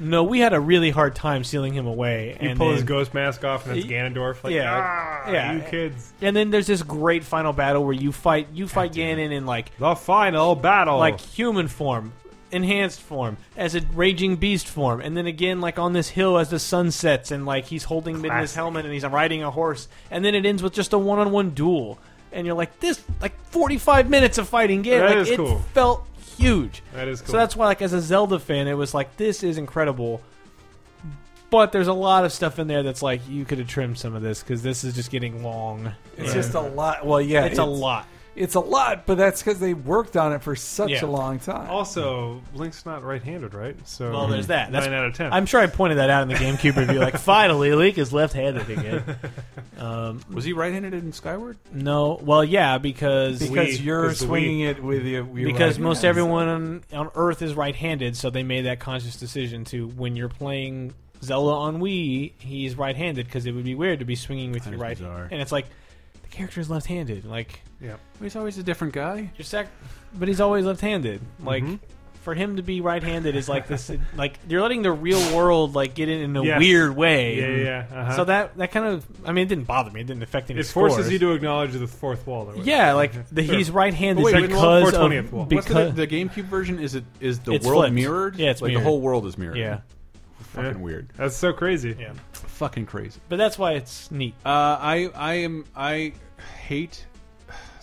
S5: no, we had a really hard time sealing him away.
S2: You
S5: and
S2: pull
S5: then,
S2: his ghost mask off, and it's
S5: He-
S2: Ganondorf. Like,
S5: yeah,
S2: ah,
S5: yeah.
S2: you kids,
S5: and then there's this great final battle where you fight you fight Ganon and like
S2: the final battle.
S5: like human form, enhanced form, as a raging beast form, and then again like on this hill as the sun sets, and like he's holding Midna's
S2: Classic.
S5: helmet and he's riding a horse, and then it ends with just a one-on-one duel, and you're like this like 45 minutes of fighting game.
S2: That
S5: like,
S2: is
S5: it
S2: cool.
S5: felt huge.
S2: that is cool.
S5: So that's why like as a Zelda fan, it was like this is incredible. But there's a lot of stuff in there that's like you could have trimmed some of this because this is just getting long.
S4: It's just a lot. Well, yeah,
S5: It's a lot.
S4: It's a lot, but that's because they worked on it for such
S5: Yeah.
S4: a long time.
S2: Also, Link's not right-handed, right? So
S5: Well, there's that. That's-
S2: nine out of 10
S5: I'm sure I pointed that out in the GameCube review. Like, finally, Link is left-handed again.
S3: Was he right-handed in Skyward?
S5: No, well, yeah, because
S4: because
S2: Wii
S4: you're
S2: is the
S4: swinging it with your, your
S5: because
S4: right
S5: most
S4: hand.
S5: everyone on, on Earth is right-handed, so they made that conscious decision to when you're playing Zelda on Wii, he's right-handed because it would be weird to be swinging with your
S3: That
S5: right.
S3: is bizarre.
S5: And it's like the character is left-handed. Like
S2: Yeah.
S3: He's always a different guy.
S5: you're sac- but he's always left-handed. Like.
S2: Mm-hmm.
S5: For him to be right-handed is like this, like you're letting the real world like get in in a
S2: Yes.
S5: weird way.
S2: Yeah, yeah. yeah. Uh-huh.
S5: So that that kind of, I mean, it didn't bother me. It didn't affect any.
S2: it forces
S5: scores.
S2: you to acknowledge the fourth wall. Though, right?
S5: Yeah, like the, he's right-handed
S2: Wait, wait,
S5: because
S2: what's the 420th wall?
S5: of
S2: What's
S5: because
S3: the, the GameCube version is it is the
S5: It's
S3: world
S5: flipped.
S3: mirrored?
S5: Yeah, it's
S3: like
S5: mirrored.
S3: the whole world is mirrored.
S5: yeah,
S3: fucking weird,
S2: That's so crazy.
S5: yeah.
S3: fucking crazy.
S5: But that's why it's neat.
S3: Uh, I I am I hate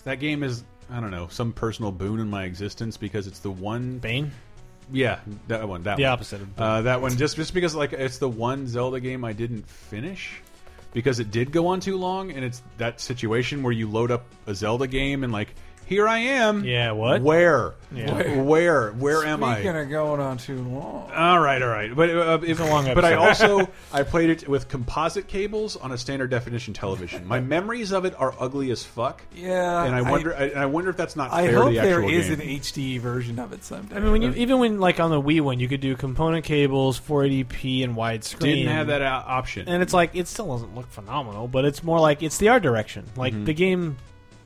S3: that game is I don't know some personal boon in my existence because it's the one
S5: Bane,
S3: yeah that one that
S5: the
S3: one.
S5: opposite of Bane.
S3: uh, that one just just because like it's the one Zelda game I didn't finish because it did go on too long and it's that situation where you load up a Zelda game and like Here I am.
S5: Yeah, what?
S3: Where?
S5: Yeah.
S3: Where? Where, where am I?
S4: Speaking of going on too long,
S3: All right, all right. But uh, if,
S5: a long
S3: but I
S5: episode.
S3: also I played it with composite cables on a standard definition television. My memories of it are ugly as fuck.
S4: Yeah,
S3: and I
S4: I-
S3: wonder I, I wonder if that's not
S4: I
S3: fair
S4: hope
S3: to the
S4: there
S3: actual
S4: is
S3: game.
S4: an HD version of it someday.
S5: I mean,
S2: Uh,
S5: when you even when like on the Wii one, you could do component cables, 480p, and widescreen.
S3: Didn't have that uh, option.
S5: and it's like it still doesn't look phenomenal, but it's more like it's the art direction. Like
S3: Mm-hmm.
S5: the game,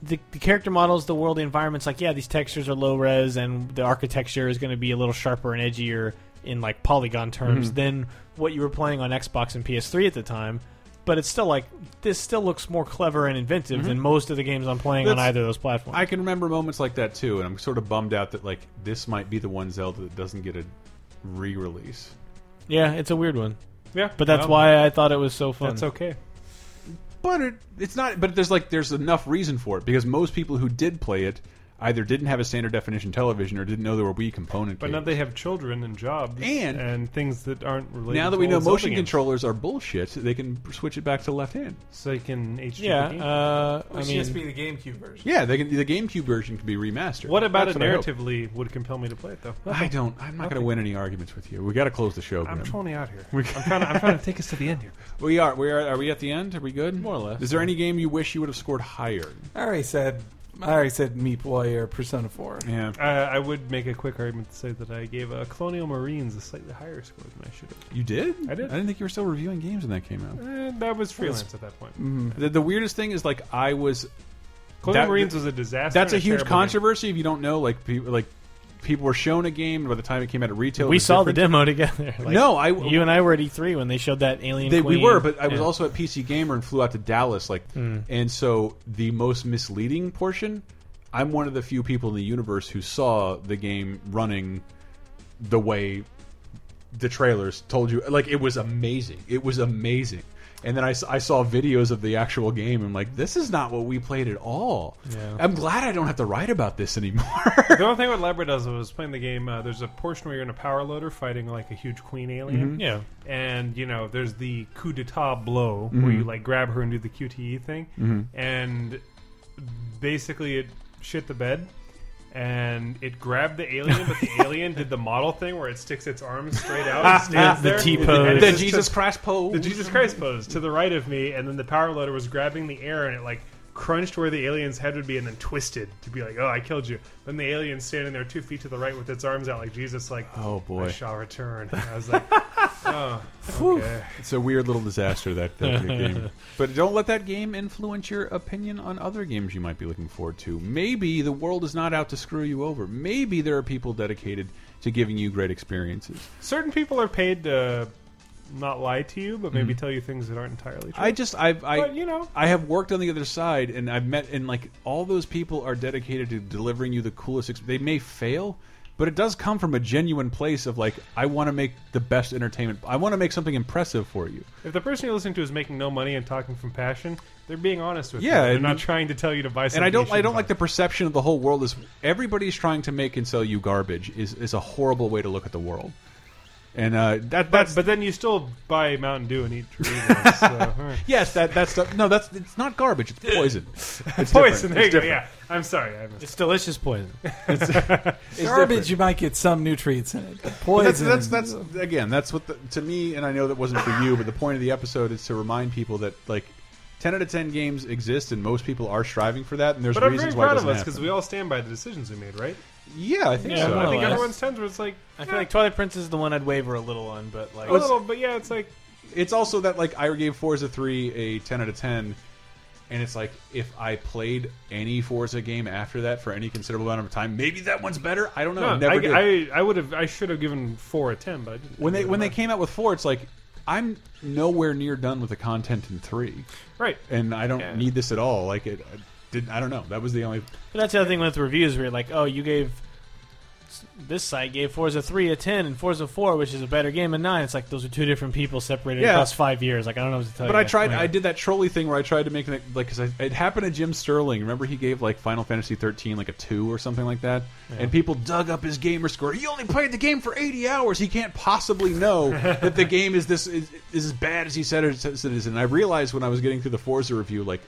S5: the, the character models, the world, the environments. Like yeah, these textures are low res, and the architecture is going to be a little sharper and edgier in like polygon terms
S3: Mm-hmm.
S5: than what you were playing on Xbox and PS3 at the time. But it's still like this still looks more clever and inventive than most of the games I'm playing on
S3: Mm-hmm. That's-
S5: either of those platforms.
S3: I can remember moments like that too, and I'm sort of bummed out that like this might be the one Zelda that doesn't get a re-release.
S5: yeah, it's a weird one,
S2: Yeah,
S5: but that's
S2: well,
S5: why I thought it was so fun.
S2: that's okay.
S3: But it, it's not. But there's like there's enough reason for it because most people who did play it either didn't have a standard definition television or didn't know there were Wii component.
S2: But now
S3: cables.
S2: they have children and jobs
S3: And-
S2: things that aren't related.
S3: now that
S2: to
S3: we know
S2: old Zelda
S3: motion
S2: games.
S3: controllers are bullshit, they can switch it back to left hand.
S2: so you can HD.
S5: Yeah,
S4: E
S2: the game.
S5: uh, I
S4: Which
S5: mean,
S4: just be the GameCube version.
S3: Yeah, they can. The GameCube version can be remastered.
S2: what about
S3: That's
S2: it
S3: I hope.
S2: narratively would compel me to play it though?
S3: I don't. I'm not going to win any arguments with you. We got to close the show.
S2: I'm
S3: Grim.
S2: trolling you out here. I'm trying, to, I'm trying to take us to the end here.
S3: We are. We are. Are we at the end? Are we good? More
S5: or less.
S3: Is there any game you wish you would have scored higher?
S4: I already said. I already said Meat Boy or Persona Four.
S3: Yeah.
S2: Uh, I would make a quick argument to say that I gave uh, Colonial Marines a slightly higher score than I should have.
S3: You did?
S2: I did.
S3: I didn't think you were still reviewing games when that came out.
S2: Eh, that was freelance at that point.
S3: The, the weirdest thing is like I was.
S2: Colonial
S3: That-
S2: Marines was a disaster.
S3: That's a
S2: and
S3: huge
S2: terrible game.
S3: controversy. If you don't know, like people like people were shown a game and by the time it came out at retail. it
S5: we
S3: was
S5: saw
S3: different.
S5: the demo together. Like,
S3: no, I
S5: You and I were at E3 when they showed that Alien
S3: They, we
S5: Queen.
S3: were, but I was
S5: Yeah.
S3: also at PC Gamer and flew out to Dallas. Like, and so the most misleading portion. I'm one of the few people in the universe who saw the game running the way the trailers told you. Like, it was amazing. It was amazing. And then I, s- I saw videos of the actual game. and I'm like, this is not what we played at all. I'm glad I don't have to write about this anymore.
S2: The only thing with Labrador was playing the game. Uh, there's a portion where you're in a power loader fighting like a huge queen alien.
S5: Mm-hmm. Yeah.
S2: and you know there's the coup d'etat blow
S5: Mm-hmm.
S2: where you like grab her and do the QTE thing, and basically it shit the bed, and it grabbed the alien, but the alien did the model thing where it sticks its arms straight out, and stands
S5: The
S2: there,
S5: T-pose.
S2: and it
S3: the
S2: just
S3: Jesus
S2: took-
S3: Christ pose.
S2: the Jesus Christ pose to the right of me, and then the power loader was grabbing the air and it like crunched where the alien's head would be and then twisted to be like, oh, I killed you. Then the alien standing there two feet to the right with its arms out like Jesus, like,
S3: Oh, boy.
S2: I shall return. And I was like,
S3: It's a weird little disaster that, that game. But don't let that game influence your opinion on other games you might be looking forward to. Maybe the world is not out to screw you over. Maybe there are people dedicated to giving you great experiences.
S2: certain people are paid to not lie to you, but maybe tell you things that aren't entirely true.
S3: Mm-hmm. I just I've I
S2: But, you know.
S3: I have worked on the other side and I've met and like all those people are dedicated to delivering you the coolest ex- they may fail but it does come from a genuine place of like I want to make the best entertainment I want to make something impressive for you.
S2: if the person you're listening to is making no money and talking from passion, they're being honest with you.
S3: Yeah,
S2: They're
S3: and-
S2: not trying to tell you to buy something.
S3: and I don't
S2: you
S3: I don't
S2: shouldn't
S3: like
S2: buy.
S3: the perception of the whole world is everybody's trying to make and sell you garbage is is a horrible way to look at the world. And uh, that
S2: But,
S3: that's
S2: but then you still buy Mountain Dew and eat Doritos. so, huh.
S3: yes that that's the- no that's it's not garbage it's poison.
S2: poison.
S3: It's different.
S2: There you
S3: It's
S2: go.
S3: different.
S2: Yeah, I'm sorry. I missed.
S5: It's delicious poison.
S4: Garbage, you might get some nutrients in it. but
S3: But that's,
S4: Poison.
S3: that's that's again that's what the, to me and I know that wasn't for you but the point of the episode is to remind people that like 10 out of 10 games exist and most people are striving for that and there's
S2: But I'm very
S3: reasons why it
S2: proud of
S3: doesn't
S2: us because
S3: happen.
S2: we all stand by the decisions we made, right?
S3: yeah I think
S5: Yeah,
S3: so
S5: more
S2: I
S5: or
S2: think
S5: less.
S2: everyone stands where it's like
S5: I feel like Twilight Prince is the one I'd waver a little on, but like
S2: a little, but yeah, it's like
S3: it's also that like I gave Forza 3 a 10 out of 10 and it's like if I played any Forza game after that for any considerable amount of time maybe that one's better I don't know
S2: no,
S3: I never
S2: I,
S3: did.
S2: I, I would have, I should have given four a ten, but I didn't. I
S3: when they
S2: didn't
S3: when they
S2: mind.
S3: came out with 4 it's like I'm nowhere near done with the content in 3
S2: right,
S3: and I don't need this at all like it I didn't I don't know that was the only
S5: But that's the other thing with reviews where you're like, oh, you gave this site gave Forza three a ten and Forza four, which is a better game, a nine. It's like those are two different people separated
S3: Yeah.
S5: across five years. Like I don't know what to tell Oh, you.
S3: But I tried. I did that trolley thing where I tried to make it like because it happened to Jim Sterling. Remember, he gave like Final Fantasy 13 like a two or something like that, and people dug up his gamer score. He only played the game for 80 hours. He can't possibly know that the game is this is, is as bad as he said it, says it is. And I realized when I was getting through the Forza review, like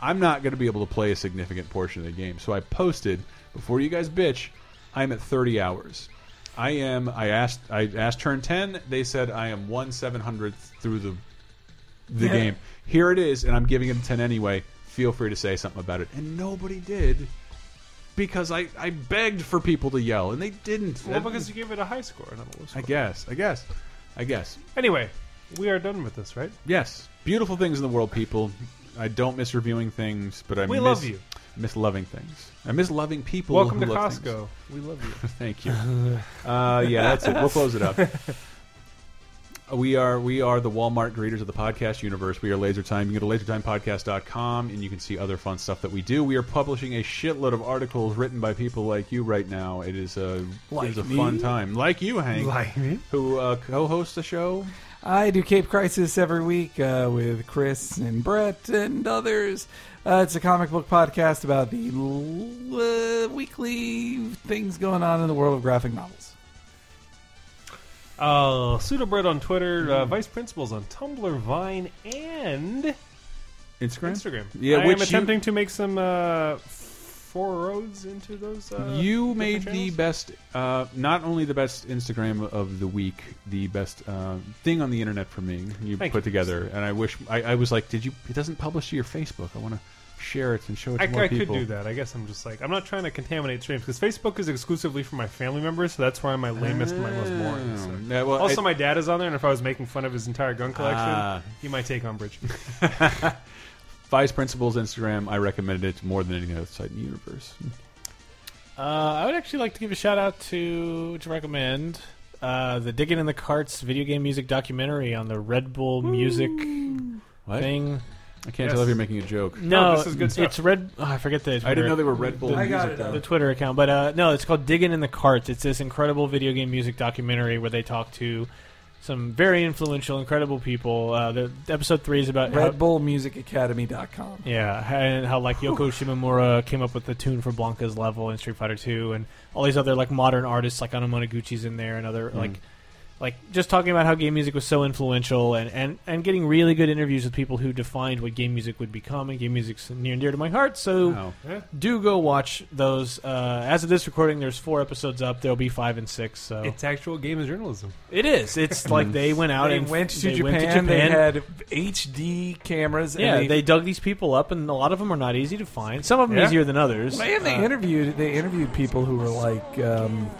S3: I'm not going to be able to play a significant portion of the game. So I posted before you guys bitch. I'm at 30 hours. I am. I asked. I asked turn 10. They said I am one seven hundredth through the the game. Here it is, and I'm giving it a 10 anyway. Feel free to say something about it. And nobody did because I I begged for people to yell, and they didn't.
S2: Well, because you gave it a high score, not a low
S3: I
S2: score.
S3: guess. I guess. I guess.
S2: Anyway, we are done with this, right?
S3: Yes, beautiful things in the world, people. I don't miss reviewing things, but I
S2: We
S3: miss,
S2: love you.
S3: Miss loving things. I miss loving people.
S2: Welcome
S3: who
S2: to
S3: love
S2: Costco.
S3: things.
S2: We love you.
S3: Thank you. Uh, yeah, that's it. We'll close it up. We are we are the Walmart greeters of the podcast universe. We are Laser Time. You can go to lasertimepodcast.com and you can see other fun stuff that we do. We are publishing a shitload of articles written by people like you right now. It is a it is a fun time. Like you, Hank,
S2: Like me.
S3: who uh, co-hosts the show.
S4: I do Cape Crisis every week uh, with Chris and Brett and others. Uh, it's a comic book podcast about the l- uh, weekly things going on in the world of graphic novels.
S2: Uh, Pseudobread on Twitter,
S3: Mm.
S2: uh, Vice Principals on Tumblr, Vine, and
S3: Instagram.
S2: Instagram.
S3: Yeah,
S2: I
S3: which
S2: am
S3: you-
S2: attempting to make some uh, forroads into those. Uh,
S3: you
S2: different
S3: made the
S2: channels.
S3: best uh, not only the best instagram of the week the best uh, thing on the internet for me you
S2: Thank
S3: put
S2: you.
S3: together and i wish I, I was like did you it doesn't publish to your facebook i want to share it and show it to
S2: I,
S3: more
S2: I could
S3: people
S2: do that. I guess I'm just like I'm not trying to contaminate streams because Facebook is exclusively for my family members, so that's where I'm my lamest and my most boring. so.
S3: Yeah, Oh. well,
S2: Also,
S3: I-
S2: my dad is on there, and if I was making fun of his entire gun collection,
S3: Ah. Oh.
S2: he might take umbrage.
S3: vice principals instagram i recommended it more than anything outside the universe
S5: Uh, I would actually like to give a shout out to to recommend uh, the Digging in the Carts video game music documentary on the Red Bull music
S3: what? Oh, i
S5: thing.
S3: can't
S2: Yes.
S3: tell if you're making a joke
S5: No,
S2: this is good stuff.
S5: It's Red. Oh, I forget the.
S3: i didn't know they were red bull
S4: I got
S3: music
S4: it,
S3: though.
S4: though.
S5: the Twitter account, but uh, no, it's called Digging in the Carts. It's this incredible video game music documentary where they talk to some very influential, incredible people. Uh, the episode three is about how-
S4: RedBullMusicAcademy.com.
S5: yeah, and how like Yoko Shimomura came up with the tune for Blanca's Level in Street Fighter Two, and all these other like modern artists like Anamanaguchi's in there, and other like like just talking about how game music was so influential, and and and getting really good interviews with people who defined what game music would become, and game music's near and dear to my heart. So
S3: Wow.
S5: do go watch those. Uh, as of this recording, there's four episodes up. There'll be five and six. So
S2: it's actual game of journalism.
S5: it is. It's like they went out
S4: They
S5: and
S4: went to,
S5: they
S4: Japan,
S5: went to Japan.
S4: They had HD cameras.
S5: yeah,
S4: and
S5: they dug these people up, and a lot of them are not easy to find. Some of them
S2: Yeah.
S5: easier than others.
S4: Man, they
S5: Uh,
S4: interviewed they interviewed people who were like um,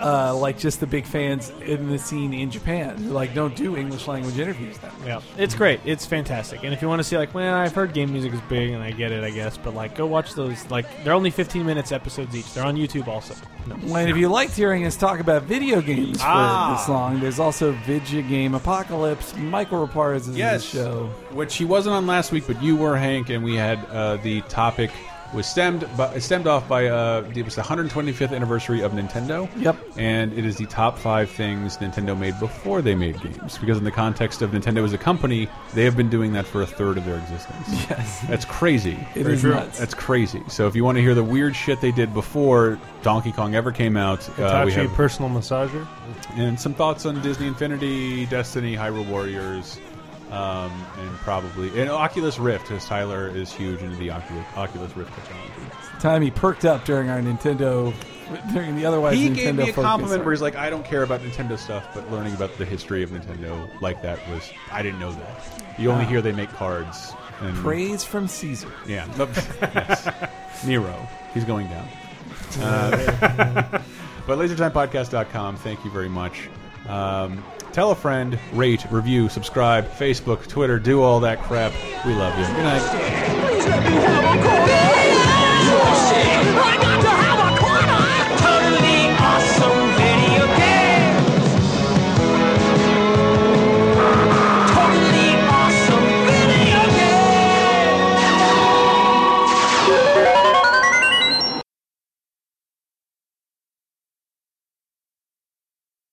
S4: uh, like just the big fans in the scene in Japan who like don't do English language interviews that much.
S5: Yeah, it's great. It's fantastic. And if you want to see, like, well, I've heard game music is big, and I get it, I guess, but like, go watch those. Like, they're only 15 minutes episodes each. They're on YouTube also. No.
S4: And if you liked hearing us talk about video games for
S5: Ah.
S4: this long, there's also Video Game Apocalypse. Michael Raparez is
S3: Yes.
S4: in the show.
S3: which he wasn't on last week, but you were Hank, and we had uh, the topic was stemmed by, stemmed off by uh, it was the 125th anniversary of Nintendo.
S4: Yep.
S3: and it is the top five things Nintendo made before they made games, because in the context of Nintendo as a company, they have been doing that for a third of their existence.
S4: Yes.
S3: That's crazy.
S4: It Very is true. nuts.
S3: That's crazy. So if you want to hear the weird shit they did before Donkey Kong ever came out, uh, we
S2: Hitachi
S3: have,
S2: personal massager.
S3: and some thoughts on Disney Infinity, Destiny, Hyrule Warriors, um, and probably and Oculus Rift, because Tyler is huge into the Oculus, Oculus Rift technology.
S4: Time he perked up during our Nintendo during the otherwise
S3: He
S4: Nintendo
S3: gave me a
S4: focus.
S3: compliment where he's like, "I don't care about Nintendo stuff, but learning about the history of Nintendo like that was I didn't know that. You only hear they make cards and
S4: Ah. Praise from Caesar.
S3: yeah, Yes. Nero, he's going down. Uh, But lasertimepodcast.com, thank you very much. Um, tell a friend, rate, review, subscribe, Facebook, Twitter, do all that crap. We love you. Good night.
S8: Please let me have a quarter.